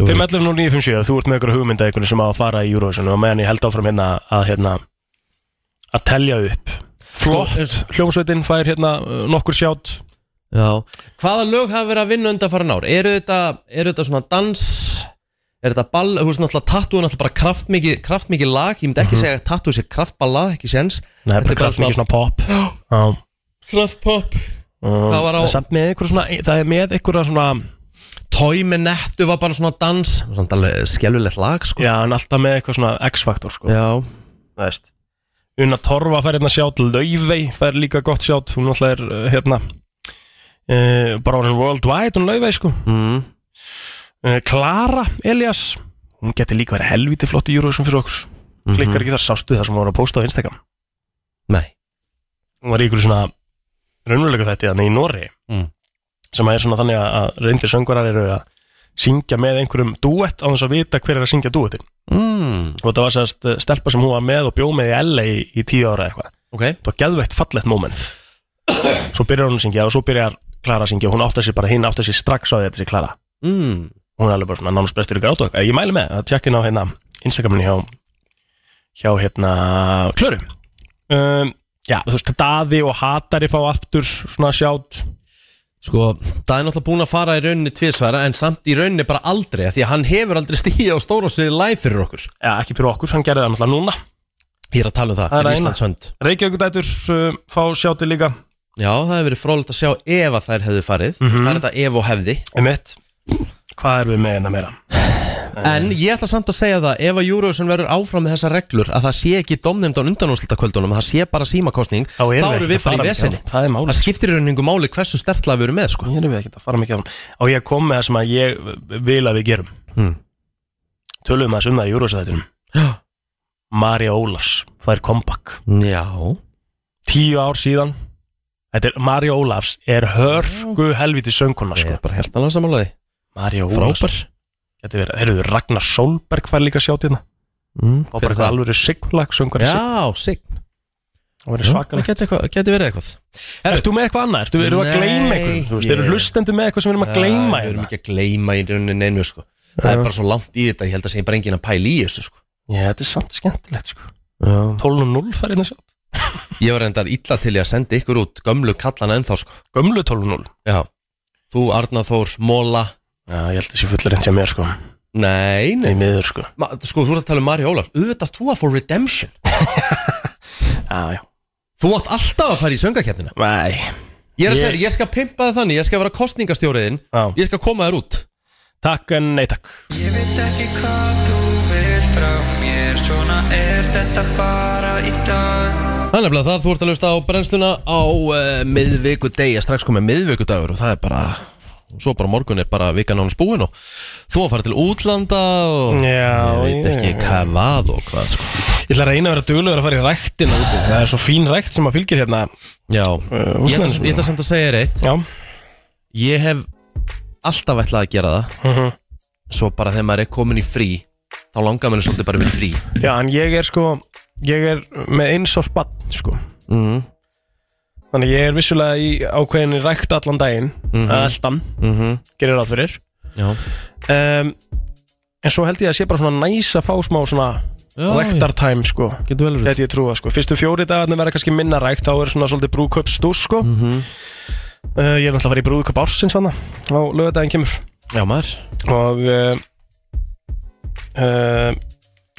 511 0957, þú ert með ykkur hugmynda ykkur sem á að fara í Eurovision og meðan ég held áfram hérna að hérna að telja upp eins- Flott, hljómsveitin fær hérna uh, nokkur sjátt Já, hvaða lög hafa verið að vinna undanfæran ár? Eru þetta, eru þetta svona dans, er þetta ball, þú veist náttúrulega tattoo er náttúrulega bara kraftmikið, kraftmikið lag, ég myndi ekki segja að tattoo sé kraftballa, ekki séns. Mhm. Nei, Þetta bara er bara kraft mikið svona pop Já Kraftpop. Það var á- Samt með einhver svona Það er með einhver svona Tói með nettu var bara svona dans, svona alveg skelvilegt lag, sko. Já, en alltaf með eitthvað svona X-faktor sko Já, Það veist Una Torfa fær hérna sjátt Laufey fær líka gott sjátt Hún alltaf er uh, hérna uh, Bara hún er worldwide Hún Laufey sko mm. uh, Klara Elias Hún geti líka verið helviti flott í Eurovision fyrir okkur Klikkar ekki þar sástu það sem hún var að posta á Instagram Mhm. nei. Hún var í ykkur svona Raunverulega þetta Þannig í Nóri Mm. Sem að er svona þannig að- að reyndir söngvarar eru að Syngja með einhverjum duett Á þess að vita hver er að syngja duettin Mm. og það var sérst uh, stelpa sem hún var með og bjóð með í LA í, í tíu ára eitthvað Ok, það var geðveitt fallegt moment svo byrjar hún að syngja og svo byrjar Klara að syngja og hún átti sér bara hinn átti sér strax á því að þetta sé Klara mm. hún er alveg bara svona nánast bestur í grátu og eitthvað. ég mæli með að tjekka inn á hérna Instagraminu hjá hjá hérna Klöru um, já þú veist Daði og Hatari fá aftur svona sjátt Sko, það er náttúrulega búin að fara í rauninni tvisvara en samt í rauninni bara aldrei af því að hann hefur aldrei stíði á stóra sviði live fyrir okkur Já, ekki fyrir okkur, hann gerði það náttúrulega núna Ég er að tala um það, Það er fyrir að eina. Íslands hönd Reykjavíkudætur uh, fá sjáti líka Já, það hefur verið frólægt að sjá ef að þær hefðu farið mm Mhm. Það er þetta ef og hefði Emitt, hvað erum við með hérna meira? En ég ætla samt að segja það Ef að Eurovision verður áfram með þessar reglur að það sé ekki domnefnd á undanúrslutakvöldunum að það sé bara símakostning þá erum við erum ekki við bara að fara í mikið á vesinni honum. Það er málið. skiptir í rauningu máli hversu stertlega við erum með sko. Ég erum við ekkert að fara mikið á hann Og ég kom með það sem að ég vil að við gerum Hmm. Tölum að sunda í júrósæðinum Marja Ólafs, það er comeback Já Tíu ár síðan Þetta er, Marja Ólafs er hörgu helviti sönguna Ég sko. er bara helt annað samanlega því. Marja Ólafs Frábær Þetta verið, heyrðu, Ragnar Solberg fær líka sjátt hérna mm, Og hver bara er það alveg siglag söngur Já, sig Það verið Það svakalegt geti, eitthvað- geti verið eitthvað Er, Ertu með eitthvað annað? Ertu, erum við að gleyma Nei, eitthvað? Þú veist, ég- eru hlustendur með eitthvað sem við erum að gleyma Við erum hérna? ekki að gleyma í rauninni neinu sko. Það er bara svo langt í þetta Ég held að segja bara enginn að pæla í þessu sko. Já, þetta er samt skemmtilegt sko 12.0 fær hérna sjátt Ég var reyndar illa til ég að senda ykkur út Gömlu kallana ennþá sko. Gömlu 12.0 Já. Þú, Arna Þór, Móla Já, ég held að þessi fullar enn til mér sko Nei, Í nei miður sko Ma, Sko, þú ert að tala um Mari Ólafs Auðvitað þú að fór Redemption Já, já Þú átt alltaf að fara í söngakefnina Nei Ég er að Ég- segja, ég skal pimpa það þannig Ég skal vera kostningastjóriðin Já. Ég skal koma þér út Takk en nei takk Ég veit ekki hvað þú vilt frá mér Svona er þetta bara í dag Það er nefnilega það, þú ert að lösta á brennsluna á uh, miðvikudegi, að strax komið miðvikudagur og það er bara, svo bara morgun er bara vikan ánum spúin og þú að fara til útlanda og Já, ég veit ekki ég- hvað vað og hvað sko. Ég ætla að reyna að vera duglegur að fara í ræktina úti Það er svo fín rækt sem að fylgir hérna Já, Eh, ég ætla, húsnæðis- ég ætla samt að segja þér eitt, Já ég hef alltaf ætlað að gera það, Mhm. svo bara þegar maður er komin í frí, þá langar manni svolítið bara verið frí. Já, en ég er sko Ég er með eins á spann sko Mm. Þannig að ég er vissulega í ákveðinni rækt allan daginn mm Mhm. Alltan, Mm -hmm. gerir ráð fyrir Já, um, En svo held ég að sé bara svona næs að fá smá svona Já, Ræktartæm sko getur vel verið. Þetta ég trúa sko Fyrstu fjóri dagarnir verða kannski minna rækt Þá er svona svolítið brúköp stúr sko Mhm. Uh, ég er náttúrulega að fara í brúðköp ársins hann á lögadaginn kemur Já maður, og uh, uh,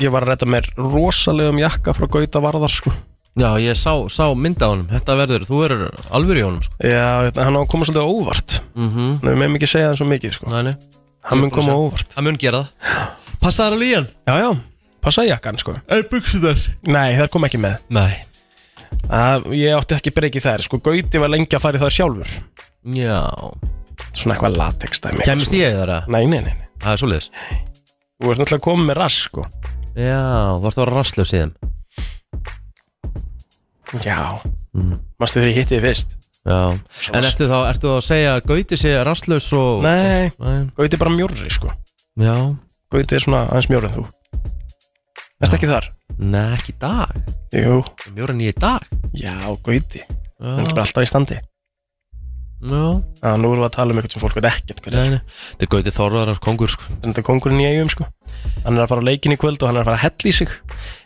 ég var að redda mér rosalegum jakka frá Gauta Varðar sko. já ég sá, sá mynda á honum, þetta verður, þú verður alvöru í honum sko. Já, hérna, hann á að koma svolítið á óvart Mm -hmm. Nei, við meðum ekki segja hann svo mikið sko. Næni. Hann Ég er mun búin koma að á sjá. óvart Það mun gera það Passa þar alveg í hann Já, já, passa í jakkan sko. Er buksu þar? Nei, það kom ekki með Nei að, Ég átti ekki breykið þær sko. Gauti var lengi að fara í það sjálfur Já Svona eitthvað latex dæmi sko. Kæmist ég þar að? Nei, nei, nei, nei Það er svoleiðis Þú ert náttúrulega komið með rass sko. Já, þú ert að vera rastlöf síðan Já Manstu þegar ég hitti þið fyrst Já En ertu þá, ertu þá að segja að Gauti sé rastlöfs og Nei, Nei Gauti er bara mjórri sko. Já Gauti er svona aðeins mjórið þú Erst ekki þar? Nei, ekki í dag Jú Mjóra nýja í dag Já, Gauti Já Hann er bara alltaf í standi Já að Nú erum við að tala um eitthvað sem fólk veit ekkert hvað er Nei, nei Þetta er Gauti Þorðarar kongur sko Þetta er kongurinn í eigum sko Hann er að fara á leikin í kvöld og hann er að fara að hella í sig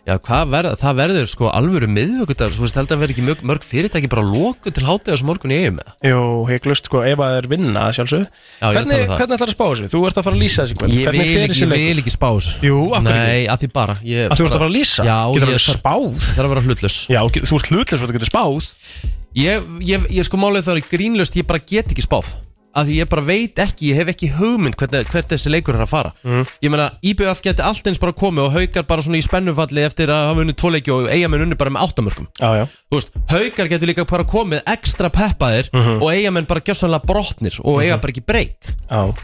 Já, hvað verður, það verður sko alvöru miðvöggudagur Þú veist, held að verður ekki mörg, mörg fyrirtæki bara loku til hátíðas morgun í eigum eða? Jú, heiklust sko, ef að það er vinna sjálfsög Já, ég er að Hvernig, tala um það. hvernig ætlar að spá þessu? Þú ert að fara að lýsa þessu í kvöld Ég Hvernig vil fer ekki, þessi ég vil leikur? ekki spá þessu Jú, akkur ekki Nei, að því bara ég, Að þú ert að fara að lýsa? Já, Getur ég alveg þarf- spáð? Það er að vera hlutlaus Já, get- þú ert hlutlega svo þú getur spáð Ég, ég, ég sko málið það er grínlust Ég bara get ekki spáð Af því ég bara veit ekki, ég hef ekki hugmynd hvernig, hvert þessi leikur er að fara Ég meina, IBF geti allt eins bara komið og haukar bara svona í spennufalli eftir að hafa unnið tvo leiki og eigamenn unnið bara með áttamörkum Já, já Þú veist, haukar geti líka bara komið ekstra peppaðir Mhm. og eigamenn bara gjössanlega brotnir og eiga bara ekki breyk Já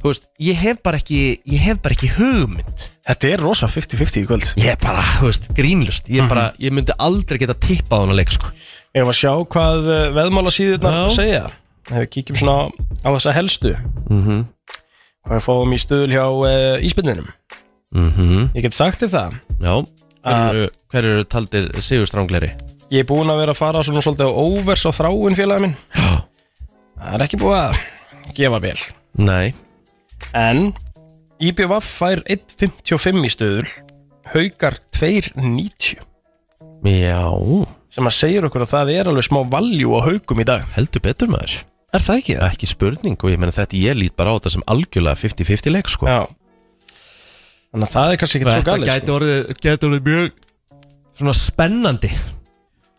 Þú veist, ég hef bara ekki, ég hef bara ekki hugmynd Þetta er rosa 50-50 í kvöld Ég er bara, þú veist, grínlust Mhm. Ég, er bara, ég myndi aldrei geta tippað hann að leika sko. Ég var að sjá hvað uh, veðmála Já. síðurnar segja Ef við kíkjum svona á, á þessa helstu Mhm. Hvað við fáum í stöðul hjá uh, íspinninum mm -hmm. Ég get sagt þér það Já, Ah. hver eru, hver eru taldir sigurstrángleri? Ég er búinn að vera að fara svona svolítið á óvers á þráin félagin minn Já. Það er ekki búið að gefa vel Nei En IBVF fær 1.55 í stöðul Haukar 2.90 Já, Sem að segir okkur að það er alveg smá valjú á haukum í dag heldur betur maður Er það ekki? Ekki spurning og ég meina þetta ég lít bara á þetta sem algjörlega 50-50 leik sko Já Þannig að það er kannski ekki svo galið sko. Þetta gæti orðið, gæti orðið mjög svona spennandi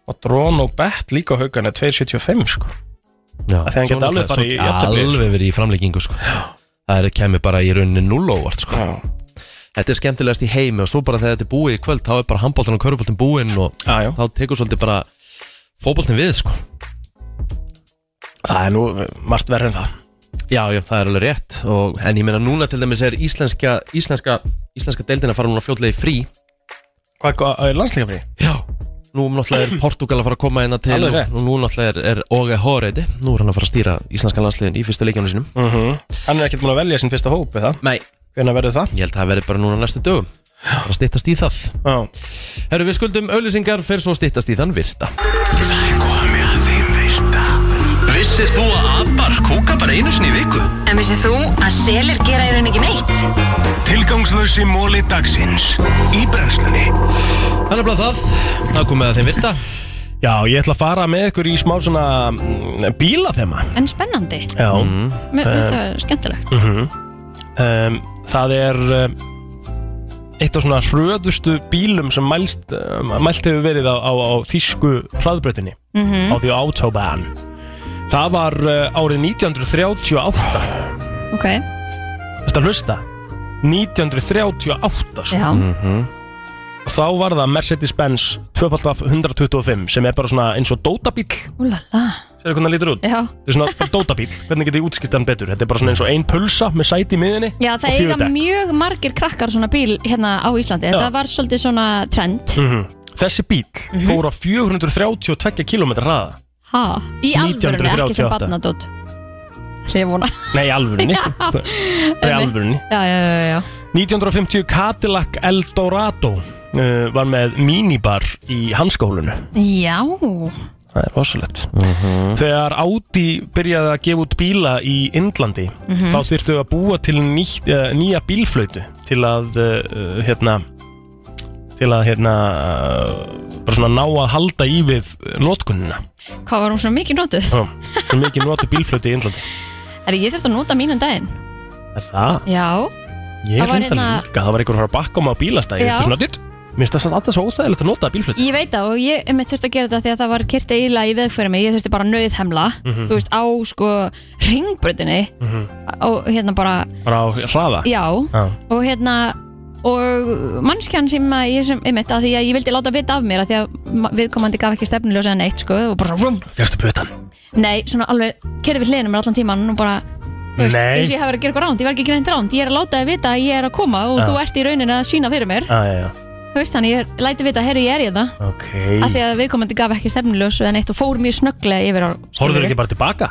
Og drón og bett líka á haugan er 2.75 sko Já, Af því hann svo geti alveg náttúrulega- farið í svo jafntefli, sko. Alveg verið í framleggingu sko Það er, kemur bara í rauninni null óvart sko Þetta er skemmtilegast í heimi og svo bara þegar þetta er búið í kvöld þá er bara handbóltan og köruboltin búinn og já, já. þá tekur svolítið bara fótboltin við sko Það er nú margt verður en það Já, já, það er alveg rétt og, En ég meina núna til dæmis er íslenska Íslenska, íslenska deildin að fara núna fljótlega í frí Hvað eh, hvað er landsleika fyrir? Já Nú náttúrulega er Portugal að fara að koma hérna til Alveg og, rétt. og nú náttúrulega er, er Óge Hóreiti Nú er hann að fara að stýra íslenska landsliðin í fyrstu leikjónu sínum Mm. Hann er ekkert múin að velja sinn fyrsta hóp, eða? Nei Hvernig verður það? Ég held að það verði bara núna næstu dögum Það stýttast í það Já Herru, við skuldum auðlýsingar fyrir svo stýttast í þann virta Það er komið að þeim virta Vissir þú að abar kúka bara einu sinni í viku? En vissið þú að selir gera í rauninni ekki neitt? Tilgangslösi móli dagsins Í brennslunni Þannig að það, það er komið að þeim virta Já, ég ætla að fara með ykkur í smá svona mm, bílaþema En spennandi Já Mér finnst Eh, það skemmtilegt Mhm. um, Það er um, eitt af svona hröðustu bílum sem mælst, um, mælt hefur verið á, á, á þýsku hraðbrötinni Mhm. á því Autobahn Það var uh, árið 1938 Ok, Þetta hlusta 1938 sko. já og þá var það Mercedes-Benz 2.125 sem er bara svona eins og dótabíl Úlala Sér hvernig það lítur út? Já. Þetta er svona bara dótabíl, hvernig getið útskiptað hann betur? Þetta er bara svona eins og ein pulsa með sæti í miðinni Já, það og eiga fjögurdekk. mjög margir krakkar svona bíl hérna á Íslandi Já. Það var svolítið svona trend Mhm. Þessi bíl Mhm. fór á 432 km hraða Ha, í alvörunni, ekki sem 1938. barnadótt Hlifuna Nei, í alvörunni Í alvörunni Já, já, já, já 1950 Cadillac Eldorado uh, var með minibar í hanskólinu Já, Það er rosalegt Þegar Audi byrjaði að gefa út bíla í Indlandi Mhm. þá þyrftu að búa til ný, uh, nýja bílflöytu til að uh, hérna til að hérna uh, bara svona ná að halda í við notkunnina hvað var hún svona mikið notuð? Já, Svo mikið noti bílflöti í Índlandi Er ég þurft að nota mínum daginn? Er það? Já, Ég Það var reyndar hérna- líka, það var einhver að fara að bakka um á bílastæði Já. Þetta er svona ditt Mér finnst það samt alltaf svo óþægilegt að nota bílflöti ég veit það og ég um þurfti að gera þetta því að það var kyrta eiginlega í veðfæri mig Ég þurfti bara að nauðhemla, Mhm. þú veist, á sko ringbrötinni og hérna bara, Bara á hraða já Já. og hérna og mannskjan sem að ég sem einmitt að því að ég vildi láta vita af mér að því að ma- viðkomandi gaf ekki stefnuljósa en eitt sko og bara svona vrum, Gertu putan nei, svona alveg kerði við hliðinu mér allan tíman og bara þú veist, Nei. eins og ég hef verið að gera eitthvað ránd, ég var ekki greint ránd ég er að láta þið vita að ég er að koma og Já. þú ert í rauninni að sína fyrir mér ah, já, já. þú veist þannig, ég er- læti vita, herri ég er í það Ok að því að viðkomandi gaf ekki stefnuljósa en eitt og fór mjög snögglega yfir á Horður ekki bara tilbaka?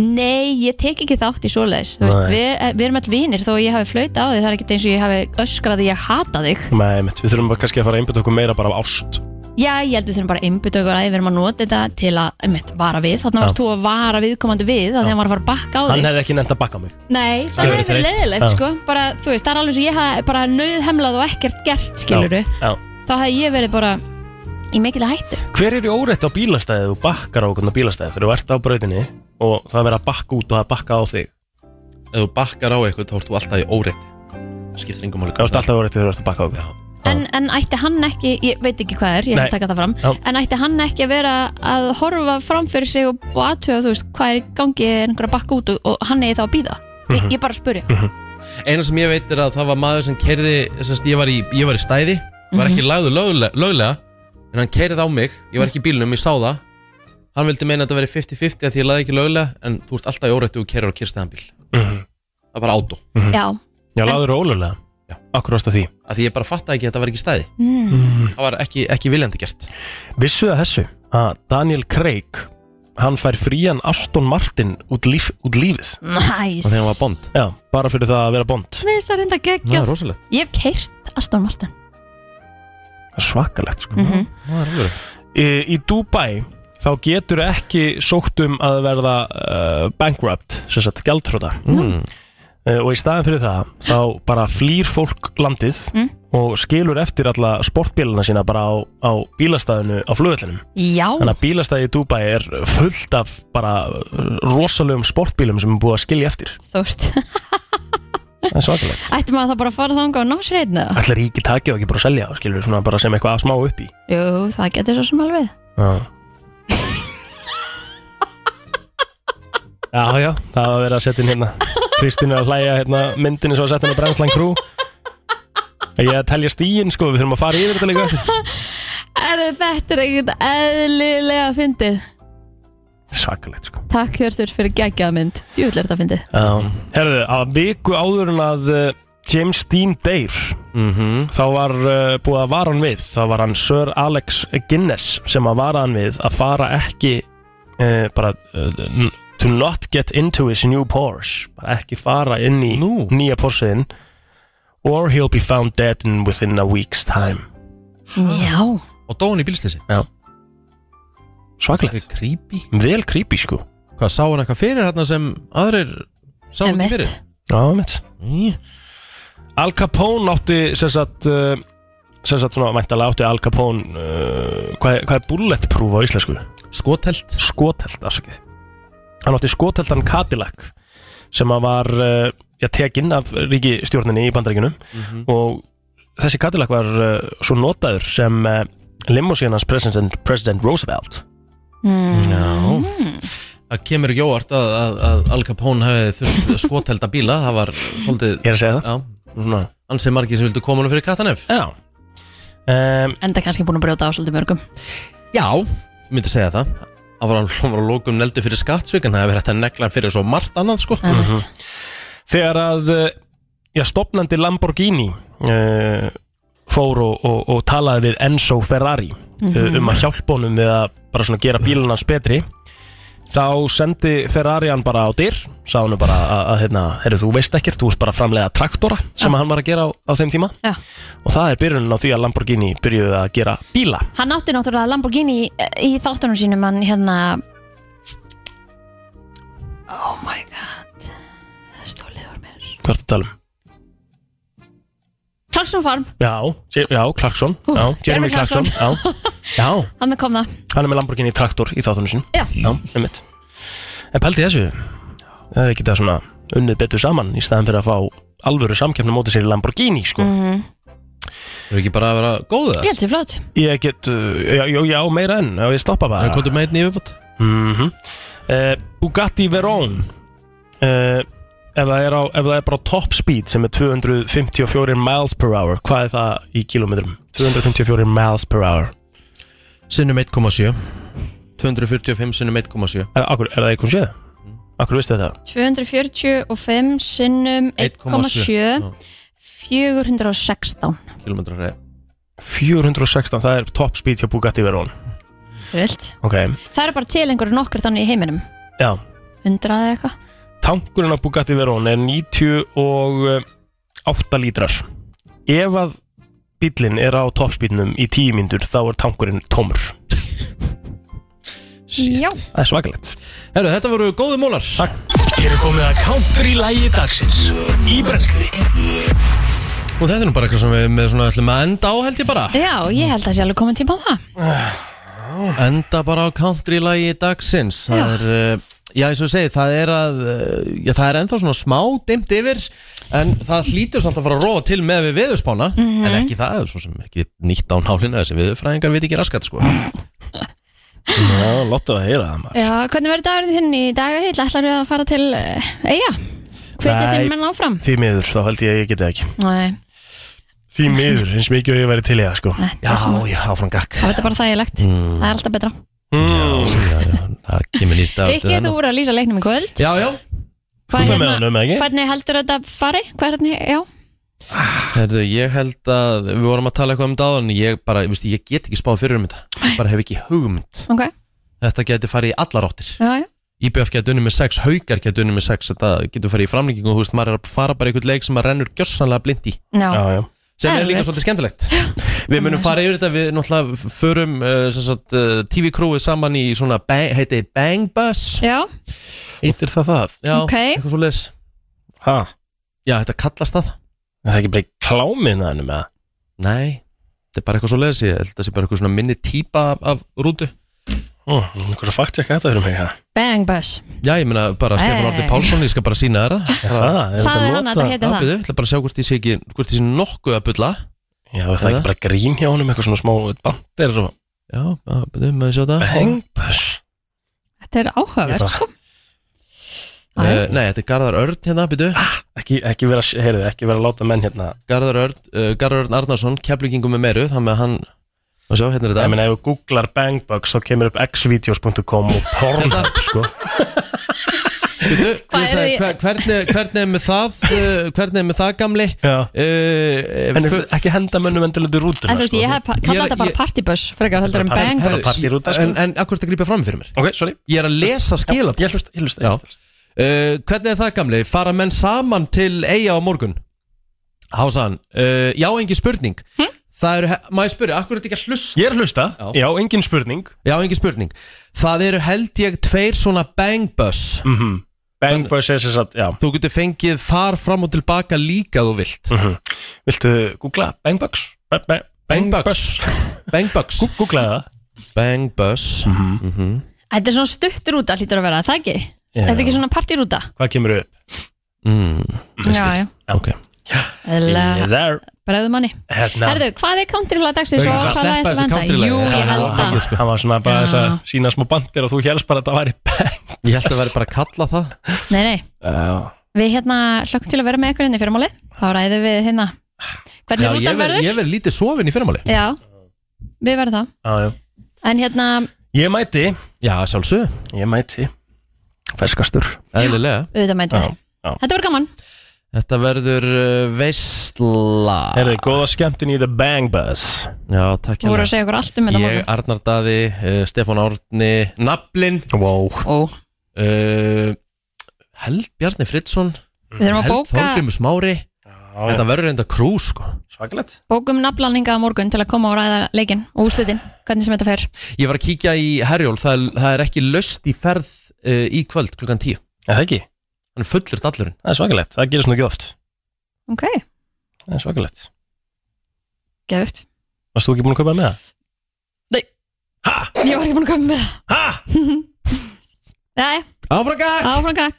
Nei, ég tek ekki þátt í svoleiðis Þú veist, Nei. við, eh, við erum all vinir þó að ég hafi flauta á þig, það er ekki eins og ég hafi öskrað að ég hata þig Nei, mitt, við þurfum bara kannski að fara að einbytta okkur meira bara á ást Já, ég held við þurfum bara að einbytta okkur að við erum að nota þetta til að einmitt, vara við þannig Já. varst þú að vara viðkomandi við að þeim var að fara að bakka á Hann þig hefði ekki nefnt að bakka á mig Nei, Það það hefði hefði verið þreytt. leðilegt Já. sko bara, þú veist, það er alveg svo ég hef bara nauðhemlað og ekkert gert skiluru Já, já. þá hefði ég verið bara í mikilvæg hættu Hver er í órætt á bílastæði og bakkar á okkur á bílastæði þegar þú ert á brautinni og það er verið að bakka út og það er bakka á þig Ef þú bakkar á eitthvað þá ert þú alltaf í óreitti Það skiptir engum máli Þú ert alltaf órætt þegar þú ert að bakka á okkur en, en ætti hann ekki, ég veit ekki hvað er ég ætla Nei. að taka það fram, Já. en ætti hann ekki að vera að horfa fram fyrir sig og, og aðtöða, þú veist, hvað er í gangi einhverja bakka út og, og hann eigi þá að býða ég, Mhm. ég bara spurja Eina sem ég veit er að það var maður sem kerði sest, ég, var í, ég var í stæði, var Mhm. ekki lagður löglega, löglega En hann kerði á mig, ég var ekki í bílnum, ég sá það Hann vildi meina að þetta veri 50-50 að því ég laði ekki löglega En þú ert alltaf í órættu og kerður á kyrstæðan bíl Mhm. Það er bara átó Já, Já, láður ólulega Já. Akkur ást að því Að því ég bara fatta ekki að þetta var ekki stæði Mm. Það var ekki, ekki viljandi gert Vissu það þessu að Daniel Craig hann fær frían Aston Martin út, líf, út lífið Nice. Og þegar hann var Bond Já, bara fyrir það að vera Bond Mér finnst það reynda Það er geggjað rosalegt. Ég hef keirt Aston Martin Það er svakalegt sko Mhm. í, í Dubai þá getur ekki sókt um að verða uh, bankrupt sem sagt gjaldtróta mm. Eh, og í staðin fyrir það þá bara flýr fólk landið Mm. og skilur eftir alla sportbílana sína bara á, á bílastæðinu á flugvellinum Já, þannig að bílastæði í Dubai er fullt af bara eh, rosalegum sportbílum sem er búið að skilja eftir stórt það er svakalegt Ætti maður þá bara að fara þangað og ná sér einn eða? Ætlar ríki takið og ekki bara að selja þá, skilur svona bara sem eitthvað að smá upp í Jú, það getur svo sem alveg Já Já, já, það var verið að setja inn hérna Kristín er að hlæja hérna myndinni svo að setja hérna brennslan krú Ég er að telja stíin sko, við þurfum að fara yfir þetta líka eftir. Er þetta er ekkert eðlilega fyndið? Svakalegt sko Takk Hjörtur fyrir geggjað mynd Djúvill er þetta fyndið Já, herðu, að viku áður en að uh, James Dean Dave Mhm. þá var uh, búið að vara hann við þá var hann Sir Alex Guinness sem að vara hann við að fara ekki uh, bara uh, n- to not get into his new Porsche bara ekki fara inn í Nú. nýja Porschein or he'll be found dead in within a week's time Já Og dóin í bílstessi Já Svaklegt Creepy Vel creepy sko Hvað, sá hann eitthvað fyrir hérna sem aðrir sá ekki Einmitt. fyrir? Já, mitt Al Capone átti sem sagt, uh, sem sagt svona væntalega átti Al Capone uh, hvað, er- hvað er bulletproof á íslensku? Skotelt Skotelt, afsakið Hann átti skoteltan Cadillac sem að var uh, já, tekin af ríkistjórninni í bandaríkinu og þessi Cadillac var uh, svo notaður sem uh, limousine hans president, president Roosevelt mm. Já Það kemur ekki óvart að, að, að Al Capone hefði þurft skotelda bíla Það var svolítið Ég er að segja það Já, svona Ansið margir sem vildu koma hann fyrir Katanef Já um, Enda kannski búin að brjóta á svolítið mörgum Já, ég myndi segja það Það var hann hann var á lókum neldu fyrir skattsvík En það hefði verið hægt að negla hann fyrir svo margt annað sko mm Mhm. -hmm. þegar að eh, já, stopnandi Lamborghini uh, fór og, og, og talaði við Enzo Ferrari Mhm. eh, um að hjálpa honum við að bara svona gera bílun hans betri þá sendi Ferrari hann bara á dyr sá hann bara að, að hérna, heyrðu, þú veist ekkert, þú ert bara að framlega traktora sem hann var að gera á, á þeim tíma Já. og það er byrjunin á því að Lamborghini byrjuði að gera bíla Hann átti náttúrulega Lamborghini í, í þáttunum sínum Hann hérna Oh my god Stólið var mér hvað ertu að tala um? Clarkson Farm, Já, Jer- já, Clarkson Ú, já, Jeremy Jeremy Clarkson, Clarkson. Já, já, hann kom það hann er með Lamborghini traktor í þáttunum sinu Já. já einmitt. en pælti þessu það er ekki það svona unnið betur saman í staðan fyrir að fá alvöru samkeppni mótið sér í Lamborghini sko. Það er ekki bara að vera góðu Ég held sér Mhm. flott ég get, uh, já, já, já, meira enn já, ég stoppa bara Það komdu með einn í viðbútt mm Bugatti Veyron uh, ef, það er á, ef það er bara á top speed sem er 254 miles per hour hvað er það í kilometrum? 254 miles per hour Sinnum 1,7 245 sinnum 1,7 er, akkur, er það eitthvað séð? Akkur veistu þetta? 245 sinnum 1,7 Já. 416 Kilometrar reyð 416, það er top speed hjá Bugatti Veyron Vilt. Ok, Það eru bara til einhverju nokkur þannig í heiminum já 100 eða eitthvað Tankurinn á Bugatti Veyron er 98 lítrar Ef að bílinn er á toppspílnum í 10 mínútur þá er tankurinn tómur Já Það er svakalegt Herru, þetta voru góði mólar Takk Hér er komið að country lægi dagsins Í brensli Og þetta er nú bara eitthvað sem við með svona ætlum að enda á held ég bara Já, ég held að það sé alveg komin tíma á það Enda bara á country-lagi dagsins Það Já. er, uh, já eins og ég segi, það er að uh, Já, það er ennþá svona smá dimmt yfir En það hlýtur samt að fara að róa til með við veðurspána Mhm. En ekki það, svo sem ekki nýtt á nálina Þessi veðurfræðingar veit ekki raskat sko Já, lottu að heyra það maður Já, hvernig verður dagurinn þinn í dag að heil? Ætlar að fara til uh, Eyja? Hvetið Nei. þinn menn áfram? Því miður, þá held ég að ég geti það ekki Nei, Því miður, eins mikið og ég væri til í það sko Já, já, áfram gakk það verður bara þægilegt Það er alltaf betra mm. Mm, Já, já, það kemur nýtt af Rikki, þú voru að lýsa leiknum í kvöld Já, já, Hvað hérna- fer með honum, eða ekki? Hvernig heldur þetta fari? Hvernig, já herðu, ég held að Við vorum að tala eitthvað um dáðan Ég bara, ég, veist, ég get ekki spáð fyrir um þetta Ég bara hef ekki hugmynd Ok, Þetta geti farið í allar áttir já, já IBF getur unnið með 6, Haukar getur unnið með 6 þetta getur farið í framlengingu og þú veist, maður er að fara bara í einhvern leik sem maður rennur gjössanlega blind í Já, Já, já sem er Erfitt. líka svolítið skemmtilegt Við munum fara yfir þetta, við náttúrulega förum uh, sem sagt, uh, TV crewið saman í svona bang, heiti Bang Bus já, Ítir það það? Já, Ok. eitthvað svo leis Ha? Já, þetta kallast það Það er ekki bara í klámið með hennum eða? Nei, þetta er bara eitthvað svo leiðis Ég held að það sé bara eitthvað svona minni típa af, af rútu Ó, einhverja fakt ekki þetta fyrir mig, hæ? Bang bus Já, ég meina bara Hey. Stefán Orti Pálsson Ég skal bara sína þér það, er Sagði þetta hann að nota- þetta héti það? Já, byrju, Ég ætla bara að sjá hvort ég sé ekki Hvort ég sé nokkuð að bulla Já, það er ekki bara grín hjá honum, eitthvað svona smá bandir og Já, já, byrju, maður sjá það Bang bus Þetta er áhugavert Ég sko Eh, Nei, þetta er Garðar Örn hérna, byrju Ekki, ekki vera, heyrðu, ekki vera að láta menn hérna Garðar Örn, uh, Garðar Örn Arnarsson Keflingingum með meiru, þannig að hann Maður sjá, hérna er Ég þetta meina, ef þú googlar bangbugs þá kemur upp xvideos.com og pornhub, sko Byrju, ég Hvað sagði, er því- hver- hvernig, hvernig er með það uh, Hvernig er með það gamli Já. uh, En ekki henda mönnum endilega til sko? rútuna, En þú veist, ég hef Ég- kallað þetta bara ég- partybus frekar heldur en Bara bang par- bus partírúta, sko. En, en akkur þetta grípa fram fyrir mér Ok, sorry Ég er að lesa skilab Ég hlusta, ég hlusta, Já. ég hlusta Uh, hvernig er það gamli? Fara menn saman til eiga á morgun? Hásaðan, uh, já, engin spurning Það eru, he- má ég spyrja, akkur er þetta ekki að hlusta? Ég er að hlusta, Já. já, engin spurning Já, engin spurning Það eru held ég tveir svona bangbus mm -hmm. Bangbus er sér satt, já Þú getur fengið far fram og tilbaka líka ef þú vilt Viltu googla bangbugs? Ba- ba- Bangbugs Bangbus Gú- Googlaði það Bangbus Þetta er svona stutt rúta hlýtur að vera, það ekki? Þetta er ekki svona partyrúta? Hvað kemur upp? Mm. Já, já, Ok eðlilega There bregðum manni Hérna Herðu, hvað er countrylag dagsins og Við erum bara að hvað sleppa er þessu landa? countrylagi. Jú, Já, ég held hann, að hann var svona bara Já. þess að sína smá bandir og þú helst bara að það væri bang Ég held að það væri bara að kalla það Nei, nei, við hérna hlökkum til að vera með ykkur hérna í fyrramáli Þá ræðum við hérna Já, Hvernig ég rútan verð- ég verður? verð lítið sofin í fyrirmáli Já, við verðum það Já, já. En hérna, Ég mæti Já, sjálfsög, Ég mæti Ferskastur eðlilega auðvitað mætum Já, við já. Þetta var gaman Þetta verður uh, veistla Herði, góða skemmtun í The Bang Bus Já, takk Þú voru hérna að segja okkur allt um þetta Ég, morgun. Arnar Daði, uh, Stefán Árni Nablin Wow Ó, uh, Held Bjarni Fridsson Við þurfum að Held bóka Þorgrimur Smári Þetta verður reynda krú sko Svakalett Bókum nafnlandinga morgun til að koma og ræða leikin og úrslutin, hvernig sem þetta fer Ég var að kíkja í Herjól Það er, það er ekki löst í ferð uh, í kvöld klukkan 10 Já, það ekki Hann er fullur dallurinn Það er svakalett Það gerist nú ekki oft Ok, Það er svakalett geðvögt Varst þú ekki búin að kaupa með það? Ég var ekki búin að koma með það Ha? Nei, Áfraka! áfram gakk